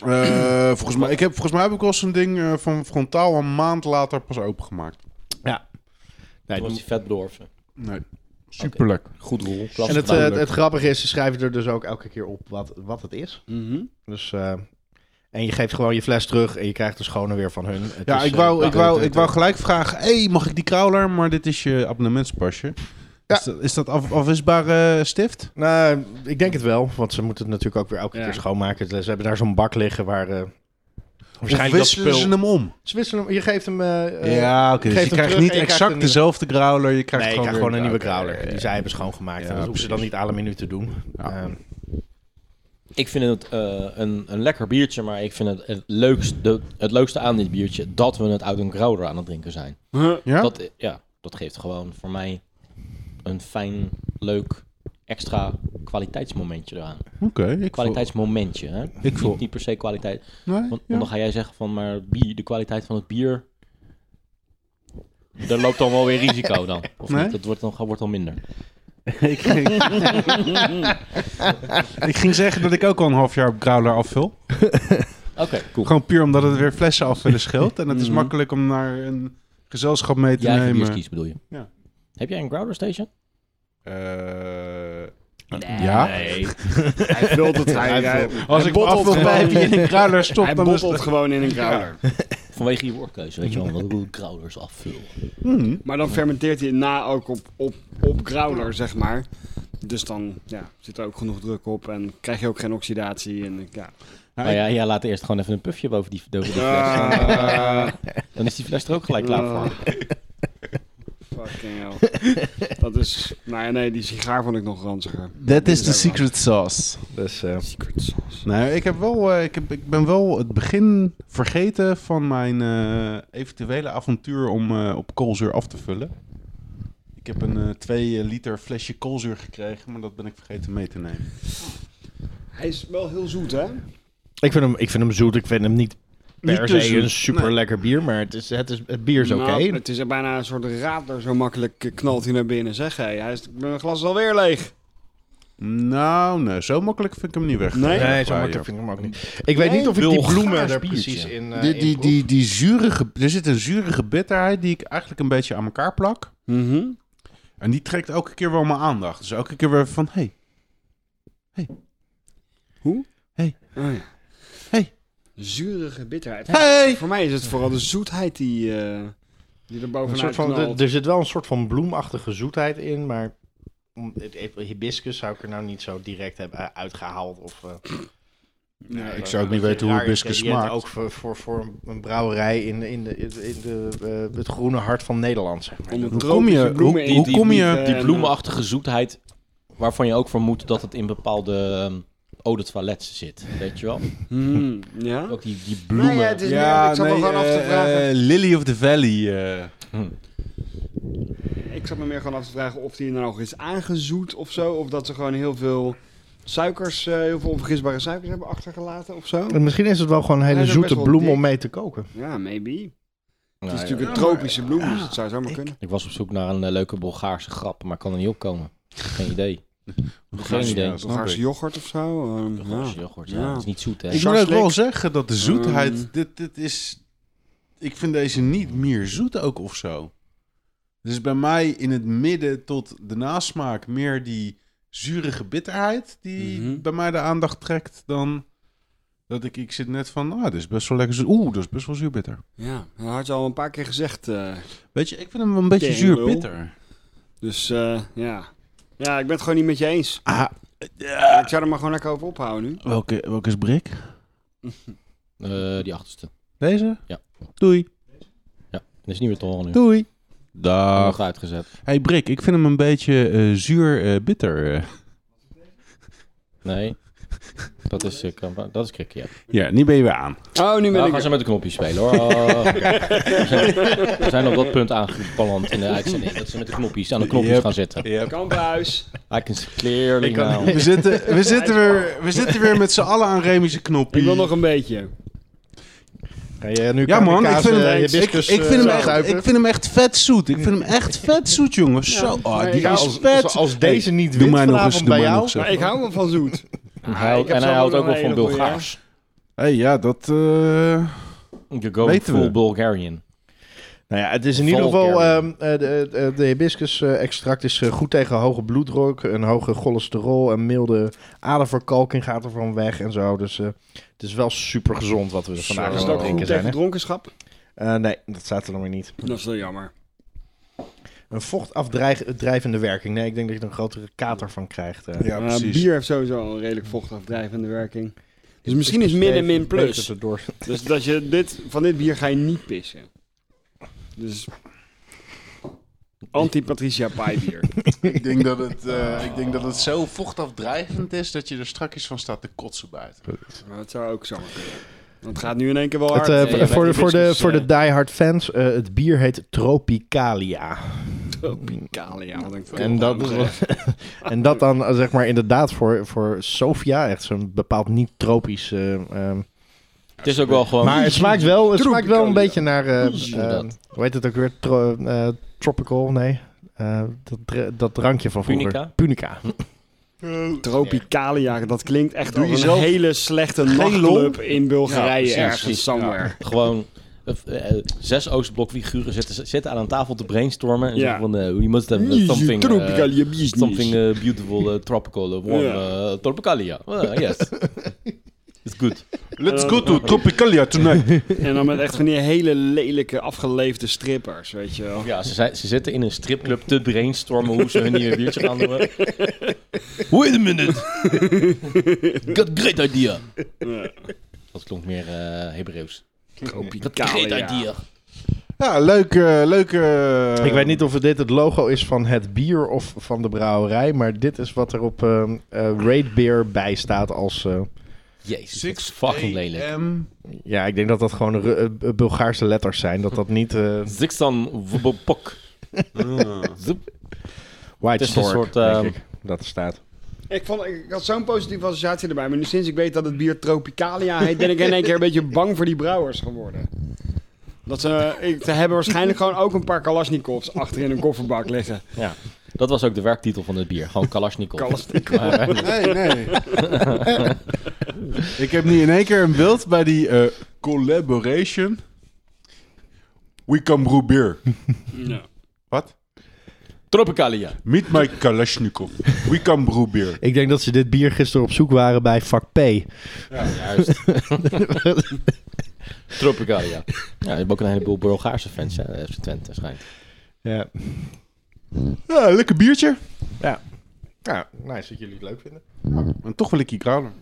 [SPEAKER 4] Eh, volgens, mij, ik heb, volgens mij heb ik wel zo'n ding eh, van frontaal een maand later pas opengemaakt.
[SPEAKER 2] Nee,
[SPEAKER 1] Toen was die vet bedorven.
[SPEAKER 4] Nee. Superleuk.
[SPEAKER 1] Goed rol.
[SPEAKER 2] en het, eh, het grappige is, ze schrijven er dus ook elke keer op wat, wat het is.
[SPEAKER 3] Mhm.
[SPEAKER 2] Dus, eh, en je geeft gewoon je fles terug en je krijgt de schone weer van hun. Het
[SPEAKER 4] Ja,
[SPEAKER 2] is,
[SPEAKER 4] ik
[SPEAKER 2] eh,
[SPEAKER 4] wou, ik,
[SPEAKER 2] het-
[SPEAKER 4] wou,
[SPEAKER 2] het-
[SPEAKER 4] ik wou gelijk vragen, hey, mag ik die crawler? Maar dit is je abonnementspasje.
[SPEAKER 2] Ja.
[SPEAKER 4] Is dat, is dat af- afwisbare eh, stift?
[SPEAKER 2] Nou, ik denk het wel, want ze moeten het natuurlijk ook weer elke
[SPEAKER 3] Ja.
[SPEAKER 2] keer schoonmaken. Ze hebben daar zo'n bak liggen waar eh,
[SPEAKER 4] Of
[SPEAKER 2] waarschijnlijk dat
[SPEAKER 4] wisselen
[SPEAKER 2] spul...
[SPEAKER 4] ze hem om?
[SPEAKER 2] Ze wisselen hem- je geeft hem... eh, eh,
[SPEAKER 4] ja, oké.
[SPEAKER 2] geef
[SPEAKER 4] Dus
[SPEAKER 2] hem
[SPEAKER 4] je krijgt
[SPEAKER 2] terug
[SPEAKER 4] niet
[SPEAKER 2] en je krijgt
[SPEAKER 4] exact
[SPEAKER 2] een-
[SPEAKER 4] dezelfde growler. Je krijgt
[SPEAKER 2] nee, ik
[SPEAKER 4] gewoon,
[SPEAKER 2] krijg
[SPEAKER 4] weer-
[SPEAKER 2] gewoon een nieuwe
[SPEAKER 4] oké,
[SPEAKER 2] growler.
[SPEAKER 4] ja, ja,
[SPEAKER 2] Die
[SPEAKER 4] ja.
[SPEAKER 2] zij hebben schoongemaakt.
[SPEAKER 4] Ja,
[SPEAKER 2] en dat hoeven ze dan
[SPEAKER 4] precies.
[SPEAKER 2] niet alle minuten doen.
[SPEAKER 4] Ja.
[SPEAKER 2] Ehm,
[SPEAKER 1] Ik vind het eh, een, een lekker biertje, maar ik vind het het leukste, de, het leukste aan dit biertje dat we het uit een Grauder aan het drinken zijn.
[SPEAKER 3] Huh.
[SPEAKER 4] Ja?
[SPEAKER 1] Dat, ja, dat geeft gewoon voor mij een fijn, leuk, extra kwaliteitsmomentje eraan.
[SPEAKER 4] Oké. ik voel-
[SPEAKER 1] Kwaliteitsmomentje, hè?
[SPEAKER 4] Ik voel...
[SPEAKER 1] Niet, niet per se kwaliteit. Want,
[SPEAKER 4] Nee, ja.
[SPEAKER 1] want dan ga jij zeggen van, maar bier, de kwaliteit van het bier... Daar loopt dan wel weer risico dan. Of
[SPEAKER 4] Nee?
[SPEAKER 1] niet? Dat wordt dan, wordt dan minder.
[SPEAKER 4] ik, ging... ik ging zeggen dat ik ook al een half jaar op growler afvul.
[SPEAKER 1] Oké, cool.
[SPEAKER 4] Gewoon puur omdat het weer flessen afvullen scheelt. En het is
[SPEAKER 3] Mhm.
[SPEAKER 4] makkelijk om naar een gezelschap mee te
[SPEAKER 1] Jij eigen bier
[SPEAKER 4] nemen.
[SPEAKER 1] kiest, bedoel je?
[SPEAKER 4] Ja.
[SPEAKER 1] Heb jij een Growler Station?
[SPEAKER 4] Eh,
[SPEAKER 2] Eh,
[SPEAKER 4] Ja.
[SPEAKER 1] Nee.
[SPEAKER 3] Hij vult het. Hij,
[SPEAKER 2] Hij
[SPEAKER 3] hij,
[SPEAKER 2] vult
[SPEAKER 4] Als ik bottelt
[SPEAKER 3] bottelt
[SPEAKER 4] afvul bij
[SPEAKER 3] gewoon.
[SPEAKER 4] die in een kruiler stop,
[SPEAKER 3] hij
[SPEAKER 4] dan is het...
[SPEAKER 3] bottelt gewoon in een kruider.
[SPEAKER 1] Vanwege je woordkeuze, weet je wel. Dat ik Growlers afvul.
[SPEAKER 4] Mhm.
[SPEAKER 3] Maar dan fermenteert hij na ook op, op, op growler, zeg maar. Dus dan ja, zit er ook genoeg druk op en krijg je ook geen oxidatie. En, ja.
[SPEAKER 4] Ja,
[SPEAKER 1] Nou ja, ja, laat eerst gewoon even een puffje boven die, boven die fles.
[SPEAKER 3] Ah,
[SPEAKER 1] Dan is die fles er ook gelijk klaar voor.
[SPEAKER 3] fucking hell. Dat is... Nou ja, nee, die sigaar vond ik nog ranziger.
[SPEAKER 4] That is the secret sauce.
[SPEAKER 2] dus, eh,
[SPEAKER 3] Secret sauce.
[SPEAKER 4] Nou, ik, heb wel, eh, ik, heb, ik ben wel het begin vergeten van mijn eh, eventuele avontuur om eh, op koolzuur af te vullen. Ik heb een 2 liter flesje koolzuur gekregen, maar dat ben ik vergeten mee te nemen.
[SPEAKER 3] Hij is wel heel zoet, hè?
[SPEAKER 2] ik, vind hem, ik vind hem zoet. Ik vind hem niet per
[SPEAKER 4] Niet te
[SPEAKER 2] se
[SPEAKER 4] zoet.
[SPEAKER 2] een super lekker bier. Maar het, is, het, is, het bier is oké.
[SPEAKER 3] Nou, het is er bijna een soort radler, zo makkelijk eh, knalt hij naar binnen. Zeg, hé, hij is, mijn glas is alweer leeg.
[SPEAKER 4] Nou, nee, zo makkelijk vind ik hem niet weg.
[SPEAKER 3] Nee?
[SPEAKER 2] Nee,
[SPEAKER 4] Wegwaaien.
[SPEAKER 2] zo makkelijk vind ik hem ook niet. Ik weet niet of ik die
[SPEAKER 1] Bulgaars
[SPEAKER 2] bloemen er
[SPEAKER 1] biertje.
[SPEAKER 2] precies in... eh,
[SPEAKER 4] Die,
[SPEAKER 2] in
[SPEAKER 4] die,
[SPEAKER 2] proef.
[SPEAKER 4] die, die zurige, er zit een zurige bitterheid die ik eigenlijk een beetje aan elkaar plak.
[SPEAKER 3] Mhm.
[SPEAKER 4] En die trekt elke keer wel mijn aandacht. Dus elke keer weer even van, hey,
[SPEAKER 3] Oh, ja.
[SPEAKER 4] Hey.
[SPEAKER 3] Zurige bitterheid.
[SPEAKER 4] hey!
[SPEAKER 3] Voor mij is het vooral de zoetheid die, eh, die er
[SPEAKER 2] Een
[SPEAKER 3] bovenuit
[SPEAKER 2] soort van,
[SPEAKER 3] knalt.
[SPEAKER 2] er, er zit wel een soort van bloemachtige zoetheid in, maar... om- het- het- Hibiscus zou ik er nou niet zo direct hebben eh, uitgehaald. Of, eh,
[SPEAKER 3] Nee,
[SPEAKER 4] ik
[SPEAKER 2] Dat
[SPEAKER 4] zou ook
[SPEAKER 2] is
[SPEAKER 4] niet
[SPEAKER 2] een
[SPEAKER 4] weten hoe
[SPEAKER 2] raar
[SPEAKER 4] hibiscus
[SPEAKER 2] ingrediënt,
[SPEAKER 4] smaakt.
[SPEAKER 2] Ook voor, voor, voor een- een brouwerij in, de- in, de, in, de, in de, eh, het groene hart van Nederland, zeg maar.
[SPEAKER 3] Om de
[SPEAKER 4] Hoe
[SPEAKER 3] tropische
[SPEAKER 4] kom je-
[SPEAKER 3] bloemen
[SPEAKER 4] hoe-
[SPEAKER 3] in
[SPEAKER 4] hoe
[SPEAKER 3] die eh,
[SPEAKER 4] kom je-
[SPEAKER 3] bieten
[SPEAKER 1] Die
[SPEAKER 3] en,
[SPEAKER 1] bloemenachtige zoetheid, waarvan je ook vermoedt dat het in bepaalde ehm, eau de toilets zit. Weet je wel?
[SPEAKER 3] eh, hmm, ja?
[SPEAKER 1] Ook die, die
[SPEAKER 3] Nee,
[SPEAKER 1] bloemen.
[SPEAKER 3] ja, het is meer, ik zat me gewoon af te vragen.
[SPEAKER 4] eh, Lily of the Valley. eh,
[SPEAKER 3] ik zat me meer gewoon af te vragen of die nou nog is aangezoet of zo. Of dat ze gewoon heel veel suikers, eh, heel veel onvergisbare suikers hebben achtergelaten of zo.
[SPEAKER 2] En Misschien is het wel gewoon een
[SPEAKER 3] Hij
[SPEAKER 2] hele
[SPEAKER 3] is ook
[SPEAKER 2] zoete
[SPEAKER 3] best wel
[SPEAKER 2] bloem
[SPEAKER 3] dik.
[SPEAKER 2] om mee te koken.
[SPEAKER 3] Ja, maybe.
[SPEAKER 1] Nou,
[SPEAKER 3] Het is
[SPEAKER 1] ja.
[SPEAKER 3] natuurlijk een tropische bloem, dus het zou zomaar
[SPEAKER 2] ik-
[SPEAKER 3] kunnen.
[SPEAKER 1] Ik was op zoek naar een eh, leuke Bulgaarse grap, maar kan er niet opkomen. Geen idee. Geen
[SPEAKER 4] Bulgaarse
[SPEAKER 1] idee.
[SPEAKER 4] grap. snap
[SPEAKER 3] Bulgaarse
[SPEAKER 4] ik.
[SPEAKER 3] yoghurt of zo. ehm,
[SPEAKER 1] Bulgaarse
[SPEAKER 3] ja.
[SPEAKER 1] yoghurt, ja. Dat is niet zoet, hè?
[SPEAKER 4] Ik moet ook wel
[SPEAKER 3] Scharslik.
[SPEAKER 4] zeggen dat de zoetheid.
[SPEAKER 3] Mm.
[SPEAKER 4] Dit, dit is. Ik vind deze niet meer zoet ook of zo. Dus bij mij in het midden tot de nasmaak meer die zurige bitterheid die
[SPEAKER 3] Mhm.
[SPEAKER 4] bij mij de aandacht trekt dan dat ik, ik zit net van, ah, dit is best wel lekker zuur. Oeh, dat is best wel zuur bitter.
[SPEAKER 3] Ja, dat had je al een paar keer gezegd. eh.
[SPEAKER 4] Weet je, ik vind hem een beetje
[SPEAKER 3] Teringlul.
[SPEAKER 4] zuur bitter.
[SPEAKER 3] dus eh, ja. Ja, ik ben het gewoon niet met je eens.
[SPEAKER 4] Ah,
[SPEAKER 3] Ik zou er maar gewoon lekker over ophouden nu.
[SPEAKER 4] welke, welke is Brik?
[SPEAKER 1] Eh, die achterste.
[SPEAKER 4] Deze?
[SPEAKER 1] Ja.
[SPEAKER 4] Doei.
[SPEAKER 1] Dat is niet meer te horen nu.
[SPEAKER 4] Doei.
[SPEAKER 1] Nog
[SPEAKER 4] Dag.
[SPEAKER 1] uitgezet.
[SPEAKER 4] Hey Brik, ik vind hem een beetje eh, zuur eh, bitter. eh.
[SPEAKER 1] Nee. Dat is, eh, kan- dat is krikkie. Ja.
[SPEAKER 4] Ja, nu ben je weer aan.
[SPEAKER 3] Oh, nu ben
[SPEAKER 1] Nou,
[SPEAKER 3] ik
[SPEAKER 1] gaan ze met de knopjes spelen hoor. Oh. We zijn- we zijn op dat punt aangeballand in de uitzending. Dat ze met de knopjes aan de knopjes
[SPEAKER 4] Yep.
[SPEAKER 1] gaan zitten.
[SPEAKER 3] er. Kamphuis.
[SPEAKER 1] I can see clearly
[SPEAKER 2] Ik kan
[SPEAKER 1] now.
[SPEAKER 4] We zitten, we zitten, weer, we zitten weer met z'n allen aan Remische knoppie.
[SPEAKER 3] Ik wil nog een beetje.
[SPEAKER 2] Ga je nu
[SPEAKER 4] Ja man, ik
[SPEAKER 2] kamikaze
[SPEAKER 4] vind, hem, ik,
[SPEAKER 2] hibiscus,
[SPEAKER 4] ik,
[SPEAKER 2] eh,
[SPEAKER 4] vind hem echt,
[SPEAKER 2] zuipen?
[SPEAKER 4] ik vind hem echt vet zoet. Ik vind hem echt vet zoet, jongens. Zo, oh,
[SPEAKER 3] maar
[SPEAKER 4] die
[SPEAKER 3] ik-
[SPEAKER 4] is
[SPEAKER 2] als,
[SPEAKER 4] vet.
[SPEAKER 2] als, als deze
[SPEAKER 4] Hey,
[SPEAKER 2] niet
[SPEAKER 4] doe
[SPEAKER 2] wint
[SPEAKER 4] mij nog
[SPEAKER 2] vanavond
[SPEAKER 4] eens, doe
[SPEAKER 2] bij
[SPEAKER 4] mij
[SPEAKER 2] jou...
[SPEAKER 4] nog eens.
[SPEAKER 3] Maar ik hou wel van zoet.
[SPEAKER 1] En hij houdt-
[SPEAKER 3] Ik heb
[SPEAKER 1] en hij
[SPEAKER 3] zo
[SPEAKER 1] houdt ook
[SPEAKER 3] nog
[SPEAKER 1] wel
[SPEAKER 3] een
[SPEAKER 1] van
[SPEAKER 3] hele goeie,
[SPEAKER 1] Bulgaars.
[SPEAKER 4] hey, ja, dat... eh,
[SPEAKER 1] You go
[SPEAKER 4] Weten
[SPEAKER 1] full
[SPEAKER 4] we.
[SPEAKER 1] Bulgarian.
[SPEAKER 2] Nou ja, het is in ieder
[SPEAKER 1] Volgende
[SPEAKER 2] geval...
[SPEAKER 1] keer.
[SPEAKER 2] ehm, eh, de, eh, de hibiscus-extract is eh, goed tegen hoge bloeddruk... een hoge cholesterol en milde aderverkalking gaat er van weg en zo. Dus eh, het is wel super gezond wat we
[SPEAKER 4] Zo.
[SPEAKER 2] vandaag
[SPEAKER 3] Is
[SPEAKER 2] aan
[SPEAKER 3] het
[SPEAKER 2] het
[SPEAKER 3] ook
[SPEAKER 2] drinken
[SPEAKER 3] goed
[SPEAKER 2] zijn.
[SPEAKER 3] tegen
[SPEAKER 2] hè?
[SPEAKER 3] dronkenschap?
[SPEAKER 2] Eh, nee, dat staat er nog maar niet.
[SPEAKER 3] Dat is wel jammer.
[SPEAKER 2] Een vochtafdrijvende werking. Nee, ik denk dat je er een grotere kater van krijgt. eh.
[SPEAKER 4] Ja,
[SPEAKER 3] Eh,
[SPEAKER 4] precies.
[SPEAKER 3] bier heeft sowieso al een redelijk vochtafdrijvende werking. Dus misschien is min en min
[SPEAKER 2] Beter
[SPEAKER 3] plus.
[SPEAKER 2] erdoor.
[SPEAKER 3] Dus dat je dit, van dit bier ga je niet pissen. Dus... Anti-Patricia Pai bier.
[SPEAKER 4] Ik denk, dat het, eh, ik denk dat het zo vochtafdrijvend is dat je er strakjes van staat te kotsen buiten.
[SPEAKER 3] Maar dat zou ook zomaar kunnen. Want het gaat nu in één keer wel
[SPEAKER 2] Het,
[SPEAKER 3] hard.
[SPEAKER 2] eh,
[SPEAKER 1] Ja, je
[SPEAKER 2] voor, de,
[SPEAKER 1] bent
[SPEAKER 2] voor, de,
[SPEAKER 1] hibiscus,
[SPEAKER 2] voor de
[SPEAKER 1] eh.
[SPEAKER 2] diehard fans, eh, het bier heet Tropicalia.
[SPEAKER 3] Tropicalia, wat een
[SPEAKER 2] En dat,
[SPEAKER 3] kutnaam, zeg.
[SPEAKER 2] en dat dan eh, zeg maar inderdaad voor, voor Sofia echt zo'n bepaald niet-tropisch... eh, ehm.
[SPEAKER 1] Het is ook wel gewoon...
[SPEAKER 2] maar het smaakt wel, het smaakt wel een
[SPEAKER 3] Tropicalia.
[SPEAKER 2] beetje naar... eh,
[SPEAKER 1] Oeh,
[SPEAKER 2] eh,
[SPEAKER 1] dat.
[SPEAKER 2] hoe heet het ook weer? Tro- eh, tropical? Nee. Eh, dat, dr- dat drankje van vroeger.
[SPEAKER 1] Punica?
[SPEAKER 2] Punica.
[SPEAKER 3] Tropicalia, dat klinkt echt
[SPEAKER 4] Doe
[SPEAKER 3] als
[SPEAKER 4] je
[SPEAKER 3] een
[SPEAKER 4] zelf-
[SPEAKER 3] hele slechte
[SPEAKER 4] Geen
[SPEAKER 3] nachtclub in
[SPEAKER 4] Ja,
[SPEAKER 3] Bulgarije
[SPEAKER 4] precies,
[SPEAKER 3] ergens,
[SPEAKER 1] precies.
[SPEAKER 3] somewhere.
[SPEAKER 1] Gewoon eh, eh, zes Oostblokfiguren zitten, zitten aan een tafel te brainstormen. En
[SPEAKER 3] Ja.
[SPEAKER 1] zeggen van, eh, we must have eh, something, eh,
[SPEAKER 3] Tropicalia business.
[SPEAKER 1] something eh, beautiful, eh, tropical, eh, warm,
[SPEAKER 3] Ja.
[SPEAKER 1] eh, tropicalia. Eh, yes. It's good.
[SPEAKER 4] Let's go to Tropicalia tonight.
[SPEAKER 1] eh.
[SPEAKER 3] En dan met echt van die hele lelijke afgeleefde strippers, weet je wel.
[SPEAKER 1] Ja, ze, zei- ze zitten in een stripclub te brainstormen hoe ze hun nieuwe biertje gaan doen. Wait a minute. Got great idea. Dat klonk meer eh Hebreeuws. Got great
[SPEAKER 3] Tropicalia.
[SPEAKER 1] idea.
[SPEAKER 4] Ja, leuk, eh, leuk. eh,
[SPEAKER 2] Ik weet niet of dit het logo is van het bier of van de brouwerij, maar dit is wat er op eh eh, Raid Beer bij staat als... eh,
[SPEAKER 1] Jezus, dat is
[SPEAKER 4] 6
[SPEAKER 1] fucking lelijk.
[SPEAKER 4] AM.
[SPEAKER 2] ja, ik denk dat dat gewoon Ru- eh, Bulgaarse letters zijn. Dat dat niet eh,
[SPEAKER 1] Zixan Vobopok.
[SPEAKER 4] Ah.
[SPEAKER 1] Zup.
[SPEAKER 2] White
[SPEAKER 1] Het is een
[SPEAKER 2] Stork,
[SPEAKER 1] soort,
[SPEAKER 2] denk
[SPEAKER 1] ehm,
[SPEAKER 2] ik, dat staat.
[SPEAKER 3] Ik, vond, ik had zo'n positieve associatie erbij, maar nu sinds ik weet dat het bier Tropicalia heet, ben ik in één keer een beetje bang voor die brouwers geworden. Dat ze, ik, ze hebben waarschijnlijk gewoon ook een paar Kalashnikovs achter in een kofferbak liggen.
[SPEAKER 1] Ja, dat was ook de werktitel van het bier. Gewoon Kalashnikov.
[SPEAKER 3] Kalashnikov.
[SPEAKER 1] Maar-
[SPEAKER 4] Nee, nee. ik heb nu in één keer een beeld bij die eh, collaboration. We can brew beer.
[SPEAKER 3] Ja.
[SPEAKER 4] Wat?
[SPEAKER 1] Tropicalia.
[SPEAKER 4] Meet my Kalashnikov. We can brew beer.
[SPEAKER 2] Ik denk dat ze dit bier gisteren op zoek waren bij vak P.
[SPEAKER 1] Juist. Tropicalia. Ja, je hebt ook een heleboel Bulgaarse fans, hè? FC Twente schijnt.
[SPEAKER 2] Ja.
[SPEAKER 4] Ja, lekker biertje.
[SPEAKER 2] ja. Nou, nice dat jullie het leuk vinden.
[SPEAKER 4] En toch wil ik hier kralen.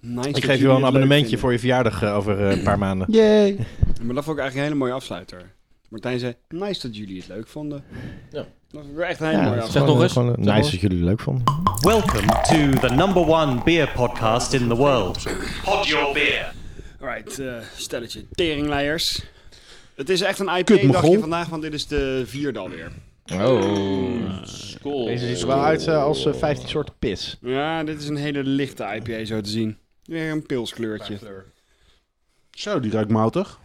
[SPEAKER 3] Nice
[SPEAKER 2] Ik geef je wel een abonnementje voor je verjaardag eh, over eh, een paar maanden.
[SPEAKER 4] Yay.
[SPEAKER 3] Maar dat vond ik eigenlijk een hele mooie afsluiter. Martijn zei, nice dat jullie het leuk vonden.
[SPEAKER 1] Ja.
[SPEAKER 3] Dat vond ik echt een hele mooie
[SPEAKER 1] is
[SPEAKER 3] afsluiter.
[SPEAKER 1] Zeg nog eens.
[SPEAKER 2] Gewoon, eh,
[SPEAKER 1] Zeg nog
[SPEAKER 2] nice
[SPEAKER 1] eens.
[SPEAKER 2] dat jullie het leuk vonden.
[SPEAKER 5] Welcome to the number one beer podcast in the world. Pod your beer.
[SPEAKER 3] Alright, eh, stelletje teringleiers. Het is echt een
[SPEAKER 4] Kut,
[SPEAKER 3] IP-dagje
[SPEAKER 4] Mogol.
[SPEAKER 3] vandaag, want dit is de vierde alweer.
[SPEAKER 1] Oh. School.
[SPEAKER 2] Deze ziet er wel uit eh, als eh, 15 soorten pis.
[SPEAKER 3] Ja, dit is een hele lichte IPA zo te zien. Weer een pilskleurtje.
[SPEAKER 4] Zo, die ruikt moutig.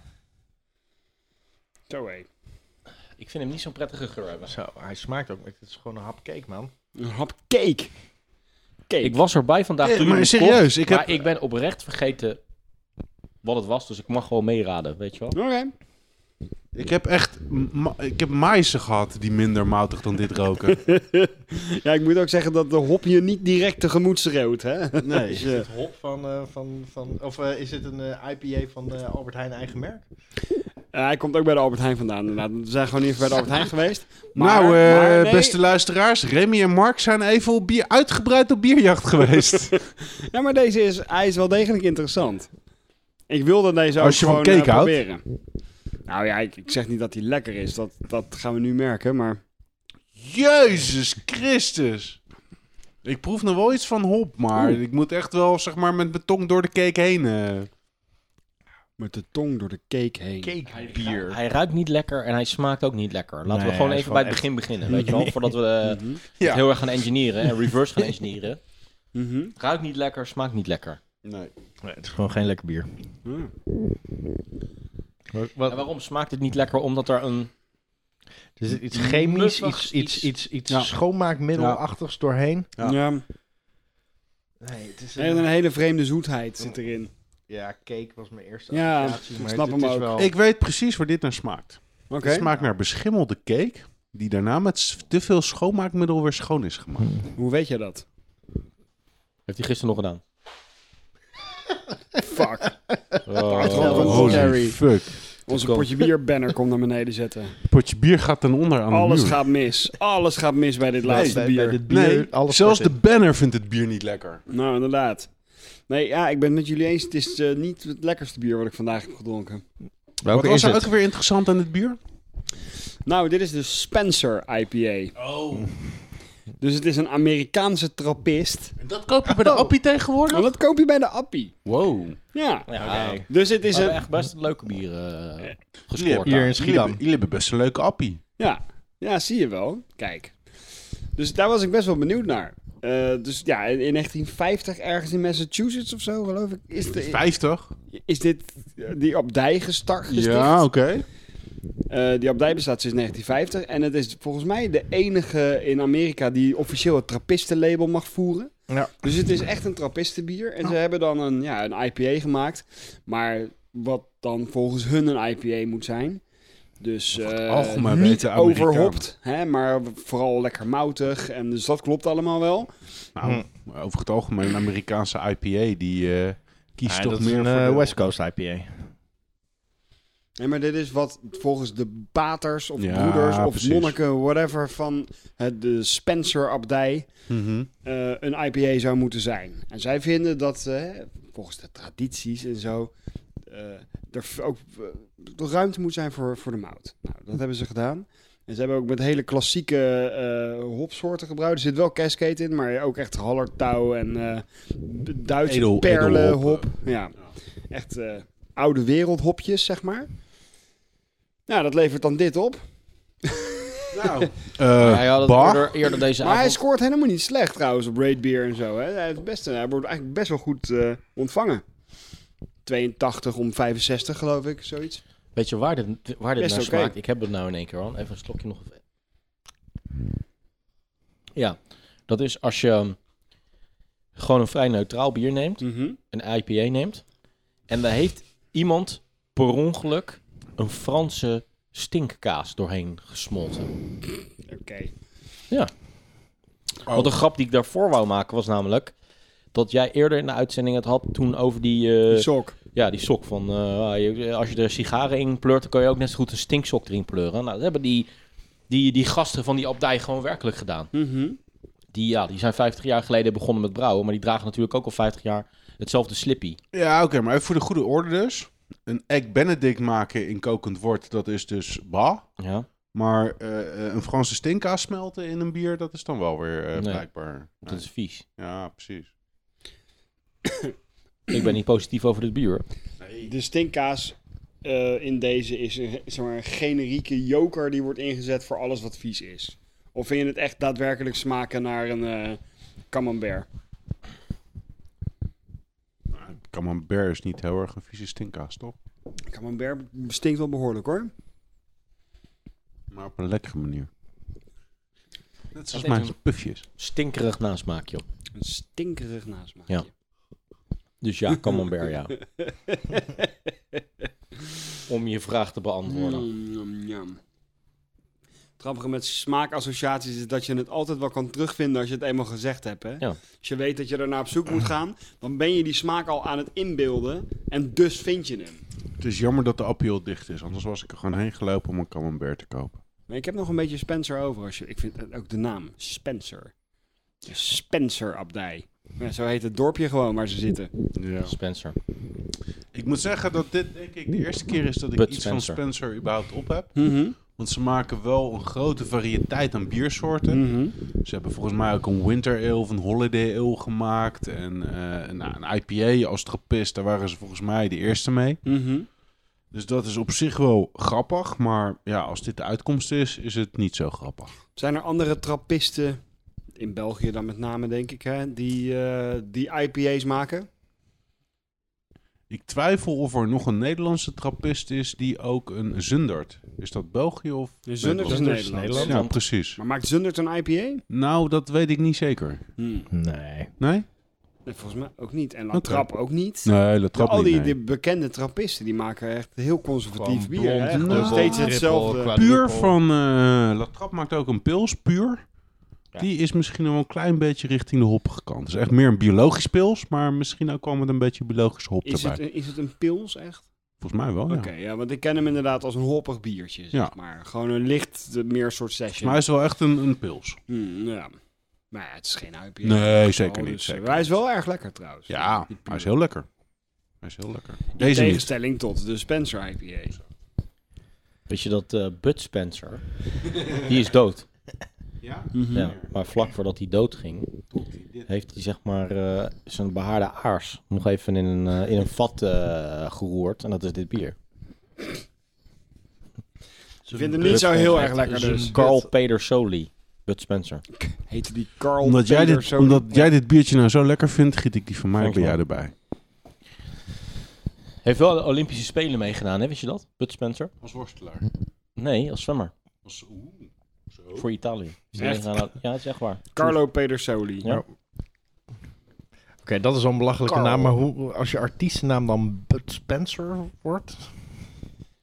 [SPEAKER 3] Zo hé.
[SPEAKER 1] Ik vind hem niet zo'n prettige geur hebben.
[SPEAKER 2] Zo, hij smaakt ook. Het is gewoon een hap cake, man.
[SPEAKER 3] Een hap cake. Cake.
[SPEAKER 1] Ik was erbij vandaag
[SPEAKER 4] Eh,
[SPEAKER 1] toen
[SPEAKER 4] maar
[SPEAKER 1] jullie
[SPEAKER 4] serieus,
[SPEAKER 1] kocht,
[SPEAKER 4] ik
[SPEAKER 1] maar
[SPEAKER 4] heb-
[SPEAKER 1] ik ben oprecht vergeten wat het was, dus ik mag gewoon meeraden, weet je wel?
[SPEAKER 3] Oké.
[SPEAKER 4] Ik heb echt ma- ik heb maïzen gehad die minder moutig dan dit roken.
[SPEAKER 3] Ja, ik moet ook zeggen dat de hop je niet direct tegemoet schreeuwt, hè?
[SPEAKER 2] Nee.
[SPEAKER 3] Dus, eh,
[SPEAKER 6] Hop van, eh, van, van, of eh, is het een eh, IPA van eh, Albert Heijn eigen merk?
[SPEAKER 3] Ja, hij komt ook bij de Albert Heijn vandaan. inderdaad. We zijn gewoon even bij de Albert Heijn geweest. Maar,
[SPEAKER 4] nou, eh,
[SPEAKER 3] maar nee.
[SPEAKER 4] beste luisteraars, Remy en Mark zijn even op bier, uitgebreid op bierjacht geweest.
[SPEAKER 3] Ja, maar deze is, hij is wel degelijk interessant. Ik wilde deze ook
[SPEAKER 4] Als je van
[SPEAKER 3] gewoon eh,
[SPEAKER 4] cake houdt.
[SPEAKER 3] proberen. Nou ja, ik, ik zeg niet dat hij lekker is. Dat, dat gaan we nu merken. Maar
[SPEAKER 4] Jezus Christus. Ik proef nog wel iets van hop, maar
[SPEAKER 3] Oeh.
[SPEAKER 4] ik moet echt wel zeg maar, met mijn tong door de cake heen. eh.
[SPEAKER 3] met de tong door de cake heen.
[SPEAKER 1] Ja, hij ruikt niet lekker en hij smaakt ook niet lekker. Laten
[SPEAKER 2] Nee,
[SPEAKER 1] we gewoon
[SPEAKER 2] hij is
[SPEAKER 1] even bij het
[SPEAKER 2] wel
[SPEAKER 1] begin beginnen, weet je wel? Voordat we eh, het
[SPEAKER 3] Mhm.
[SPEAKER 4] Ja.
[SPEAKER 1] heel erg gaan engineeren en reverse gaan engineeren.
[SPEAKER 3] Mhm.
[SPEAKER 1] Ruikt niet lekker, smaakt niet lekker.
[SPEAKER 4] Nee.
[SPEAKER 2] Nee, het is gewoon geen lekker bier.
[SPEAKER 3] Ja.
[SPEAKER 1] En waarom smaakt het niet lekker? Omdat er een...
[SPEAKER 2] Dus iets chemisch,
[SPEAKER 1] Muffigs,
[SPEAKER 2] iets, iets, iets, iets
[SPEAKER 3] Ja.
[SPEAKER 2] schoonmaakmiddelachtigs doorheen.
[SPEAKER 4] Ja.
[SPEAKER 3] Ja.
[SPEAKER 6] Nee, het is
[SPEAKER 3] En een hele vreemde zoetheid zit erin.
[SPEAKER 6] Ja, cake was mijn eerste
[SPEAKER 3] Ja,
[SPEAKER 6] associatie.
[SPEAKER 3] ik
[SPEAKER 6] maar
[SPEAKER 3] snap
[SPEAKER 6] het,
[SPEAKER 3] hem
[SPEAKER 6] het is
[SPEAKER 3] ook.
[SPEAKER 6] wel...
[SPEAKER 4] Ik weet precies waar dit naar smaakt.
[SPEAKER 3] Oké.
[SPEAKER 4] Het smaakt naar beschimmelde cake, die daarna met s- te veel schoonmaakmiddel weer schoon is gemaakt.
[SPEAKER 3] Hoe weet je dat?
[SPEAKER 1] Heeft hij gisteren nog gedaan?
[SPEAKER 3] Fuck.
[SPEAKER 1] Oh.
[SPEAKER 3] Van Jerry.
[SPEAKER 4] fuck.
[SPEAKER 3] Onze
[SPEAKER 1] Kom.
[SPEAKER 3] potje bier banner komt naar beneden zetten.
[SPEAKER 4] Potje bier gaat ten onder aan
[SPEAKER 3] Alles
[SPEAKER 4] de muur.
[SPEAKER 3] gaat mis. Alles gaat mis bij dit laatste
[SPEAKER 2] bij- bij
[SPEAKER 3] bier.
[SPEAKER 2] dit bier,
[SPEAKER 4] Nee,
[SPEAKER 2] alles
[SPEAKER 4] zelfs de
[SPEAKER 2] wordt
[SPEAKER 4] banner vindt het bier niet lekker.
[SPEAKER 3] Nou, inderdaad. Nee, ja, ik ben het met jullie eens. Het is eh, niet het lekkerste bier wat ik vandaag heb gedronken.
[SPEAKER 2] in. Welke
[SPEAKER 4] Wat
[SPEAKER 2] is
[SPEAKER 4] was er
[SPEAKER 2] het?
[SPEAKER 4] ook weer interessant aan dit bier?
[SPEAKER 3] Nou, dit is de Spencer IPA.
[SPEAKER 4] Oh.
[SPEAKER 3] Dus het is een Amerikaanse trappist.
[SPEAKER 4] Dat koop je bij de appie tegenwoordig?
[SPEAKER 3] En dat koop je bij de Appie.
[SPEAKER 4] Wow.
[SPEAKER 3] Ja.
[SPEAKER 1] Ja, we
[SPEAKER 3] Dus het is
[SPEAKER 1] hebben
[SPEAKER 3] een...
[SPEAKER 1] echt best leuke bieren eh,
[SPEAKER 4] Jullie
[SPEAKER 1] gescoord.
[SPEAKER 2] Hier in
[SPEAKER 4] hebben- jullie hebben-
[SPEAKER 2] Schiedam.
[SPEAKER 4] Jullie hebben best een leuke appie.
[SPEAKER 3] Ja. ja, zie je wel. Kijk. Dus daar was ik best wel benieuwd naar. Eh, dus ja, in in 1950 ergens in Massachusetts of zo, geloof ik, is, de,
[SPEAKER 4] 50?
[SPEAKER 3] is dit die abdij gestart gesticht. Eh, die abdij bestaat sinds 1950 en het is volgens mij de enige in Amerika die officieel het trappistenlabel mag voeren.
[SPEAKER 2] Ja.
[SPEAKER 3] Dus het is echt een trappistenbier en ze hebben dan een, ja, een IPA gemaakt, maar wat dan volgens hun een IPA moet zijn. Dus eh,
[SPEAKER 4] algemeen
[SPEAKER 3] niet
[SPEAKER 4] weten Amerikanen.
[SPEAKER 3] overhopt, hè, maar vooral lekker moutig en dus dat klopt allemaal wel.
[SPEAKER 4] Nou, over het algemeen, een Amerikaanse IPA die eh, kiest
[SPEAKER 2] Ja,
[SPEAKER 4] toch
[SPEAKER 2] dat is
[SPEAKER 4] meer
[SPEAKER 2] een
[SPEAKER 4] voor
[SPEAKER 2] eh,
[SPEAKER 4] de-
[SPEAKER 2] West Coast IPA.
[SPEAKER 3] Nee, maar dit is wat volgens de paters of
[SPEAKER 4] Ja,
[SPEAKER 3] broeders of
[SPEAKER 4] precies.
[SPEAKER 3] monniken, whatever, van het, de Spencer-abdij
[SPEAKER 4] Mhm.
[SPEAKER 3] eh, een IPA zou moeten zijn. En zij vinden dat, eh, volgens de tradities en zo, eh, er v- ook eh, toch ruimte moet zijn voor, voor de mout. Nou, dat hebben ze gedaan. En ze hebben ook met hele klassieke eh hopsoorten gebruikt. Er zit wel cascade in, maar ook echt hallertouw en eh, d- Duitse
[SPEAKER 4] Edel-
[SPEAKER 3] perlenhop.
[SPEAKER 4] edelhop,
[SPEAKER 3] Ja, echt eh, oude wereldhopjes, zeg maar. Nou, dat levert dan dit op.
[SPEAKER 4] Nou,
[SPEAKER 1] Hij had het
[SPEAKER 4] bar.
[SPEAKER 1] eerder, eerder deze
[SPEAKER 3] Eh, Maar hij
[SPEAKER 1] avond.
[SPEAKER 3] scoort helemaal niet slecht trouwens op Raid Beer en zo. Hè. Hij, is best, hij wordt eigenlijk best wel goed eh, ontvangen. 82 om 65 geloof ik, zoiets.
[SPEAKER 1] Weet je waar dit, waar dit
[SPEAKER 3] Best
[SPEAKER 1] naar
[SPEAKER 3] oké.
[SPEAKER 1] smaakt? Ik heb het nou in één keer al. Even een slokje nog. Ja, dat is als je um, gewoon een vrij neutraal bier neemt. een IPA neemt. En daar heeft iemand per ongeluk een Franse stinkkaas doorheen gesmolten.
[SPEAKER 3] Oké. Oh.
[SPEAKER 1] Want de grap die ik daarvoor wou maken was namelijk... dat jij eerder in de uitzending het had toen over die... eh,
[SPEAKER 3] Die sok.
[SPEAKER 1] ja, die sok van... eh, je- als je er sigaren in pleurt, dan kan je ook net zo goed een stinksok erin pleuren. Nou, dat hebben die, die, die gasten van die abdij gewoon werkelijk gedaan.
[SPEAKER 3] Mhm.
[SPEAKER 1] Die, ja, die zijn 50 jaar geleden begonnen met brouwen... maar die dragen natuurlijk ook al 50 jaar hetzelfde slippy.
[SPEAKER 4] Ja, oké, maar even voor de goede orde dus. Een egg benedict maken in kokend wort, dat is dus ba.
[SPEAKER 1] Ja.
[SPEAKER 4] Maar eh, eh, een Franse stinkkaas smelten in een bier, dat is dan wel weer eh,
[SPEAKER 1] Nee.
[SPEAKER 4] blijkbaar.
[SPEAKER 1] Dat is vies.
[SPEAKER 4] Ja, precies.
[SPEAKER 1] Ik ben niet positief over dit bier.
[SPEAKER 3] De stinkkaas eh, in deze is een, zeg maar, een generieke joker die wordt ingezet voor alles wat vies is. Of vind je het echt daadwerkelijk smaken naar een eh camembert?
[SPEAKER 4] Camembert is niet heel erg een vieze stinkkaas, toch?
[SPEAKER 3] Camembert stinkt wel behoorlijk hoor.
[SPEAKER 4] Maar op een lekkere manier. Net zoals
[SPEAKER 1] is
[SPEAKER 4] mijn pufjes.
[SPEAKER 1] Stinkerig nasmaakje.
[SPEAKER 3] Een stinkerig nasmaak.
[SPEAKER 1] Ja. Dus ja, camembert, ja. om je vraag te beantwoorden.
[SPEAKER 3] Mm, yum, yum. Het grappige met smaakassociaties is dat je het altijd wel kan terugvinden als je het eenmaal gezegd hebt. Hè?
[SPEAKER 1] Ja.
[SPEAKER 3] Als je weet dat je daarna op zoek moet gaan, dan ben je die smaak al aan het inbeelden en dus vind je hem.
[SPEAKER 4] Het is jammer dat de appeal dicht is, anders was ik er gewoon heen gelopen om een camembert te kopen.
[SPEAKER 3] Maar ik heb nog een beetje Spencer over. Als je, ik vind het ook de naam Spencer. De Spencer-abdij. Ja, zo heet het dorpje gewoon waar ze zitten.
[SPEAKER 4] Ja.
[SPEAKER 1] Spencer.
[SPEAKER 4] Ik moet zeggen dat dit denk ik de eerste keer is dat ik
[SPEAKER 1] Bud
[SPEAKER 4] iets van
[SPEAKER 1] Spencer.
[SPEAKER 4] Spencer überhaupt op heb.
[SPEAKER 3] Mhm,
[SPEAKER 4] Want ze maken wel een grote variëteit aan biersoorten.
[SPEAKER 3] Mhm.
[SPEAKER 4] Ze hebben volgens mij ook een winter ale of een holiday ale gemaakt. En eh, nou, een IPA als trappist, daar waren ze volgens mij de eerste mee.
[SPEAKER 3] Mhm.
[SPEAKER 4] Dus dat is op zich wel grappig. Maar ja, als dit de uitkomst is, is het niet zo grappig.
[SPEAKER 3] Zijn er andere trappisten, in België dan met name denk ik, hè, die, eh, die IPA's maken?
[SPEAKER 4] Ik twijfel of er nog een Nederlandse trappist is die ook een Zundert. Is dat België of
[SPEAKER 3] Zundert is
[SPEAKER 4] Nederland?
[SPEAKER 3] Nederland.
[SPEAKER 1] Nederland.
[SPEAKER 4] Ja, precies.
[SPEAKER 3] Maar maakt Zundert een IPA?
[SPEAKER 4] Nou, dat weet ik niet zeker.
[SPEAKER 3] Hmm.
[SPEAKER 2] Nee.
[SPEAKER 4] Nee?
[SPEAKER 3] Nee, volgens mij ook niet. En La
[SPEAKER 4] Oké.
[SPEAKER 3] Trap ook niet.
[SPEAKER 4] Nee, dat trap
[SPEAKER 3] al
[SPEAKER 4] niet.
[SPEAKER 3] die,
[SPEAKER 4] nee.
[SPEAKER 3] die bekende trappisten, die maken echt heel conservatief
[SPEAKER 2] Gewoon
[SPEAKER 3] bier.
[SPEAKER 2] blond,
[SPEAKER 1] eh,
[SPEAKER 3] Hè? Gewoon
[SPEAKER 4] dubbel,
[SPEAKER 3] steeds
[SPEAKER 4] triple,
[SPEAKER 3] hetzelfde.
[SPEAKER 2] kwaad.
[SPEAKER 4] Puur
[SPEAKER 2] Druppel.
[SPEAKER 4] van eh La Trappe maakt ook een pils, puur. Die is misschien nog wel een klein beetje richting de hoppige kant. Het is echt meer een biologisch pils, maar misschien ook wel met een beetje biologisch hop
[SPEAKER 3] Is
[SPEAKER 4] erbij.
[SPEAKER 3] het, een- is het een pils echt?
[SPEAKER 4] Volgens mij wel, ja.
[SPEAKER 3] Oké, ja, want ik ken hem inderdaad als een hoppig biertje, zeg
[SPEAKER 4] Ja.
[SPEAKER 3] maar. Gewoon een licht, eh, meer soort
[SPEAKER 4] Volgens
[SPEAKER 3] session.
[SPEAKER 4] mij is het wel echt een, een pils.
[SPEAKER 3] Hmm, ja. Maar ja, het is geen IPA.
[SPEAKER 4] Nee, zeker
[SPEAKER 3] Oh,
[SPEAKER 4] niet.
[SPEAKER 3] dus,
[SPEAKER 4] Zeker.
[SPEAKER 3] eh, Hij is wel erg lekker trouwens.
[SPEAKER 4] Ja, hij is heel lekker. Hij is heel lekker.
[SPEAKER 3] In
[SPEAKER 4] Deze niet.
[SPEAKER 3] tegenstelling tot de Spencer IPA.
[SPEAKER 1] Weet je dat eh Bud Spencer, die is dood.
[SPEAKER 4] Ja?
[SPEAKER 1] Ja, maar vlak voordat hij dood ging, heeft hij zeg maar eh, zijn behaarde aars nog even in een, eh, in een vat eh, geroerd. En dat is dit bier.
[SPEAKER 3] Ik vind hem niet zo heel erg lekker dus.
[SPEAKER 1] Carl Peter Soli, Bud Spencer.
[SPEAKER 3] Heette die Carl
[SPEAKER 4] Omdat, jij
[SPEAKER 3] Peter
[SPEAKER 4] dit,
[SPEAKER 3] zo-
[SPEAKER 4] omdat jij dit biertje nou zo lekker vindt, giet ik die van mij
[SPEAKER 1] Dank
[SPEAKER 4] bij
[SPEAKER 1] je
[SPEAKER 4] jou
[SPEAKER 1] wel.
[SPEAKER 4] erbij.
[SPEAKER 1] Heeft wel de Olympische Spelen meegedaan, hè? Wist je dat? Bud Spencer?
[SPEAKER 4] Als worstelaar.
[SPEAKER 1] Nee, als zwemmer.
[SPEAKER 4] Als, oeh, zo.
[SPEAKER 1] Voor Italië. Is die
[SPEAKER 3] Echt?
[SPEAKER 1] meegedaan aan- Ja, het is echt waar.
[SPEAKER 3] Carlo Pedersoli.
[SPEAKER 1] Ja.
[SPEAKER 2] Oké, dat is een belachelijke
[SPEAKER 3] Carl.
[SPEAKER 2] naam, maar hoe, als je artiestennaam dan Bud Spencer wordt?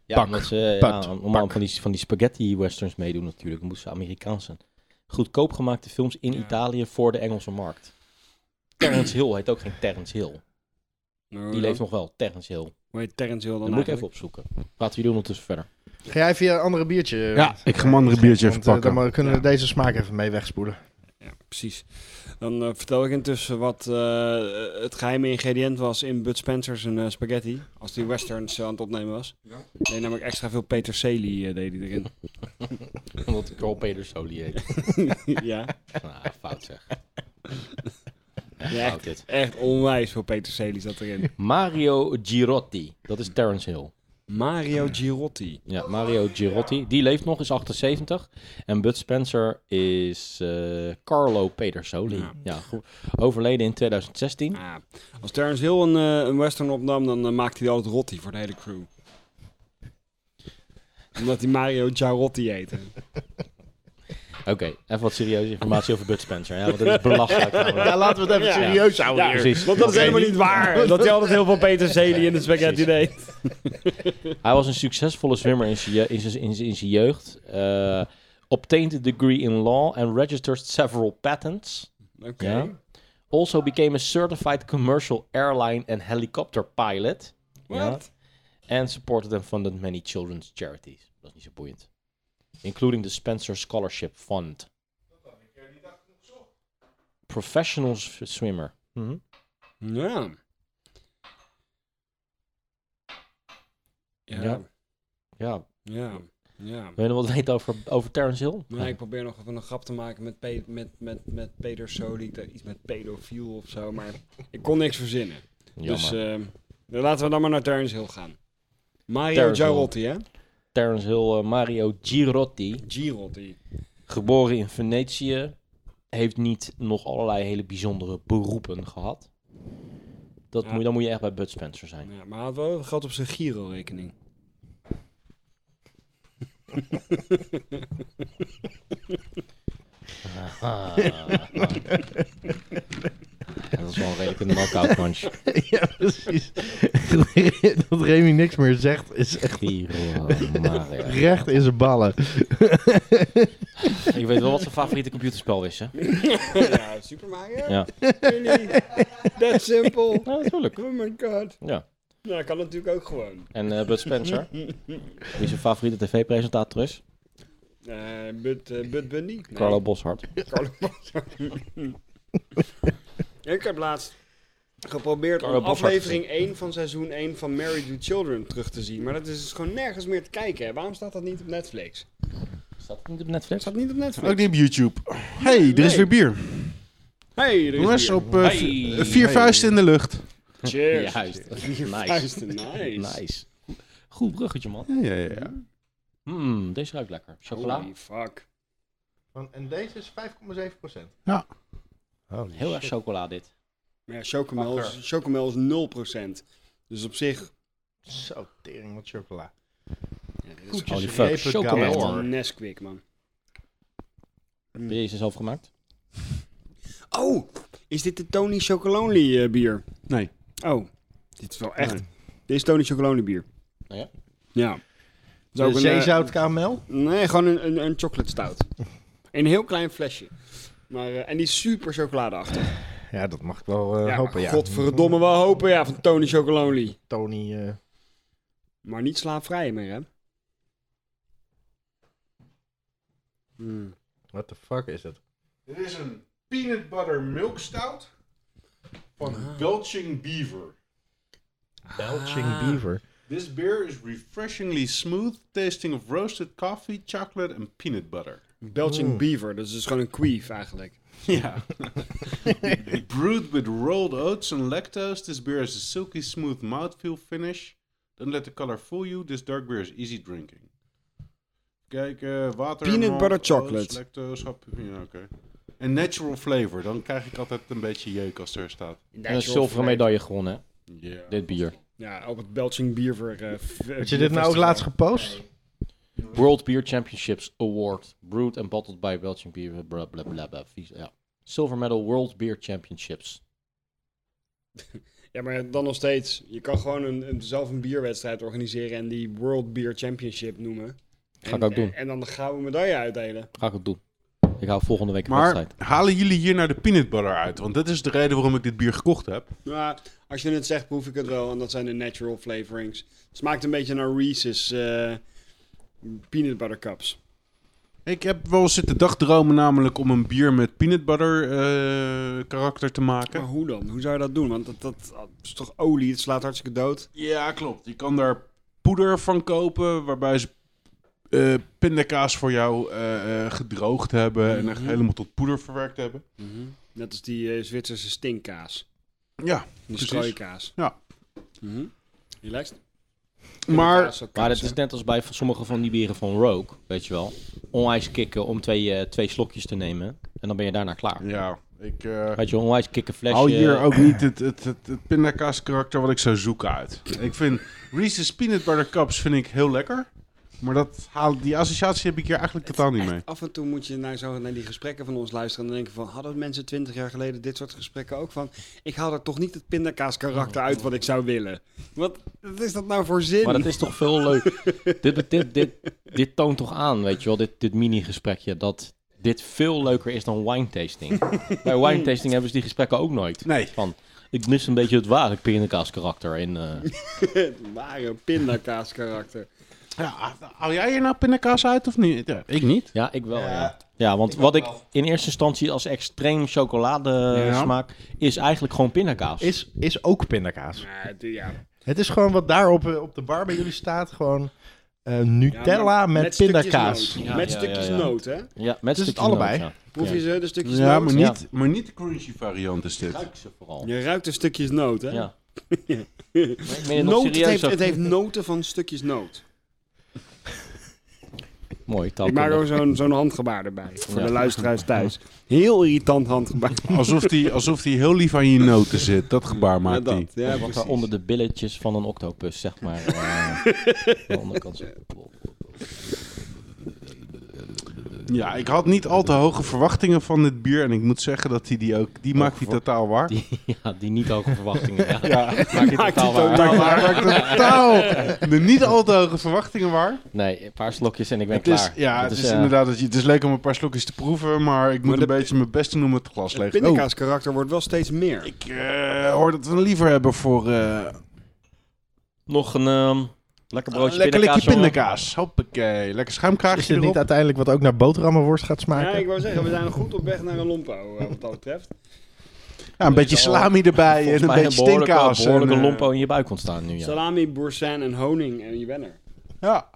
[SPEAKER 1] Ja,
[SPEAKER 2] Pak,
[SPEAKER 1] omdat ze eh,
[SPEAKER 2] pak,
[SPEAKER 1] ja, normaal
[SPEAKER 2] pak.
[SPEAKER 1] van die, van die spaghetti westerns meedoen natuurlijk. Dan moesten ze Amerikaans zijn. Goedkoop gemaakte films in
[SPEAKER 3] Ja.
[SPEAKER 1] Italië voor de Engelse markt. Terrence Hill heet ook geen Terrence Hill.
[SPEAKER 3] Nou,
[SPEAKER 1] Die leeft nog wel, Terrence Hill.
[SPEAKER 3] Hoe heet Terrence Hill
[SPEAKER 1] Dat
[SPEAKER 3] dan
[SPEAKER 1] moet ik even
[SPEAKER 3] eigenlijk?
[SPEAKER 1] opzoeken. Laten we doen ondertussen verder.
[SPEAKER 2] Ga jij via een andere biertje? eh,
[SPEAKER 4] Ja, ik ga een andere biertje even
[SPEAKER 2] Want, eh,
[SPEAKER 4] pakken.
[SPEAKER 2] Dan kunnen we
[SPEAKER 3] Ja.
[SPEAKER 2] deze smaak even mee wegspoelen.
[SPEAKER 3] Ja, precies. Dan eh, vertel ik intussen wat eh, het geheime ingrediënt was in Bud Spencer's een eh, spaghetti. Als die westerns eh, aan het opnemen was. Nee, namelijk extra veel peterselie eh, deed hij erin.
[SPEAKER 1] Omdat Carl Pedersoli heet.
[SPEAKER 3] ja.
[SPEAKER 1] Ah, fout zeg.
[SPEAKER 3] ja echt,
[SPEAKER 1] Fout dit.
[SPEAKER 3] echt onwijs veel peterselie zat erin.
[SPEAKER 1] Mario Girotti. Dat is Terrence Hill.
[SPEAKER 3] Mario Girotti.
[SPEAKER 1] Ja, Mario Girotti. Die leeft nog, is 78. En Bud Spencer is eh, Carlo Pedersoli.
[SPEAKER 3] Ja.
[SPEAKER 1] Ja. goed. Overleden in 2016.
[SPEAKER 3] Ah, als Terrence Hill een, eh, een western opnam, dan eh, maakte hij altijd rotti voor de hele crew. Omdat hij Mario Girotti heette.
[SPEAKER 1] Oké, even wat serieuze informatie over Bud Spencer. Ja, want dat is belachelijk. namelijk.
[SPEAKER 2] Ja, laten we het even
[SPEAKER 3] Ja.
[SPEAKER 2] serieus houden
[SPEAKER 3] Ja,
[SPEAKER 2] hier.
[SPEAKER 1] precies.
[SPEAKER 3] Want dat is
[SPEAKER 1] Oké.
[SPEAKER 3] helemaal niet waar. Dat hij altijd heel veel peterselie in de spaghetti deed.
[SPEAKER 1] Hij was een succesvolle zwemmer in zijn je- in zijn- in zijn- in zijn jeugd. Eh obtained a degree in law and registered several patents.
[SPEAKER 3] Oké.
[SPEAKER 1] Ja. Also became a certified commercial airline and helicopter pilot.
[SPEAKER 3] Wat?
[SPEAKER 1] Ja. And supported and funded many children's charities. Dat is niet zo boeiend. Including the Spencer Scholarship Fund. Professional s- swimmer.
[SPEAKER 3] Ja. Ja. Ja.
[SPEAKER 1] Ja. Ja,
[SPEAKER 3] Ja.
[SPEAKER 1] wil je nog wat weten over, over Terence Hill?
[SPEAKER 3] Maar ik probeer nog even een grap te maken met, pe met, met, met Peter Soli. Iets met pedofiel of zo. Maar ik kon niks verzinnen.
[SPEAKER 1] Jammer.
[SPEAKER 3] Dus ehm, dan laten we dan maar naar Terrence Hill gaan. Mario
[SPEAKER 1] Terrence Hill.
[SPEAKER 3] Girotti, hè?
[SPEAKER 1] Terence Hill, eh, Mario Girotti,
[SPEAKER 3] Girotti.
[SPEAKER 1] geboren in Venetië, heeft niet nog allerlei hele bijzondere beroepen gehad. Dat
[SPEAKER 3] Ja.
[SPEAKER 1] moet, dan moet je echt bij Bud Spencer zijn.
[SPEAKER 3] Ja, maar hij had wel geld op zijn Giro-rekening.
[SPEAKER 1] Ah. dat
[SPEAKER 7] is
[SPEAKER 1] is
[SPEAKER 7] wel redelijk een knockout punch.
[SPEAKER 2] ja, precies. dat Remy niks meer zegt is echt
[SPEAKER 7] Giro, Maria.
[SPEAKER 2] recht in zijn ballen.
[SPEAKER 1] Ik weet wel wat zijn favoriete computerspel is, hè?
[SPEAKER 3] ja, Super Mario?
[SPEAKER 1] Ja.
[SPEAKER 3] Really? That's simple.
[SPEAKER 1] Ja, natuurlijk.
[SPEAKER 3] Oh my god.
[SPEAKER 1] Ja.
[SPEAKER 3] Nou, dat kan natuurlijk ook gewoon.
[SPEAKER 1] En eh, Bud Spencer, die zijn favoriete tv-presentator is.
[SPEAKER 3] Eh but, eh, but Bundy? Nee.
[SPEAKER 1] Carlo Boshart.
[SPEAKER 3] Carlo Bossard. Ik heb laatst geprobeerd
[SPEAKER 1] Carlo
[SPEAKER 3] om
[SPEAKER 1] Bossard
[SPEAKER 3] aflevering 1 van seizoen 1 van Married to Children terug te zien. Maar dat is dus gewoon nergens meer te kijken. hè. Waarom staat dat niet op Netflix?
[SPEAKER 1] Staat het niet op Netflix?
[SPEAKER 3] Staat niet op Netflix.
[SPEAKER 4] Ook niet op YouTube. hey, er is
[SPEAKER 3] Nee.
[SPEAKER 4] weer bier.
[SPEAKER 3] Hey, er is
[SPEAKER 4] Jongens,
[SPEAKER 3] bier.
[SPEAKER 4] op eh,
[SPEAKER 1] Hey.
[SPEAKER 4] vi- vier vuisten in de lucht.
[SPEAKER 3] Cheers.
[SPEAKER 1] Juist. Nice.
[SPEAKER 3] Juist, nice.
[SPEAKER 1] Nice. Goed bruggetje, man.
[SPEAKER 4] Ja, ja, ja.
[SPEAKER 1] Mm, deze ruikt lekker.
[SPEAKER 4] Oh,
[SPEAKER 1] Chocola.
[SPEAKER 3] Holy fuck.
[SPEAKER 6] Van- En deze is 5,7 procent.
[SPEAKER 2] Ja.
[SPEAKER 1] Heel erg chocola dit.
[SPEAKER 3] Maar ja, chocomel is, chocomel is 0%. Dus op zich...
[SPEAKER 6] Zo, tering wat chocola.
[SPEAKER 3] Ja, dit is
[SPEAKER 6] Koetjes,
[SPEAKER 1] holy fuck,
[SPEAKER 6] repen,
[SPEAKER 1] chocomel.
[SPEAKER 3] echt
[SPEAKER 6] galore.
[SPEAKER 3] een Nesquik, man.
[SPEAKER 1] Heb
[SPEAKER 4] Hmm.
[SPEAKER 1] je deze zelf gemaakt?
[SPEAKER 3] Oh, is dit de Tony Chocolonely eh, bier?
[SPEAKER 4] Nee.
[SPEAKER 3] Oh, dit is wel echt. Dit is Tony Chocolonely bier.
[SPEAKER 1] Oh ja?
[SPEAKER 3] Ja. Dus ook
[SPEAKER 6] De
[SPEAKER 3] een, eh,
[SPEAKER 6] zeezout karamel?
[SPEAKER 3] nee, gewoon een, een, een chocolate stout. In een heel klein flesje. Maar, eh, en die is super chocoladeachtig.
[SPEAKER 6] Ja, dat mag ik wel eh,
[SPEAKER 3] ja,
[SPEAKER 6] hopen, ja.
[SPEAKER 3] Godverdomme, we hopen ja van Tony Chocolonely.
[SPEAKER 6] Tony, eh,
[SPEAKER 3] Maar niet slaafvrij meer, hè? Hmm.
[SPEAKER 6] what the fuck is dat?
[SPEAKER 4] Dit is een peanut butter milk stout van Belching Beaver.
[SPEAKER 6] Belching
[SPEAKER 3] Ah.
[SPEAKER 6] Beaver.
[SPEAKER 4] This beer is refreshingly smooth, tasting of roasted coffee, chocolate and peanut butter.
[SPEAKER 3] Belching Beaver, dat is dus gewoon een queef eigenlijk.
[SPEAKER 4] Ja. Brewed with rolled oats and lactose, this beer has a silky smooth mouthfeel finish. Don't let the color fool you, this dark beer is easy drinking. Kijk, eh, water,
[SPEAKER 3] Peanut
[SPEAKER 4] malt,
[SPEAKER 3] butter
[SPEAKER 4] oats,
[SPEAKER 3] chocolate.
[SPEAKER 4] lactose, hap, ja, oké. En natural flavor, dan krijg ik altijd een beetje jeuk als het er staat.
[SPEAKER 1] En een zilveren medaille gewonnen, hè?
[SPEAKER 4] Ja.
[SPEAKER 1] Dit bier.
[SPEAKER 3] Ja, op het Belching Beaver. eh, f-
[SPEAKER 6] Had je dit nou ook laatst gepost?
[SPEAKER 1] World Beer Championships Award. Brewed and bottled by Belgian Beer. Bla bla bla. bla. Vies- Ja. Silver medal World Beer Championships.
[SPEAKER 3] Ja, maar dan nog steeds. Je kan gewoon een, een, zelf een bierwedstrijd organiseren en die World Beer Championship noemen.
[SPEAKER 1] Ga
[SPEAKER 3] en,
[SPEAKER 1] ik ook doen.
[SPEAKER 3] En, en dan de gouden medaille uitdelen.
[SPEAKER 1] Ga ik het doen. Ik hou volgende week een
[SPEAKER 4] Maar
[SPEAKER 1] wedstrijd.
[SPEAKER 4] halen jullie hier nou de peanut butter uit? Want dat is de reden waarom ik dit bier gekocht heb.
[SPEAKER 3] Maar als je het zegt, proef ik het wel. En dat zijn de natural flavorings. Het smaakt een beetje naar Reese's eh, peanut butter cups.
[SPEAKER 4] Ik heb wel zitten dagdromen namelijk om een bier met peanut butter eh, karakter te maken.
[SPEAKER 3] Maar hoe dan? Hoe zou je dat doen? Want dat, dat, dat is toch olie? Het slaat hartstikke dood.
[SPEAKER 4] Ja, klopt. Je kan daar poeder van kopen, waarbij ze eh, pindakaas voor jou eh, eh, gedroogd hebben en
[SPEAKER 1] Mhm.
[SPEAKER 4] echt helemaal tot poeder verwerkt hebben.
[SPEAKER 3] Net als die eh, Zwitserse stinkkaas.
[SPEAKER 4] Ja,
[SPEAKER 3] De
[SPEAKER 1] Dus
[SPEAKER 4] Precies.
[SPEAKER 3] strooikaas.
[SPEAKER 4] Ja.
[SPEAKER 3] Mhm. Relaxed.
[SPEAKER 4] maar
[SPEAKER 3] Kaas, ook
[SPEAKER 1] Maar
[SPEAKER 3] kaas,
[SPEAKER 1] het is net als bij van sommige van die bieren van Rogue, weet je wel. Onwijs kicken om twee, eh, twee slokjes te nemen. En dan ben je daarna klaar.
[SPEAKER 4] ja, ik eh
[SPEAKER 1] Weet je, onwijs kicken flesje.
[SPEAKER 4] haal hier ook niet het, het, het, het pindakaas karakter wat ik zou zoeken uit. Ik vind Reese's Peanut Butter Cups vind ik heel lekker, maar dat haal, die associatie heb ik hier eigenlijk totaal niet mee.
[SPEAKER 3] Af en toe moet je naar, zo, naar die gesprekken van ons luisteren en denken van... hadden mensen twintig jaar geleden dit soort gesprekken ook van... ik haal er toch niet het pindakaas karakter uit wat ik zou willen. Wat, wat is dat nou voor zin?
[SPEAKER 1] Maar dat is toch veel leuk. dit, dit, dit, dit toont toch aan, weet je wel, dit, dit mini-gesprekje, dat dit veel leuker is dan wine tasting. bij wine tasting hebben ze die gesprekken ook nooit.
[SPEAKER 4] Nee.
[SPEAKER 1] Van, ik mis een beetje het ware pindakaas karakter in. eh,
[SPEAKER 3] Het ware pindakaas karakter.
[SPEAKER 4] Ja, haal jij hier nou pindakaas uit of niet? Ja, ik niet.
[SPEAKER 1] Ja, ik wel. Ja, ja. want wat ik in eerste instantie als extreem chocolade
[SPEAKER 4] Ja.
[SPEAKER 1] smaak is eigenlijk gewoon pindakaas.
[SPEAKER 2] Is, is ook pindakaas.
[SPEAKER 3] Ja, het- ja.
[SPEAKER 2] Het is gewoon wat daar op, eh, op de bar bij jullie staat. Gewoon eh,
[SPEAKER 3] Ja,
[SPEAKER 2] Nutella
[SPEAKER 3] maar
[SPEAKER 2] met,
[SPEAKER 3] stukjes
[SPEAKER 2] pindakaas.
[SPEAKER 3] noot.
[SPEAKER 1] Ja,
[SPEAKER 3] met
[SPEAKER 1] ja, ja,
[SPEAKER 3] stukjes
[SPEAKER 1] ja.
[SPEAKER 3] noot, hè?
[SPEAKER 1] ja, met
[SPEAKER 2] Dus het
[SPEAKER 1] stukjes
[SPEAKER 2] allebei?
[SPEAKER 1] noot, ja.
[SPEAKER 3] Proef je ze, de stukjes
[SPEAKER 4] Ja,
[SPEAKER 3] noot?
[SPEAKER 4] maar
[SPEAKER 1] Ja.
[SPEAKER 4] niet, maar niet de crunchy variant is dit.
[SPEAKER 1] Ruik ze vooral.
[SPEAKER 3] Je ruikt de stukjes noot, hè?
[SPEAKER 1] Ja. Maar ik meen het nog
[SPEAKER 3] Noot, het,
[SPEAKER 1] serieus
[SPEAKER 3] heeft,
[SPEAKER 1] ook.
[SPEAKER 3] het heeft noten van stukjes noot.
[SPEAKER 1] Mooi,
[SPEAKER 3] Ik maak
[SPEAKER 1] taalkundig.
[SPEAKER 3] ook zo'n zo'n handgebaar erbij. Voor
[SPEAKER 1] Ja.
[SPEAKER 3] de luisteraars thuis. Heel irritant handgebaar.
[SPEAKER 4] Alsof die, alsof die heel lief aan je noten zit. Dat gebaar
[SPEAKER 3] Ja,
[SPEAKER 4] maakt hij.
[SPEAKER 3] dat. Ja,
[SPEAKER 1] Wat
[SPEAKER 3] precies.
[SPEAKER 1] daar onder de billetjes van een octopus, zeg maar. eh, de onderkant. zo.
[SPEAKER 4] Ja, ik had niet al te hoge verwachtingen van dit bier. En ik moet zeggen dat hij die ook... Die maakt hij
[SPEAKER 1] voor-
[SPEAKER 4] totaal waar.
[SPEAKER 1] Die, ja, die niet hoge verwachtingen. Ja,
[SPEAKER 4] Ja.
[SPEAKER 1] maakt het totaal waar.
[SPEAKER 4] maakt totaal de niet al te hoge verwachtingen waar.
[SPEAKER 1] Nee, een paar slokjes en ik ben
[SPEAKER 4] Het
[SPEAKER 1] klaar.
[SPEAKER 4] is, ja,
[SPEAKER 1] Dat
[SPEAKER 4] het is,
[SPEAKER 1] eh,
[SPEAKER 4] inderdaad... dat je- Het is leuk om een paar slokjes te proeven, maar ik moet
[SPEAKER 3] de-
[SPEAKER 4] een beetje mijn best doen om het glas
[SPEAKER 3] Het
[SPEAKER 4] leeg te oh,
[SPEAKER 3] pindakaas karakter wordt wel steeds meer.
[SPEAKER 4] Ik eh, hoor dat we een liever hebben voor... eh,
[SPEAKER 1] Nog een ehm, lekker broodje
[SPEAKER 4] Ah,
[SPEAKER 1] pindakaas.
[SPEAKER 4] lekker likje
[SPEAKER 1] jongen.
[SPEAKER 4] pindakaas. Hoppakee. Lekker
[SPEAKER 2] Is
[SPEAKER 4] schuimkraagje
[SPEAKER 2] dit niet
[SPEAKER 4] erop.
[SPEAKER 2] uiteindelijk wat ook naar boterhammenworst gaat
[SPEAKER 3] Ja,
[SPEAKER 2] smaken?
[SPEAKER 3] ik wou zeggen, we zijn goed op weg naar een lompo, eh, wat dat betreft.
[SPEAKER 4] Ja, een beetje salami erbij
[SPEAKER 1] Volgens
[SPEAKER 4] en een
[SPEAKER 1] mij een
[SPEAKER 4] beetje
[SPEAKER 1] behoorlijke,
[SPEAKER 4] steenkaas.
[SPEAKER 1] behoorlijke
[SPEAKER 4] en, eh,
[SPEAKER 1] lompo in je buik ontstaan nu, ja.
[SPEAKER 3] Salami, boursin en honing en je bent er.
[SPEAKER 4] Ja.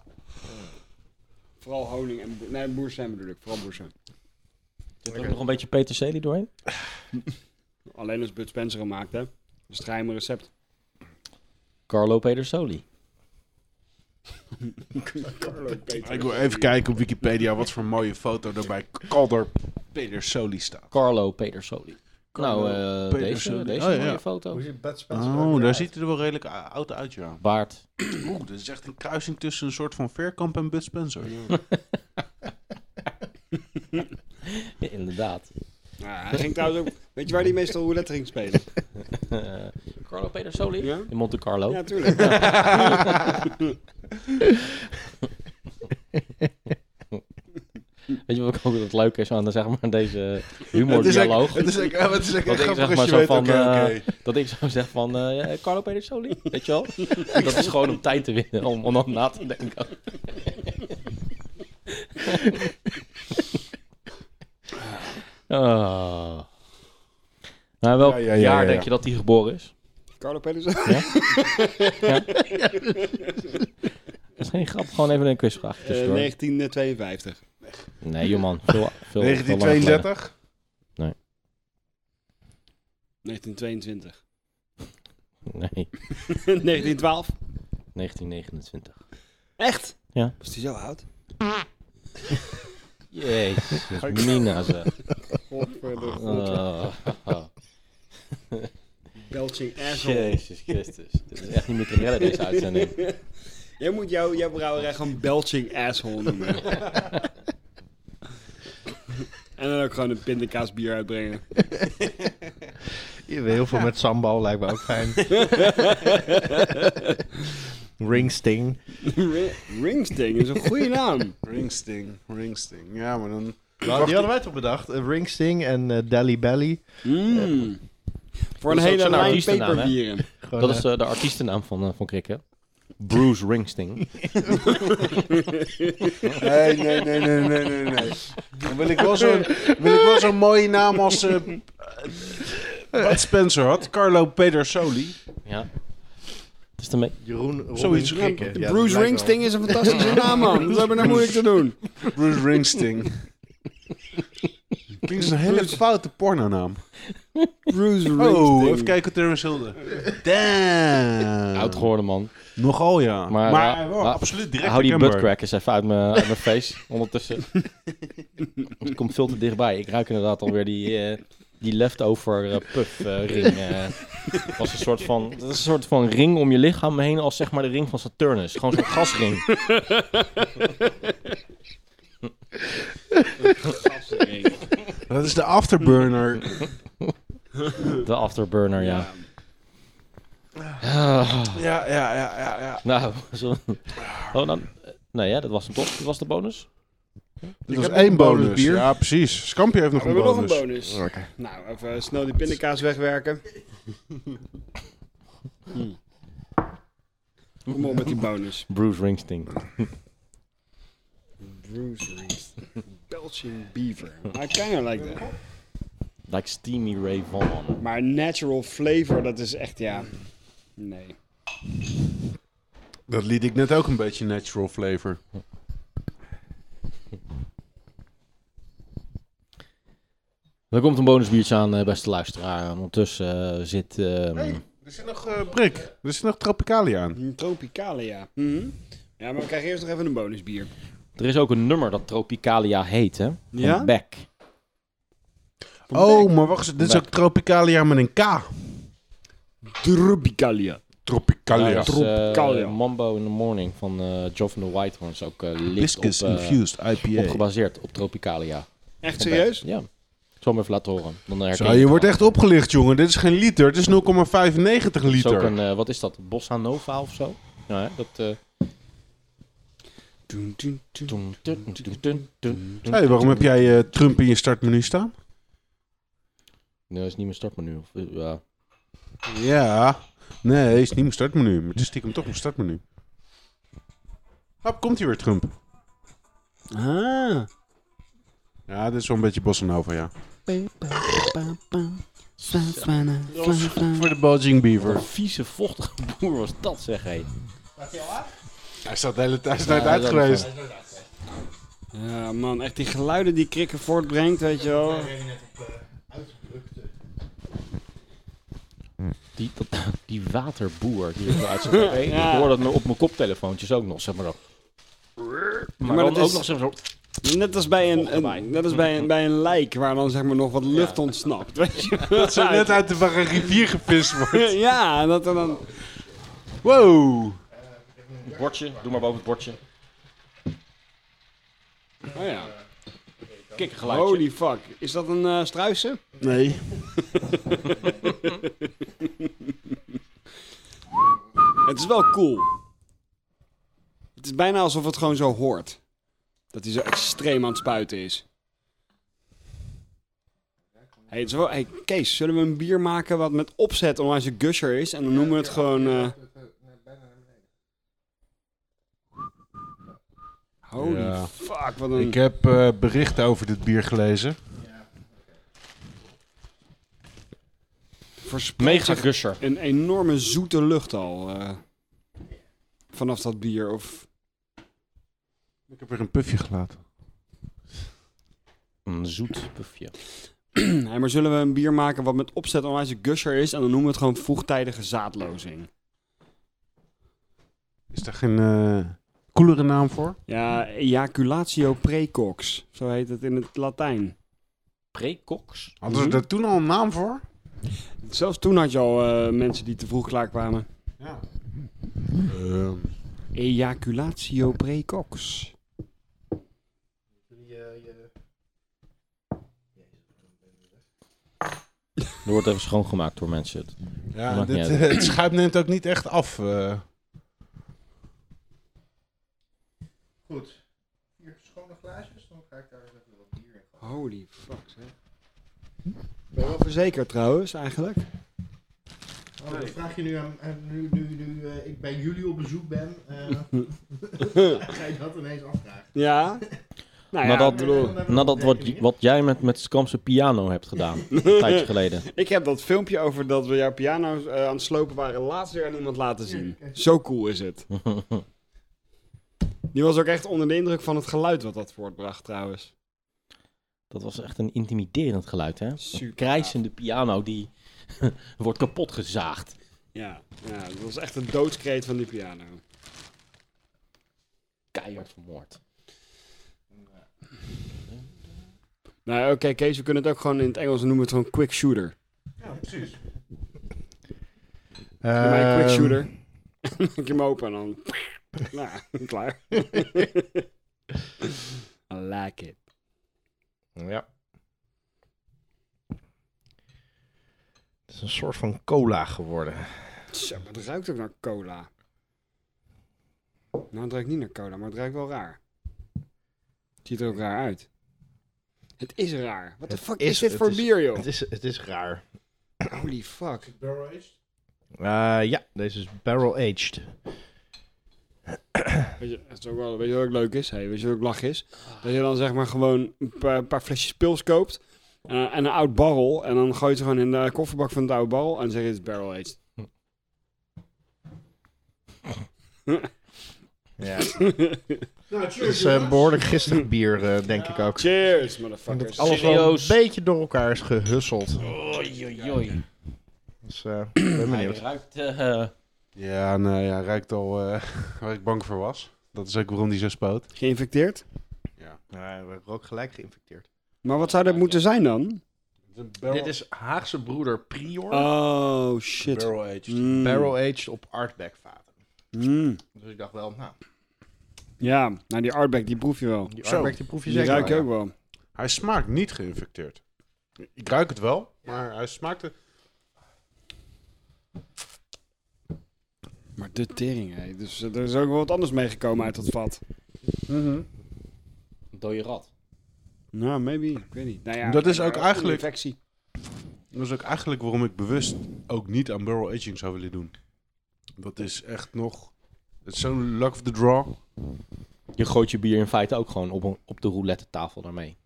[SPEAKER 3] Vooral honing en... bo- Nee, boursin bedoel ik. Vooral boursin.
[SPEAKER 1] Zit er ook nog een beetje peterselie doorheen?
[SPEAKER 3] Alleen als Bud Spencer hem maakt, hè. Dat is het geheime recept.
[SPEAKER 1] Carlo Petersoli.
[SPEAKER 3] Carlo Peter.
[SPEAKER 4] Ik wil even kijken op Wikipedia wat voor mooie foto er bij Calder Pedersoli staat.
[SPEAKER 1] Carlo Petersoli.
[SPEAKER 4] Carlo
[SPEAKER 1] nou, eh,
[SPEAKER 4] Petersoli.
[SPEAKER 1] deze, deze
[SPEAKER 4] Oh, ja.
[SPEAKER 1] mooie foto.
[SPEAKER 6] Hoe ziet Bud Spencer ook
[SPEAKER 4] Oh,
[SPEAKER 6] weer
[SPEAKER 4] daar
[SPEAKER 6] uit?
[SPEAKER 4] ziet hij er wel redelijk eh, oud uit, ja.
[SPEAKER 1] Baard.
[SPEAKER 4] Oeh, dat is echt een kruising tussen een soort van Veerkamp en Bud Spencer.
[SPEAKER 1] Inderdaad.
[SPEAKER 3] Ja, hij ging trouwens ook... Weet je waar die meestal roulette ging spelen?
[SPEAKER 1] Eh, Carlo Petersoli?
[SPEAKER 3] Ja?
[SPEAKER 1] In Monte Carlo.
[SPEAKER 3] Oh. Ja, tuurlijk.
[SPEAKER 1] Weet je wat ik ook het leuke is aan de, zeg maar, deze
[SPEAKER 4] Het is echt-
[SPEAKER 1] humordialoog?
[SPEAKER 4] Het is echt- het is echt
[SPEAKER 1] Dat ik
[SPEAKER 4] grappig
[SPEAKER 1] zeg
[SPEAKER 4] als
[SPEAKER 1] maar
[SPEAKER 4] je
[SPEAKER 1] zo
[SPEAKER 4] weet,
[SPEAKER 1] van,
[SPEAKER 4] oké, oké.
[SPEAKER 1] eh, Dat ik zo zeg van, eh, Carlo Petersoli, weet je wel? Dat is gewoon om tijd te winnen, om, om dan na te denken. Ah. Nou, welk
[SPEAKER 4] Ja, ja, ja,
[SPEAKER 1] jaar
[SPEAKER 4] ja, ja.
[SPEAKER 1] denk je dat hij geboren is?
[SPEAKER 3] Carlo Peter.
[SPEAKER 1] Dat is geen grap, gewoon even een quizvraag.
[SPEAKER 3] Eh, 1952.
[SPEAKER 1] nee, joh man. Veel, veel, veel langer geleden.
[SPEAKER 4] 1932?
[SPEAKER 3] 1922.
[SPEAKER 1] Nee,
[SPEAKER 3] 1912.
[SPEAKER 1] 1929.
[SPEAKER 3] Echt?
[SPEAKER 1] Ja.
[SPEAKER 3] Was die zo oud?
[SPEAKER 1] Jezus, Mina zeg. Ah.
[SPEAKER 3] Oh, Belching asshole.
[SPEAKER 1] Jezus Christus. Dit is echt niet meer te redden, deze uitzending.
[SPEAKER 3] Jij moet jouw, jouw brouwerij gewoon belching asshole noemen. en dan ook gewoon een pindakaasbier uitbrengen.
[SPEAKER 2] Heel veel met sambal lijkt me ook fijn. Ringsting.
[SPEAKER 3] Ri- Ringsting is een goede naam.
[SPEAKER 4] Ringsting, Ringsting. Ja, maar dan...
[SPEAKER 2] Nou, die hadden wij toch bedacht? Eh, Ringsting en eh Dally Belly.
[SPEAKER 3] Mm. Voor
[SPEAKER 1] Dat
[SPEAKER 3] een
[SPEAKER 1] is ook
[SPEAKER 3] hele
[SPEAKER 1] zo'n
[SPEAKER 3] lijn
[SPEAKER 1] artiestennaam, hè?
[SPEAKER 3] peperbieren.
[SPEAKER 2] Gewoon,
[SPEAKER 1] Dat
[SPEAKER 2] eh,
[SPEAKER 1] is eh, de artiestennaam van, eh, van Krik, hè? Bruce Ringsting.
[SPEAKER 4] Nee, nee, nee, nee, nee, nee, nee. Dan wil ik wel zo'n, wil ik wel zo'n mooie naam als... eh Bud Spencer had, Carlo Pedersoli.
[SPEAKER 1] Ja. Het is ermee.
[SPEAKER 2] Jeroen Robin
[SPEAKER 4] Zoiets.
[SPEAKER 2] Krikke. Ja, die lijkt
[SPEAKER 3] Bruce
[SPEAKER 2] wel.
[SPEAKER 3] Ringsting is een fantastische naam, man. Dat hebben we nou moeilijk te doen.
[SPEAKER 4] Bruce Ringsting. Klinkt als een hele foute pornonaam.
[SPEAKER 3] Bruce Ringsting.
[SPEAKER 4] Oh, even kijken op Terrence Hilde. Damn.
[SPEAKER 1] Oud geworden, man.
[SPEAKER 4] Nogal ja.
[SPEAKER 1] Maar,
[SPEAKER 4] Maar,
[SPEAKER 1] eh,
[SPEAKER 4] wel
[SPEAKER 1] maar-
[SPEAKER 4] absoluut direct
[SPEAKER 1] Hou die
[SPEAKER 4] herkenbaar.
[SPEAKER 1] buttcrack eens even uit mijn, uit mijn face ondertussen. Het komt veel te dichtbij. Ik ruik inderdaad alweer die, eh, die leftover eh, puff eh, ring. eh. Het was een soort van, dat is een soort van ring om je lichaam heen als zeg maar de ring van Saturnus. Gewoon zo'n gasring.
[SPEAKER 4] Dat is de afterburner.
[SPEAKER 1] De afterburner, ja.
[SPEAKER 4] ja, ja, ja, ja, ja.
[SPEAKER 1] Ah. Nou, zo. Oh, dan. Nee, ja, dat was hem toch? Dat was de bonus?
[SPEAKER 4] Dit
[SPEAKER 2] Ik
[SPEAKER 4] was
[SPEAKER 2] heb nog
[SPEAKER 4] één
[SPEAKER 2] een
[SPEAKER 4] bonus.
[SPEAKER 2] bonus bier.
[SPEAKER 4] Ja, precies. Scampje heeft nog
[SPEAKER 3] We
[SPEAKER 4] een
[SPEAKER 3] hebben nog een
[SPEAKER 4] bonus.
[SPEAKER 3] bonus. Nou, even snel die pindakaas wegwerken. Hmm. Kom op met die bonus.
[SPEAKER 1] Bruce Ringsting.
[SPEAKER 3] Bruce Reese. Belching Beaver. I kinda like that.
[SPEAKER 1] Like Steamy Ray Vaughan.
[SPEAKER 3] Maar natural flavor, dat is echt, ja... Nee.
[SPEAKER 4] Dat liet ik net ook een beetje natural flavor.
[SPEAKER 1] Er komt een bonusbiertje aan, eh, beste luisteraar. Ondertussen eh, zit... ehm,
[SPEAKER 4] Er zit nog eh prik. Er zit nog Tropicalia aan.
[SPEAKER 3] Een Tropicalia. Mhm. Ja, maar we krijgen eerst nog even een bonusbier.
[SPEAKER 1] Er is ook een nummer dat Tropicalia heet, hè? Van
[SPEAKER 3] Ja?
[SPEAKER 1] Beck.
[SPEAKER 4] Oh, maar wacht eens. Dit is
[SPEAKER 1] Beck.
[SPEAKER 4] ook Tropicalia met een K.
[SPEAKER 3] Tropicalia.
[SPEAKER 4] Tropic. Kalia.
[SPEAKER 1] Daar is, eh,
[SPEAKER 3] Kalia.
[SPEAKER 1] Mambo in the Morning van eh Joff and the Whitehorns ook eh licht op,
[SPEAKER 4] Hibiscus
[SPEAKER 1] eh,
[SPEAKER 4] infused
[SPEAKER 1] op
[SPEAKER 4] IPA.
[SPEAKER 1] gebaseerd, op Tropicalia.
[SPEAKER 3] Echt serieus?
[SPEAKER 1] Ja. Ik zal hem even laten horen. Dan herken
[SPEAKER 4] Zo,
[SPEAKER 1] het
[SPEAKER 4] je
[SPEAKER 1] wel.
[SPEAKER 4] wordt echt opgelicht, jongen. Dit is geen liter, het is 0,95
[SPEAKER 1] Het is ook een,
[SPEAKER 4] liter.
[SPEAKER 1] eh, wat is dat, Bossa Nova of zo? Ja, hè, dat... eh,
[SPEAKER 3] Doen, doen, doen.
[SPEAKER 1] dun, dun, dun, dun, dun, dun.
[SPEAKER 4] Hey, waarom heb jij eh, Trump in je startmenu staan?
[SPEAKER 1] Nee, dat is niet mijn startmenu. Of, eh, ja.
[SPEAKER 4] Ja. Nee, het is niet mijn startmenu, maar het is stiekem toch mijn startmenu. Hop, komt hier weer Trump.
[SPEAKER 3] Ah.
[SPEAKER 4] Ja, dit is wel een beetje bossa nova, ja. Voor de Belgian
[SPEAKER 1] Wat
[SPEAKER 4] Beaver.
[SPEAKER 1] een vieze, vochtige boer was dat, zeg hé.
[SPEAKER 4] Hij staat de hele tijd hij is nooit
[SPEAKER 1] Ja,
[SPEAKER 4] uit
[SPEAKER 1] dat is
[SPEAKER 4] geweest.
[SPEAKER 3] Ja, man, echt die geluiden die krikken voortbrengt, weet je wel.
[SPEAKER 1] Die, dat, die waterboer die ik uit zijn hey, Ik hoor dat nou op mijn koptelefoontjes ook nog, zeg maar. dat- Maar,
[SPEAKER 3] maar
[SPEAKER 1] dan
[SPEAKER 3] dat
[SPEAKER 1] ook
[SPEAKER 3] is-
[SPEAKER 1] nog zeg maar, zo-
[SPEAKER 3] Net als bij een, een, net als bij een, bij een lijk waar dan zeg maar nog wat lucht ontsnapt, weet je wel.
[SPEAKER 4] Dat ze net uit de waar een rivier gevist wordt.
[SPEAKER 3] Ja, dat er dan...
[SPEAKER 4] Wow.
[SPEAKER 1] bordje, doe maar boven het bordje.
[SPEAKER 3] Oh ja.
[SPEAKER 1] Kikkergeluidje.
[SPEAKER 3] Holy fuck. Is dat een eh struisen?
[SPEAKER 4] Nee.
[SPEAKER 3] Het is wel cool. Het is bijna alsof het gewoon zo hoort. Dat hij zo extreem aan het spuiten is. Hey, het is wel, hey, Kees, zullen we een bier maken wat met opzet onwijs een gusher is? En dan noemen we het gewoon... eh, Holy
[SPEAKER 4] Ja.
[SPEAKER 3] fuck, wat een...
[SPEAKER 4] Ik heb eh, berichten over dit bier gelezen.
[SPEAKER 3] verspreidt
[SPEAKER 1] Mega
[SPEAKER 3] zich
[SPEAKER 1] gusher.
[SPEAKER 3] een enorme zoete lucht al. eh, vanaf dat bier. Of
[SPEAKER 4] Ik heb weer een puffje gelaten.
[SPEAKER 1] Een zoet pufje.
[SPEAKER 3] Hé, maar zullen we een bier maken wat met opzet onwijs een gusher is en dan noemen we het gewoon vroegtijdige zaadlozing?
[SPEAKER 4] Is daar geen eh coolere naam voor?
[SPEAKER 3] Ja, ejaculatio precox. Zo heet het in het Latijn.
[SPEAKER 1] Precox?
[SPEAKER 4] Hadden
[SPEAKER 3] Mhm.
[SPEAKER 4] ze daar toen al een naam voor?
[SPEAKER 3] Zelfs toen had je al eh, mensen die te vroeg klaar kwamen.
[SPEAKER 4] Ja. Ehm,
[SPEAKER 3] Ejaculatio precox.
[SPEAKER 1] Er wordt even schoongemaakt door mensen. Het-
[SPEAKER 4] ja,
[SPEAKER 1] Maakt
[SPEAKER 4] dit,
[SPEAKER 1] niet
[SPEAKER 4] eh,
[SPEAKER 1] uit.
[SPEAKER 4] het schuim neemt ook niet echt af. eh.
[SPEAKER 6] Goed. Vier schone glaasjes, dan ga ik daar even wat bier in.
[SPEAKER 3] Holy fuck, hè. Ben je wel verzekerd trouwens, eigenlijk?
[SPEAKER 6] Oh, dat vraag je nu aan, aan- nu, nu, nu eh, ik bij jullie op bezoek ben, eh, ga je dat ineens afvragen.
[SPEAKER 3] Ja. Nou ja,
[SPEAKER 1] Maar dat-
[SPEAKER 3] ik bedoel...
[SPEAKER 1] Nadat wat, wat jij met, met Skamse piano hebt gedaan, een tijdje geleden.
[SPEAKER 3] Ik heb dat filmpje over dat we jouw piano eh, aan het slopen waren laatst weer aan iemand laten zien. Zo cool is het. Die was ook echt onder de indruk van het geluid wat dat voortbracht trouwens.
[SPEAKER 1] Dat was echt een intimiderend geluid, hè?
[SPEAKER 3] Super.
[SPEAKER 1] Een krijsende piano die wordt kapot gezaagd.
[SPEAKER 3] Ja, ja dat was echt een doodskreet van die piano.
[SPEAKER 1] Keihard vermoord.
[SPEAKER 3] Nou oké Kees, we kunnen het ook gewoon in het Engels noemen we het gewoon quick shooter. Doe mij een quick shooter. Dan maak je hem open en dan... nou, klaar. I like it.
[SPEAKER 1] Ja.
[SPEAKER 2] Het is een soort van cola geworden.
[SPEAKER 3] Zo, maar het ruikt ook naar cola. Nou, het ruikt niet naar cola, maar het ruikt wel raar. Het ziet er ook raar uit. Het is raar. Wat de
[SPEAKER 2] Het
[SPEAKER 3] fuck
[SPEAKER 2] is-
[SPEAKER 3] is, dit
[SPEAKER 2] het
[SPEAKER 3] voor
[SPEAKER 2] is-
[SPEAKER 3] bier, joh?
[SPEAKER 2] Het is, het is raar.
[SPEAKER 3] Holy fuck.
[SPEAKER 2] Eh, ja, deze is barrel aged.
[SPEAKER 3] Weet je, het is ook wel, weet je wat ook leuk is? Hey, weet je wat ook lach is? Dat je dan zeg maar gewoon een paar, een paar flesjes pils koopt eh, en een oud barrel. En dan gooi je het gewoon in de kofferbak van het oude barrel en zeg je het is barrel aged.
[SPEAKER 2] Ja. het is eh, behoorlijk gisteren bier, eh, denk ik ook.
[SPEAKER 3] Cheers, motherfuckers.
[SPEAKER 2] Alles wel een
[SPEAKER 1] Serieus?
[SPEAKER 2] beetje door elkaar is gehusseld.
[SPEAKER 1] Oei, oei, oei.
[SPEAKER 2] Dus eh, ik ben
[SPEAKER 1] Hij
[SPEAKER 2] benieuwd.
[SPEAKER 1] ruikt... eh,
[SPEAKER 4] Ja, nou ja, ruikt al eh, waar ik bang voor was. Dat is ook waarom die zo spoot.
[SPEAKER 3] Geïnfecteerd?
[SPEAKER 2] Ja, we hebben ook gelijk geïnfecteerd.
[SPEAKER 3] Maar wat zou dat moeten zijn dan?
[SPEAKER 2] Dit is Haagse broeder Prior.
[SPEAKER 3] Oh, shit.
[SPEAKER 4] barrel aged.
[SPEAKER 3] Mm.
[SPEAKER 2] Barrel-aged op Artback vaten.
[SPEAKER 3] Mm.
[SPEAKER 2] Dus ik dacht wel, nou,
[SPEAKER 3] Ja, nou die artback, die proef je wel.
[SPEAKER 2] die
[SPEAKER 4] Zo.
[SPEAKER 2] Artback die proef je
[SPEAKER 3] Die
[SPEAKER 2] zeker
[SPEAKER 3] ruik je
[SPEAKER 2] wel,
[SPEAKER 3] ook wel.
[SPEAKER 4] Hij smaakt niet geïnfecteerd. Ik ruik het wel, maar hij smaakt het.
[SPEAKER 3] Maar de tering, hé. Dus eh, er is ook wel wat anders meegekomen uit dat vat.
[SPEAKER 1] Een dode rat.
[SPEAKER 3] Nou, maybe. Ik weet niet. Nou ja,
[SPEAKER 4] Dat is
[SPEAKER 3] eh,
[SPEAKER 4] ook eigenlijk-
[SPEAKER 3] Infectie.
[SPEAKER 4] Dat is ook eigenlijk waarom ik bewust ook niet aan barrel aging zou willen doen. Dat is echt nog... Het is zo'n luck of the draw.
[SPEAKER 1] Je gooit je bier in feite ook gewoon op, een- op de roulette tafel daarmee.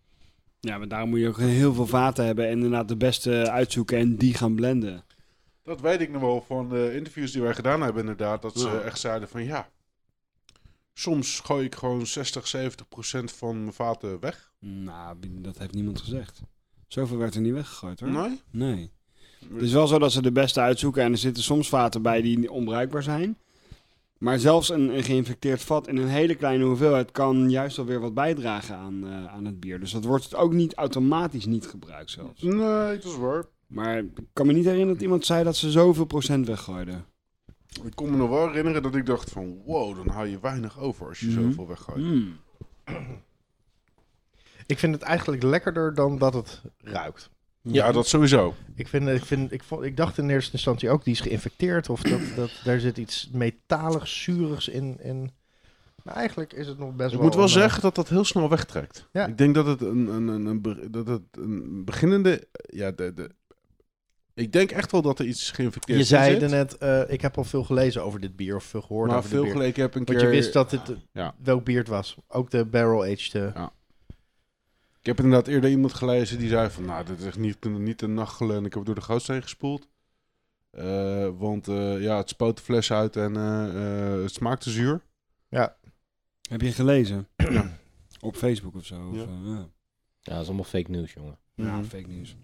[SPEAKER 3] Ja, maar daarom moet je ook heel veel vaten hebben en inderdaad de beste uitzoeken en die gaan blenden.
[SPEAKER 4] Dat weet ik nog wel van de interviews die wij gedaan hebben, inderdaad. Dat ze
[SPEAKER 3] Ja.
[SPEAKER 4] echt zeiden van ja. Soms gooi ik gewoon 60, 70 procent van mijn vaten weg.
[SPEAKER 3] Nou, dat heeft niemand gezegd. Zoveel werd er niet weggegooid, hoor.
[SPEAKER 4] Nee?
[SPEAKER 3] Nee. Het is wel zo dat ze de beste uitzoeken en er zitten soms vaten bij die onbruikbaar zijn. Maar zelfs een, een geïnfecteerd vat in een hele kleine hoeveelheid kan juist alweer wat bijdragen aan, eh, aan het bier. Dus dat wordt ook niet automatisch niet gebruikt zelfs.
[SPEAKER 4] Nee, dat is waar.
[SPEAKER 3] Maar ik kan me niet herinneren dat iemand zei dat ze zoveel procent weggooiden.
[SPEAKER 4] Ik kon me nog wel herinneren dat ik dacht van wow, dan hou je weinig over als je
[SPEAKER 3] Mhm.
[SPEAKER 4] zoveel weggooit.
[SPEAKER 3] Mm.
[SPEAKER 2] ja. Ik vind het eigenlijk lekkerder dan dat het ruikt.
[SPEAKER 4] Ja, dat sowieso.
[SPEAKER 2] Ik, vind, ik, vind, ik, vond- ik dacht in eerste instantie ook, die is geïnfecteerd. Of dat, dat daar zit iets metalig, zuurigs in. in. Maar eigenlijk is het nog best
[SPEAKER 4] Ik
[SPEAKER 2] wel...
[SPEAKER 4] moet wel
[SPEAKER 2] een, eh,
[SPEAKER 4] zeggen dat dat heel snel wegtrekt.
[SPEAKER 2] Ja.
[SPEAKER 4] Ik denk dat het een, een, een, een, be- dat het een beginnende... Ja, de, de, ik denk echt wel dat er iets
[SPEAKER 2] eh,
[SPEAKER 4] geïnfecteerd
[SPEAKER 2] Je
[SPEAKER 4] in
[SPEAKER 2] zei
[SPEAKER 4] zit,
[SPEAKER 2] daarnet, net eh, ik heb al veel gelezen over dit bier. Of veel gehoord
[SPEAKER 4] maar
[SPEAKER 2] over
[SPEAKER 4] veel
[SPEAKER 2] dit bier.
[SPEAKER 4] gelijk heb een
[SPEAKER 2] Want
[SPEAKER 4] keer...
[SPEAKER 2] je wist dat het, eh,
[SPEAKER 4] Ja.
[SPEAKER 2] welk bier het was. Ook de barrel-aged. eh,
[SPEAKER 4] Ik heb inderdaad eerder iemand gelezen die zei van... Nou, dit is echt niet, niet een nachtgel en ik heb het door de gootsteen gespoeld. Eh, want eh, ja, het spoot de fles uit en eh, eh, het smaakte zuur.
[SPEAKER 3] Heb je gelezen?
[SPEAKER 4] Ja.
[SPEAKER 3] Op Facebook of zo? Of,
[SPEAKER 4] Ja.
[SPEAKER 3] eh, ja.
[SPEAKER 1] Ja, dat is allemaal fake news, jongen.
[SPEAKER 3] Ja,
[SPEAKER 4] Mhm.
[SPEAKER 3] fake nieuws.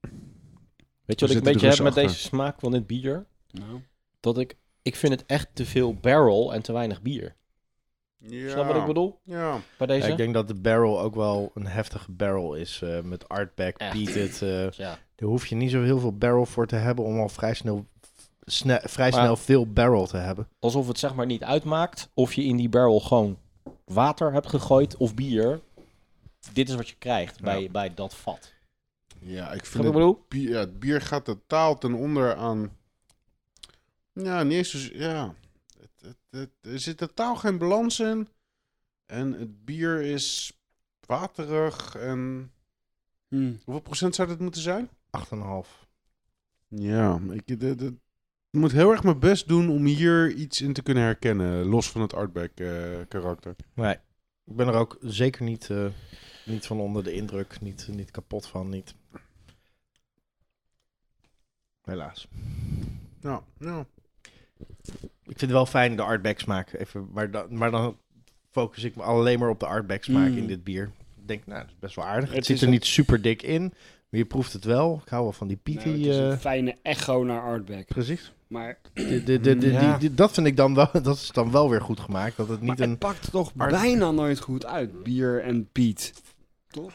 [SPEAKER 1] Weet je wat
[SPEAKER 4] Er
[SPEAKER 1] ik
[SPEAKER 4] zitten
[SPEAKER 1] een beetje heb
[SPEAKER 4] Russen
[SPEAKER 1] met
[SPEAKER 4] achter.
[SPEAKER 1] deze smaak van dit bier?
[SPEAKER 3] Nou.
[SPEAKER 1] Dat ik, ik vind het echt te veel barrel en te weinig bier.
[SPEAKER 4] Ja.
[SPEAKER 1] Snap wat ik bedoel?
[SPEAKER 4] Ja.
[SPEAKER 1] Bij deze?
[SPEAKER 2] Ja, ik denk dat de barrel ook wel een heftige barrel is. eh, met artback,
[SPEAKER 1] Echt.
[SPEAKER 2] peated. eh
[SPEAKER 1] ja.
[SPEAKER 2] daar hoef je niet zo heel veel barrel voor te hebben om al vrij snel, sne- vrij
[SPEAKER 1] Maar-
[SPEAKER 2] snel veel barrel te hebben.
[SPEAKER 1] alsof het zeg maar niet uitmaakt of je in die barrel gewoon water hebt gegooid of bier. Dit is wat je krijgt bij, bij dat vat.
[SPEAKER 4] ja,
[SPEAKER 1] Snap
[SPEAKER 4] ik vind
[SPEAKER 1] je wat ik
[SPEAKER 4] het
[SPEAKER 1] bedoel?
[SPEAKER 4] bier, ja, het bier gaat totaal ten onder aan... Ja, niet eens... zo- Ja. Het, het, het- er zit totaal geen balans in. En het bier is waterig en...
[SPEAKER 3] Hm.
[SPEAKER 4] Hoeveel procent zou dit moeten zijn?
[SPEAKER 2] 8,5.
[SPEAKER 4] Ja, ik, de, de, ik moet heel erg mijn best doen om hier iets in te kunnen herkennen. Los van het artback eh, karakter.
[SPEAKER 2] Nee. Ik ben er ook zeker niet, eh, niet van onder de indruk. Niet, niet kapot van, niet. Helaas.
[SPEAKER 4] Ja, ja.
[SPEAKER 2] Ik vind het wel fijn de artback smaak. Even, maar, dan, maar dan focus ik me alleen maar op de artback smaak
[SPEAKER 3] Mm.
[SPEAKER 2] in dit bier. Ik denk, nou, dat is best wel aardig. Het,
[SPEAKER 3] Het
[SPEAKER 2] zit
[SPEAKER 3] is
[SPEAKER 2] er
[SPEAKER 3] een-
[SPEAKER 2] niet super dik in, maar je proeft het wel. Ik hou wel van die
[SPEAKER 3] Nou,
[SPEAKER 2] pietie.
[SPEAKER 3] het is een
[SPEAKER 2] eh,
[SPEAKER 3] fijne echo naar Artback.
[SPEAKER 2] precies.
[SPEAKER 3] Maar,
[SPEAKER 2] De- de- de- de-
[SPEAKER 3] Ja.
[SPEAKER 2] die- die- dat vind ik dan wel, dat is dan wel weer goed gemaakt. Dat het
[SPEAKER 3] maar
[SPEAKER 2] niet
[SPEAKER 3] het
[SPEAKER 2] een...
[SPEAKER 3] pakt toch
[SPEAKER 2] Art-
[SPEAKER 3] bijna nooit goed uit, bier en Piet. Toch?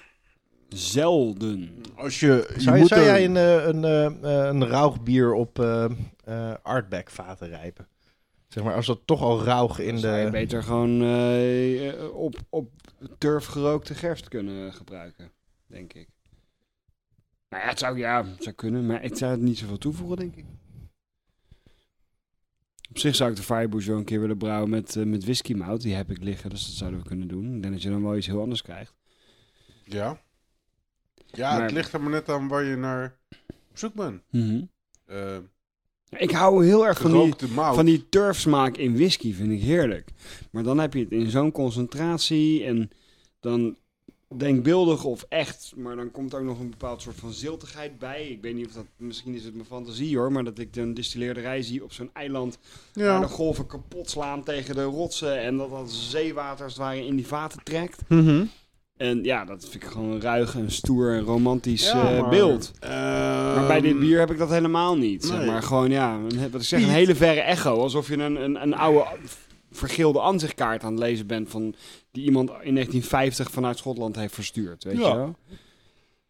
[SPEAKER 3] Zelden.
[SPEAKER 4] Als je, je
[SPEAKER 2] Zou, je,
[SPEAKER 4] moet
[SPEAKER 2] zou
[SPEAKER 4] er-
[SPEAKER 2] jij een, eh, een, eh, eh, een rauw bier op eh eh, artback vaten rijpen? Zeg maar, als dat toch al rauw in
[SPEAKER 3] Dan zou je
[SPEAKER 2] de...
[SPEAKER 3] beter gewoon eh, eh, op, op turf gerookte gerst kunnen gebruiken, denk ik. Nou ja, het zou, ja, het zou kunnen, maar ik zou het niet zoveel toevoegen, denk ik. Op zich zou ik de Firebush wel een keer willen brouwen met, eh, met whiskymout. Die heb ik liggen, dus dat zouden we kunnen doen. Ik denk dat je dan wel iets heel anders krijgt.
[SPEAKER 4] Ja. Ja,
[SPEAKER 3] Maar-
[SPEAKER 4] het ligt er maar net aan waar je naar op zoek bent. Eh
[SPEAKER 3] Ik hou heel erg van die,
[SPEAKER 4] gerookte mout.
[SPEAKER 3] van die turfsmaak in whisky, vind ik heerlijk. Maar dan heb je het in zo'n concentratie en dan denkbeeldig of echt, maar dan komt ook nog een bepaald soort van ziltigheid bij. Ik weet niet of dat, misschien is het mijn fantasie hoor, maar dat ik een distilleerderij zie op zo'n eiland waar de
[SPEAKER 4] ja.
[SPEAKER 3] golven kapot slaan tegen de rotsen en dat dat zeewater als het ware in die vaten trekt.
[SPEAKER 4] Mhm.
[SPEAKER 3] En ja, dat vind ik gewoon een ruig en stoer en romantisch
[SPEAKER 4] Ja,
[SPEAKER 3] eh,
[SPEAKER 4] maar-
[SPEAKER 3] beeld. Maar bij dit
[SPEAKER 4] Ehm,
[SPEAKER 3] bier heb ik dat helemaal niet. Zeg
[SPEAKER 4] nee.
[SPEAKER 3] maar gewoon, ja, een, wat ik zeg, een hele verre echo. Alsof je een, een, een oude vergilde aanzichtkaart aan het lezen bent van die iemand in 1950 vanuit Schotland heeft verstuurd, weet
[SPEAKER 4] Ja.
[SPEAKER 3] je wel?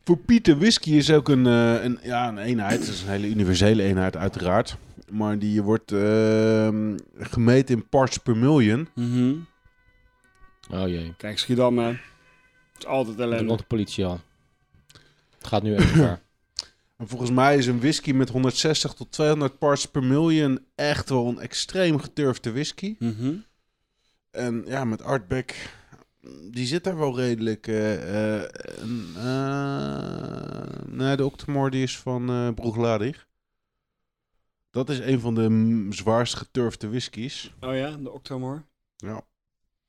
[SPEAKER 4] Voor Pieter, whisky is ook een, eh, een, ja, een eenheid. Het is een hele universele eenheid uiteraard. Maar die wordt ehm, gemeten in parts per million.
[SPEAKER 3] Mhm.
[SPEAKER 1] Oh jee.
[SPEAKER 3] Kijk, Schiedam, hè. Het is altijd
[SPEAKER 1] De
[SPEAKER 3] ellende.
[SPEAKER 1] rotte politie al. Het gaat nu echt ver.
[SPEAKER 4] En volgens mij is een whisky met 160 tot 200 parts per million echt wel een extreem geturfde whisky.
[SPEAKER 3] Mhm.
[SPEAKER 4] En ja, met Artback, die zit daar wel redelijk. eh, eh, en, eh, nee, de Octomore die is van eh Broegladig. Dat is een van de mm, zwaarst geturfde whiskies.
[SPEAKER 3] Oh ja, de Octomore.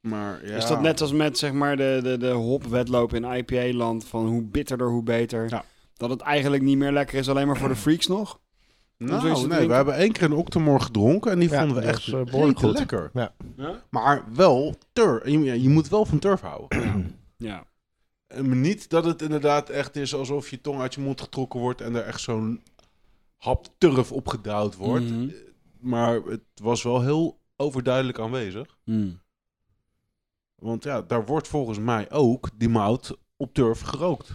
[SPEAKER 4] Maar ja,
[SPEAKER 3] Is dat net als met zeg maar de, de, de hopwedloop in IPA-land van hoe bitterder, hoe beter?
[SPEAKER 4] Ja.
[SPEAKER 3] Dat het eigenlijk niet meer lekker is, alleen maar voor de freaks nog? Om zoiets
[SPEAKER 4] Nou,
[SPEAKER 3] te
[SPEAKER 4] nee, we
[SPEAKER 3] drinken?
[SPEAKER 4] hebben één keer een Octomore gedronken en die
[SPEAKER 2] Ja,
[SPEAKER 4] vonden we
[SPEAKER 2] dat
[SPEAKER 4] echt
[SPEAKER 2] is, eh,
[SPEAKER 4] behoorlijk
[SPEAKER 2] behoorlijk goed.
[SPEAKER 4] lekker.
[SPEAKER 2] Ja.
[SPEAKER 3] Ja.
[SPEAKER 4] Maar wel turf. Je, ja, je moet wel van turf houden.
[SPEAKER 3] Ja.
[SPEAKER 4] En Eh, niet dat het inderdaad echt is alsof je tong uit je mond getrokken wordt en er echt zo'n hap turf opgedouwd wordt.
[SPEAKER 2] Mm.
[SPEAKER 3] Mhm.
[SPEAKER 4] Eh, Maar het was wel heel overduidelijk aanwezig.
[SPEAKER 3] Mhm.
[SPEAKER 4] Want ja, daar wordt volgens mij ook die mout op turf gerookt.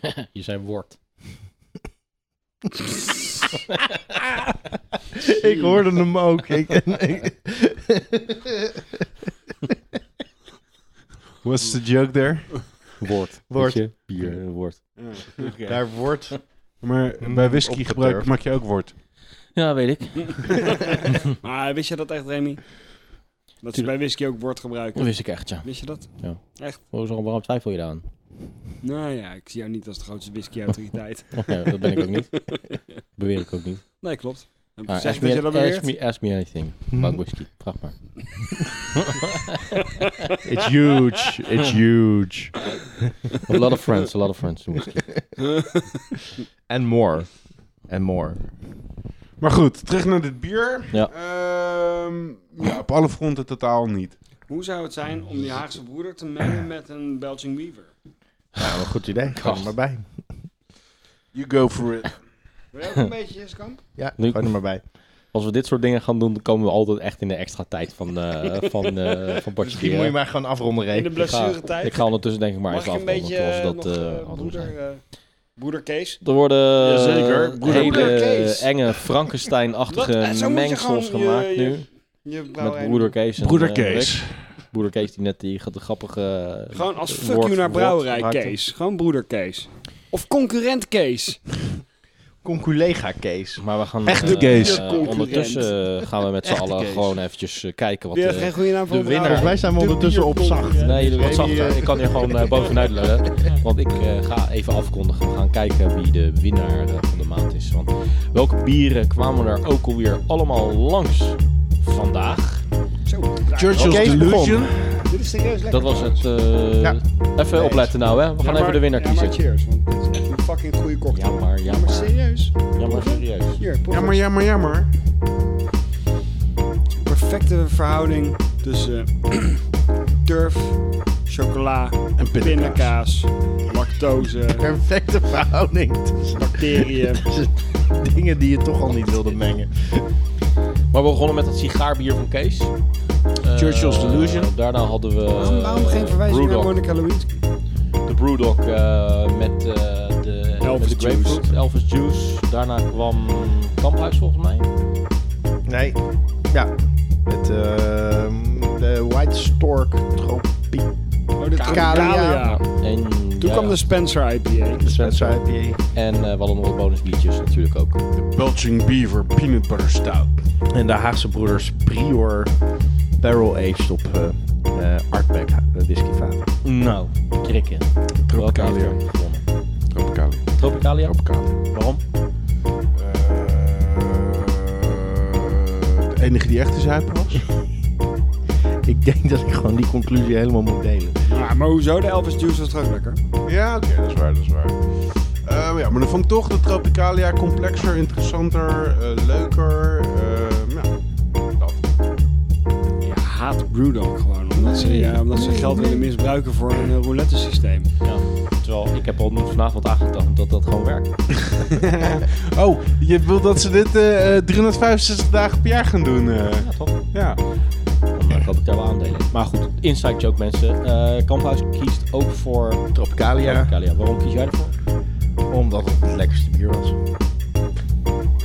[SPEAKER 1] Je zei woord.
[SPEAKER 2] ik hoorde hem ook. Ik, ik-
[SPEAKER 4] What's the joke there?
[SPEAKER 7] Woord.
[SPEAKER 2] Woord.
[SPEAKER 7] Weet je? Bier, eh, woord.
[SPEAKER 2] Daar wordt...
[SPEAKER 4] Maar
[SPEAKER 2] Mm,
[SPEAKER 4] bij
[SPEAKER 2] op
[SPEAKER 4] whisky
[SPEAKER 2] de
[SPEAKER 4] gebruik
[SPEAKER 2] turf.
[SPEAKER 4] maak je ook woord.
[SPEAKER 1] Ja, weet ik.
[SPEAKER 3] maar wist je dat echt, Remy? Dat ze bij whisky ook woord
[SPEAKER 1] Dat
[SPEAKER 3] gebruiken.
[SPEAKER 1] wist ik echt, ja.
[SPEAKER 3] Wist je dat?
[SPEAKER 1] Hoezo, waarom twijfel je daaraan?
[SPEAKER 3] Nou ja, ik zie jou niet als de grootste whiskyautoriteit.
[SPEAKER 1] Nee, dat ben ik ook niet. Beweer ik ook niet.
[SPEAKER 3] nee, klopt. Heb ik
[SPEAKER 1] Maar
[SPEAKER 3] gezegd
[SPEAKER 1] ask,
[SPEAKER 3] dat je
[SPEAKER 1] me,
[SPEAKER 3] dat
[SPEAKER 1] ask,
[SPEAKER 3] beweert?
[SPEAKER 1] me, ask me anything
[SPEAKER 2] Hm.
[SPEAKER 1] about whisky. Vraag maar.
[SPEAKER 2] It's huge. It's huge.
[SPEAKER 1] A lot of friends, a lot of friends doen whisky.
[SPEAKER 2] And more. And more.
[SPEAKER 4] Maar goed, terug naar dit bier.
[SPEAKER 1] Ja.
[SPEAKER 4] Ehm, ja, op alle fronten totaal niet.
[SPEAKER 3] Hoe zou het zijn om die Haagse broeder te mengen met een Belching Weaver?
[SPEAKER 2] Nou, een goed idee. Ga er maar bij.
[SPEAKER 4] You go for it.
[SPEAKER 3] Wil je ook een beetje, Jeskamp?
[SPEAKER 2] Ja,
[SPEAKER 1] Nu-
[SPEAKER 2] gooi er maar bij.
[SPEAKER 1] Als we dit soort dingen gaan doen, dan komen we altijd echt in de extra tijd van, eh van, eh van Bartje
[SPEAKER 2] Misschien moet je
[SPEAKER 1] Bier.
[SPEAKER 2] maar gewoon afronden, Ray.
[SPEAKER 3] In de
[SPEAKER 1] Ik ga,
[SPEAKER 3] blessuretijd?
[SPEAKER 1] ik ga ondertussen denk ik maar
[SPEAKER 3] Mag
[SPEAKER 1] eens
[SPEAKER 3] ik een
[SPEAKER 1] afronden.
[SPEAKER 3] beetje
[SPEAKER 1] Zoals
[SPEAKER 3] eh,
[SPEAKER 1] dat
[SPEAKER 3] nog,
[SPEAKER 1] eh,
[SPEAKER 3] eh,
[SPEAKER 1] hadden we
[SPEAKER 3] broeder,
[SPEAKER 1] gezegd.
[SPEAKER 3] eh, broeder Kees?
[SPEAKER 1] Er worden eh,
[SPEAKER 3] Jazeker, broeder-
[SPEAKER 1] hele
[SPEAKER 3] Broeder Kees.
[SPEAKER 1] enge
[SPEAKER 3] Dat- eh,
[SPEAKER 1] Frankenstein-achtige
[SPEAKER 3] zo moet je
[SPEAKER 1] mengsels
[SPEAKER 3] gewoon je-
[SPEAKER 1] gemaakt
[SPEAKER 3] je- nou,
[SPEAKER 1] nu.
[SPEAKER 3] Je
[SPEAKER 1] Met
[SPEAKER 3] brouwerij
[SPEAKER 1] broeder Kees. en,
[SPEAKER 4] Broeder
[SPEAKER 1] eh,
[SPEAKER 4] Kees.
[SPEAKER 1] Rick. broeder Kees die net die de grappige...
[SPEAKER 3] Gewoon als fuck
[SPEAKER 1] woord-
[SPEAKER 3] you naar brouwerij
[SPEAKER 1] woord raakte.
[SPEAKER 3] Kees. Gewoon broeder Kees. Of concurrent Kees.
[SPEAKER 2] Conculega Kees.
[SPEAKER 1] Maar we gaan
[SPEAKER 4] Echte
[SPEAKER 1] eh,
[SPEAKER 4] Kees.
[SPEAKER 1] eh,
[SPEAKER 3] Concurrent.
[SPEAKER 1] ondertussen eh, gaan we met z'n
[SPEAKER 2] Echte
[SPEAKER 1] allen
[SPEAKER 2] Kees.
[SPEAKER 1] gewoon eventjes eh, kijken wat
[SPEAKER 3] Die
[SPEAKER 1] de...
[SPEAKER 3] heeft geen goede naam voor
[SPEAKER 1] de
[SPEAKER 3] een
[SPEAKER 1] winnaar.
[SPEAKER 2] Volgens mij
[SPEAKER 3] brouwerij.
[SPEAKER 2] zijn we ondertussen op zacht.
[SPEAKER 1] Nee, doe wat
[SPEAKER 2] Jamie,
[SPEAKER 1] zachter.
[SPEAKER 2] eh,
[SPEAKER 1] Ik kan hier gewoon eh, bovenuit lullen. Want ik eh, ga even afkondigen. We gaan kijken wie de winnaar eh, van de maand is. Want welke bieren kwamen er ook alweer allemaal langs vandaag?
[SPEAKER 3] Zo,
[SPEAKER 4] Churchill's
[SPEAKER 2] Oké, begon.
[SPEAKER 4] Delusion.
[SPEAKER 3] dit is serieus lekker.
[SPEAKER 1] Dat was het. eh,
[SPEAKER 2] Ja.
[SPEAKER 1] Even opletten nou, hè. We gaan
[SPEAKER 3] Ja,
[SPEAKER 1] even de winnaar
[SPEAKER 3] ja, maar
[SPEAKER 1] kiezen.
[SPEAKER 3] cheers, want dit is echt een fucking goede cocktail.
[SPEAKER 1] Ja, maar, ja,
[SPEAKER 3] Ja, maar
[SPEAKER 1] maar.
[SPEAKER 3] serieus.
[SPEAKER 1] Ja, maar serieus.
[SPEAKER 3] Hier, proef
[SPEAKER 4] Jammer,
[SPEAKER 3] het.
[SPEAKER 4] jammer, jammer.
[SPEAKER 3] perfecte verhouding tussen eh, turf, chocola,
[SPEAKER 4] En pindakaas.
[SPEAKER 3] pindakaas, lactose,
[SPEAKER 2] Perfecte verhouding tussen
[SPEAKER 3] bacteriën.
[SPEAKER 2] dingen die je toch al niet wilde mengen.
[SPEAKER 1] Maar we begonnen met dat sigaarbier van Kees.
[SPEAKER 4] Churchill's
[SPEAKER 1] Eh,
[SPEAKER 4] Delusion.
[SPEAKER 1] Daarna hadden we... eh,
[SPEAKER 3] Waarom, waarom geen verwijzing naar
[SPEAKER 1] Brewdog.
[SPEAKER 3] Monica Lewinsky?
[SPEAKER 1] De Brewdog eh, met eh, de,
[SPEAKER 3] Elvis
[SPEAKER 1] met de grapefruit, Elvis Juice. Daarna kwam Kamphuis volgens mij.
[SPEAKER 2] Nee. Ja. Met ehm, de White Stork Tropiek.
[SPEAKER 3] Oh, dit
[SPEAKER 2] Kalia.
[SPEAKER 3] Kalia.
[SPEAKER 1] En,
[SPEAKER 3] Toen
[SPEAKER 1] ja,
[SPEAKER 3] kwam dus- de Spencer IPA.
[SPEAKER 2] Spencer IPA.
[SPEAKER 1] En eh, we hadden nog wat bonusbiertjes natuurlijk ook.
[SPEAKER 4] Belching Beaver Peanut Butter Stout.
[SPEAKER 2] En de Haagse broeders Prior Barrel Aged op eh eh, Artback eh, whiskyvaten.
[SPEAKER 1] Nou, krikken.
[SPEAKER 4] Tropicalia.
[SPEAKER 1] Welke heeft er gewonnen?
[SPEAKER 4] Tropicalia.
[SPEAKER 1] Tropicalia?
[SPEAKER 4] Tropicalia.
[SPEAKER 1] Waarom?
[SPEAKER 4] Eh, de enige die echt is zuipen was.
[SPEAKER 2] Ik denk dat ik gewoon die conclusie helemaal moet delen.
[SPEAKER 3] Ja, maar hoezo? De Elvis Juice was toch ook lekker?
[SPEAKER 4] Ja, oké, dat is waar, dat is waar. Eh, maar ja, maar dan vond ik toch de Tropicalia complexer, interessanter, eh, leuker. eh, ja, dat.
[SPEAKER 3] Je haat Brewdog gewoon, omdat ze, ja, omdat ze geld willen misbruiken voor een eh, roulette systeem.
[SPEAKER 1] Ja, terwijl ik heb al nu vanavond aangedacht dat dat gewoon werkt.
[SPEAKER 4] Oh, je wil dat ze dit eh, eh, 365 dagen per jaar gaan doen? eh.
[SPEAKER 1] Ja, toch?
[SPEAKER 4] ja.
[SPEAKER 1] Dan eh, koop ik daar wel aandelen in. Maar goed, inside joke mensen. Eh Kamphuis kiest ook voor
[SPEAKER 2] Tropicalia.
[SPEAKER 1] Tropicalia. Waarom kies jij ervoor?
[SPEAKER 2] Omdat het het lekkerste bier was.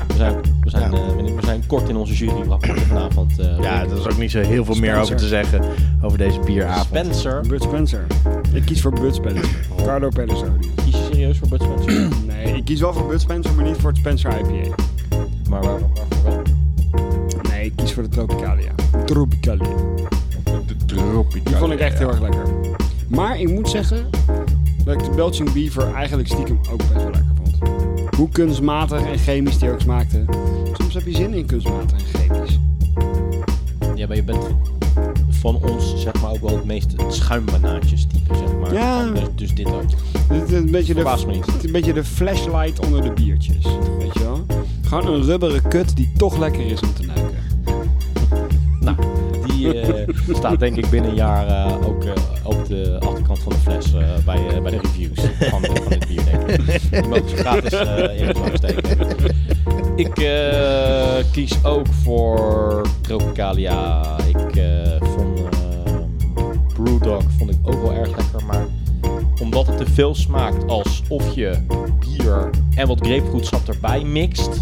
[SPEAKER 1] We zijn, we zijn, eh, we- we zijn kort in onze juryrapporten vanavond. eh,
[SPEAKER 2] Ja,
[SPEAKER 1] Rick.
[SPEAKER 2] er is ook niet zo heel veel meer over te zeggen over deze bieravond.
[SPEAKER 1] Spencer.
[SPEAKER 3] Bud Spencer. Ik kies voor Bud Spencer. Carlo Pellizzoni.
[SPEAKER 1] Kies je serieus voor Bud Spencer?
[SPEAKER 3] Nee, ik kies wel voor Bud Spencer, maar niet voor het Spencer IPA.
[SPEAKER 1] maar waarom? waarom wel?
[SPEAKER 3] Nee, ik kies voor de Tropicalia. Tropicalia.
[SPEAKER 4] De tropicalia.
[SPEAKER 3] Die vond ik echt heel erg lekker. Maar ik moet zeggen dat ik de Belgian Beaver eigenlijk stiekem ook best wel lekker vond. Hoe kunstmatig en chemisch die ook smaakte. Soms heb je zin in kunstmatig en chemisch.
[SPEAKER 1] Ja, maar je bent van ons zeg maar ook wel het meest schuimbanaantjes type, zeg maar.
[SPEAKER 3] Ja.
[SPEAKER 1] Dus, dus dit ook.
[SPEAKER 3] Dit is een beetje de,
[SPEAKER 1] Verbaast me niet.
[SPEAKER 3] het is een beetje de flashlight onder de biertjes. Weet je wel? Gewoon een rubberen kut die toch lekker is om te neuken.
[SPEAKER 1] Nou, die eh, staat denk ik binnen een jaar eh, ook eh, op de achterkant van de fles eh, bij, eh, bij de reviews van, van dit bier, denk ik. Die mogen ze gratis eh, in het zak steken. Ik eh, kies ook voor Tropicalia. Ik eh, vond eh, Brewdog vond ik ook wel erg lekker, maar omdat het te veel smaakt alsof je bier en wat grapefruitsap erbij mixt,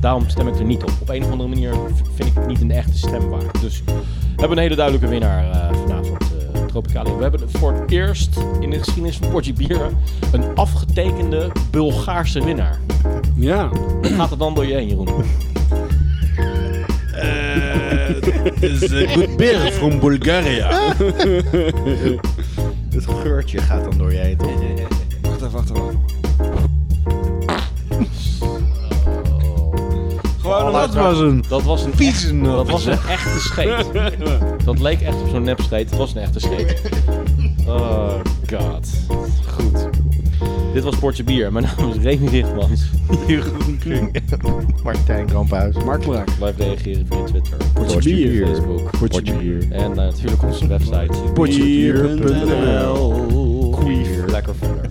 [SPEAKER 1] Daarom stem ik er niet op. Op een of andere manier v- vind ik het niet een echte stem waard. Dus we hebben een hele duidelijke winnaar eh, vanavond, eh Tropicalia. We hebben voor het eerst in de geschiedenis van Portje Bieren een afgetekende Bulgaarse winnaar.
[SPEAKER 3] Ja.
[SPEAKER 1] Wat gaat er dan door je heen, Jeroen?
[SPEAKER 4] is een good beer from Bulgaria.
[SPEAKER 2] Het geurtje gaat dan door je heen, toch?
[SPEAKER 3] Wacht even, wacht even. Gewoon
[SPEAKER 4] Dat was een...
[SPEAKER 1] Dat was een,
[SPEAKER 4] Vieze
[SPEAKER 1] echt- dat
[SPEAKER 4] nat.
[SPEAKER 1] was een echte scheet. Dat leek echt op zo'n nep scheet. Het was een echte scheet. Oh god. Goed. Dit was Portje Bier. Mijn naam is Remy Richtmans.
[SPEAKER 2] Martijn Kamphuis.
[SPEAKER 3] Mark Braak.
[SPEAKER 1] Blijf reageren via Twitter,
[SPEAKER 3] Potje bier.
[SPEAKER 1] Facebook.
[SPEAKER 2] Potje bier.
[SPEAKER 1] En eh, natuurlijk onze website.
[SPEAKER 3] Bier.nl.
[SPEAKER 1] Queef. Lekker verder.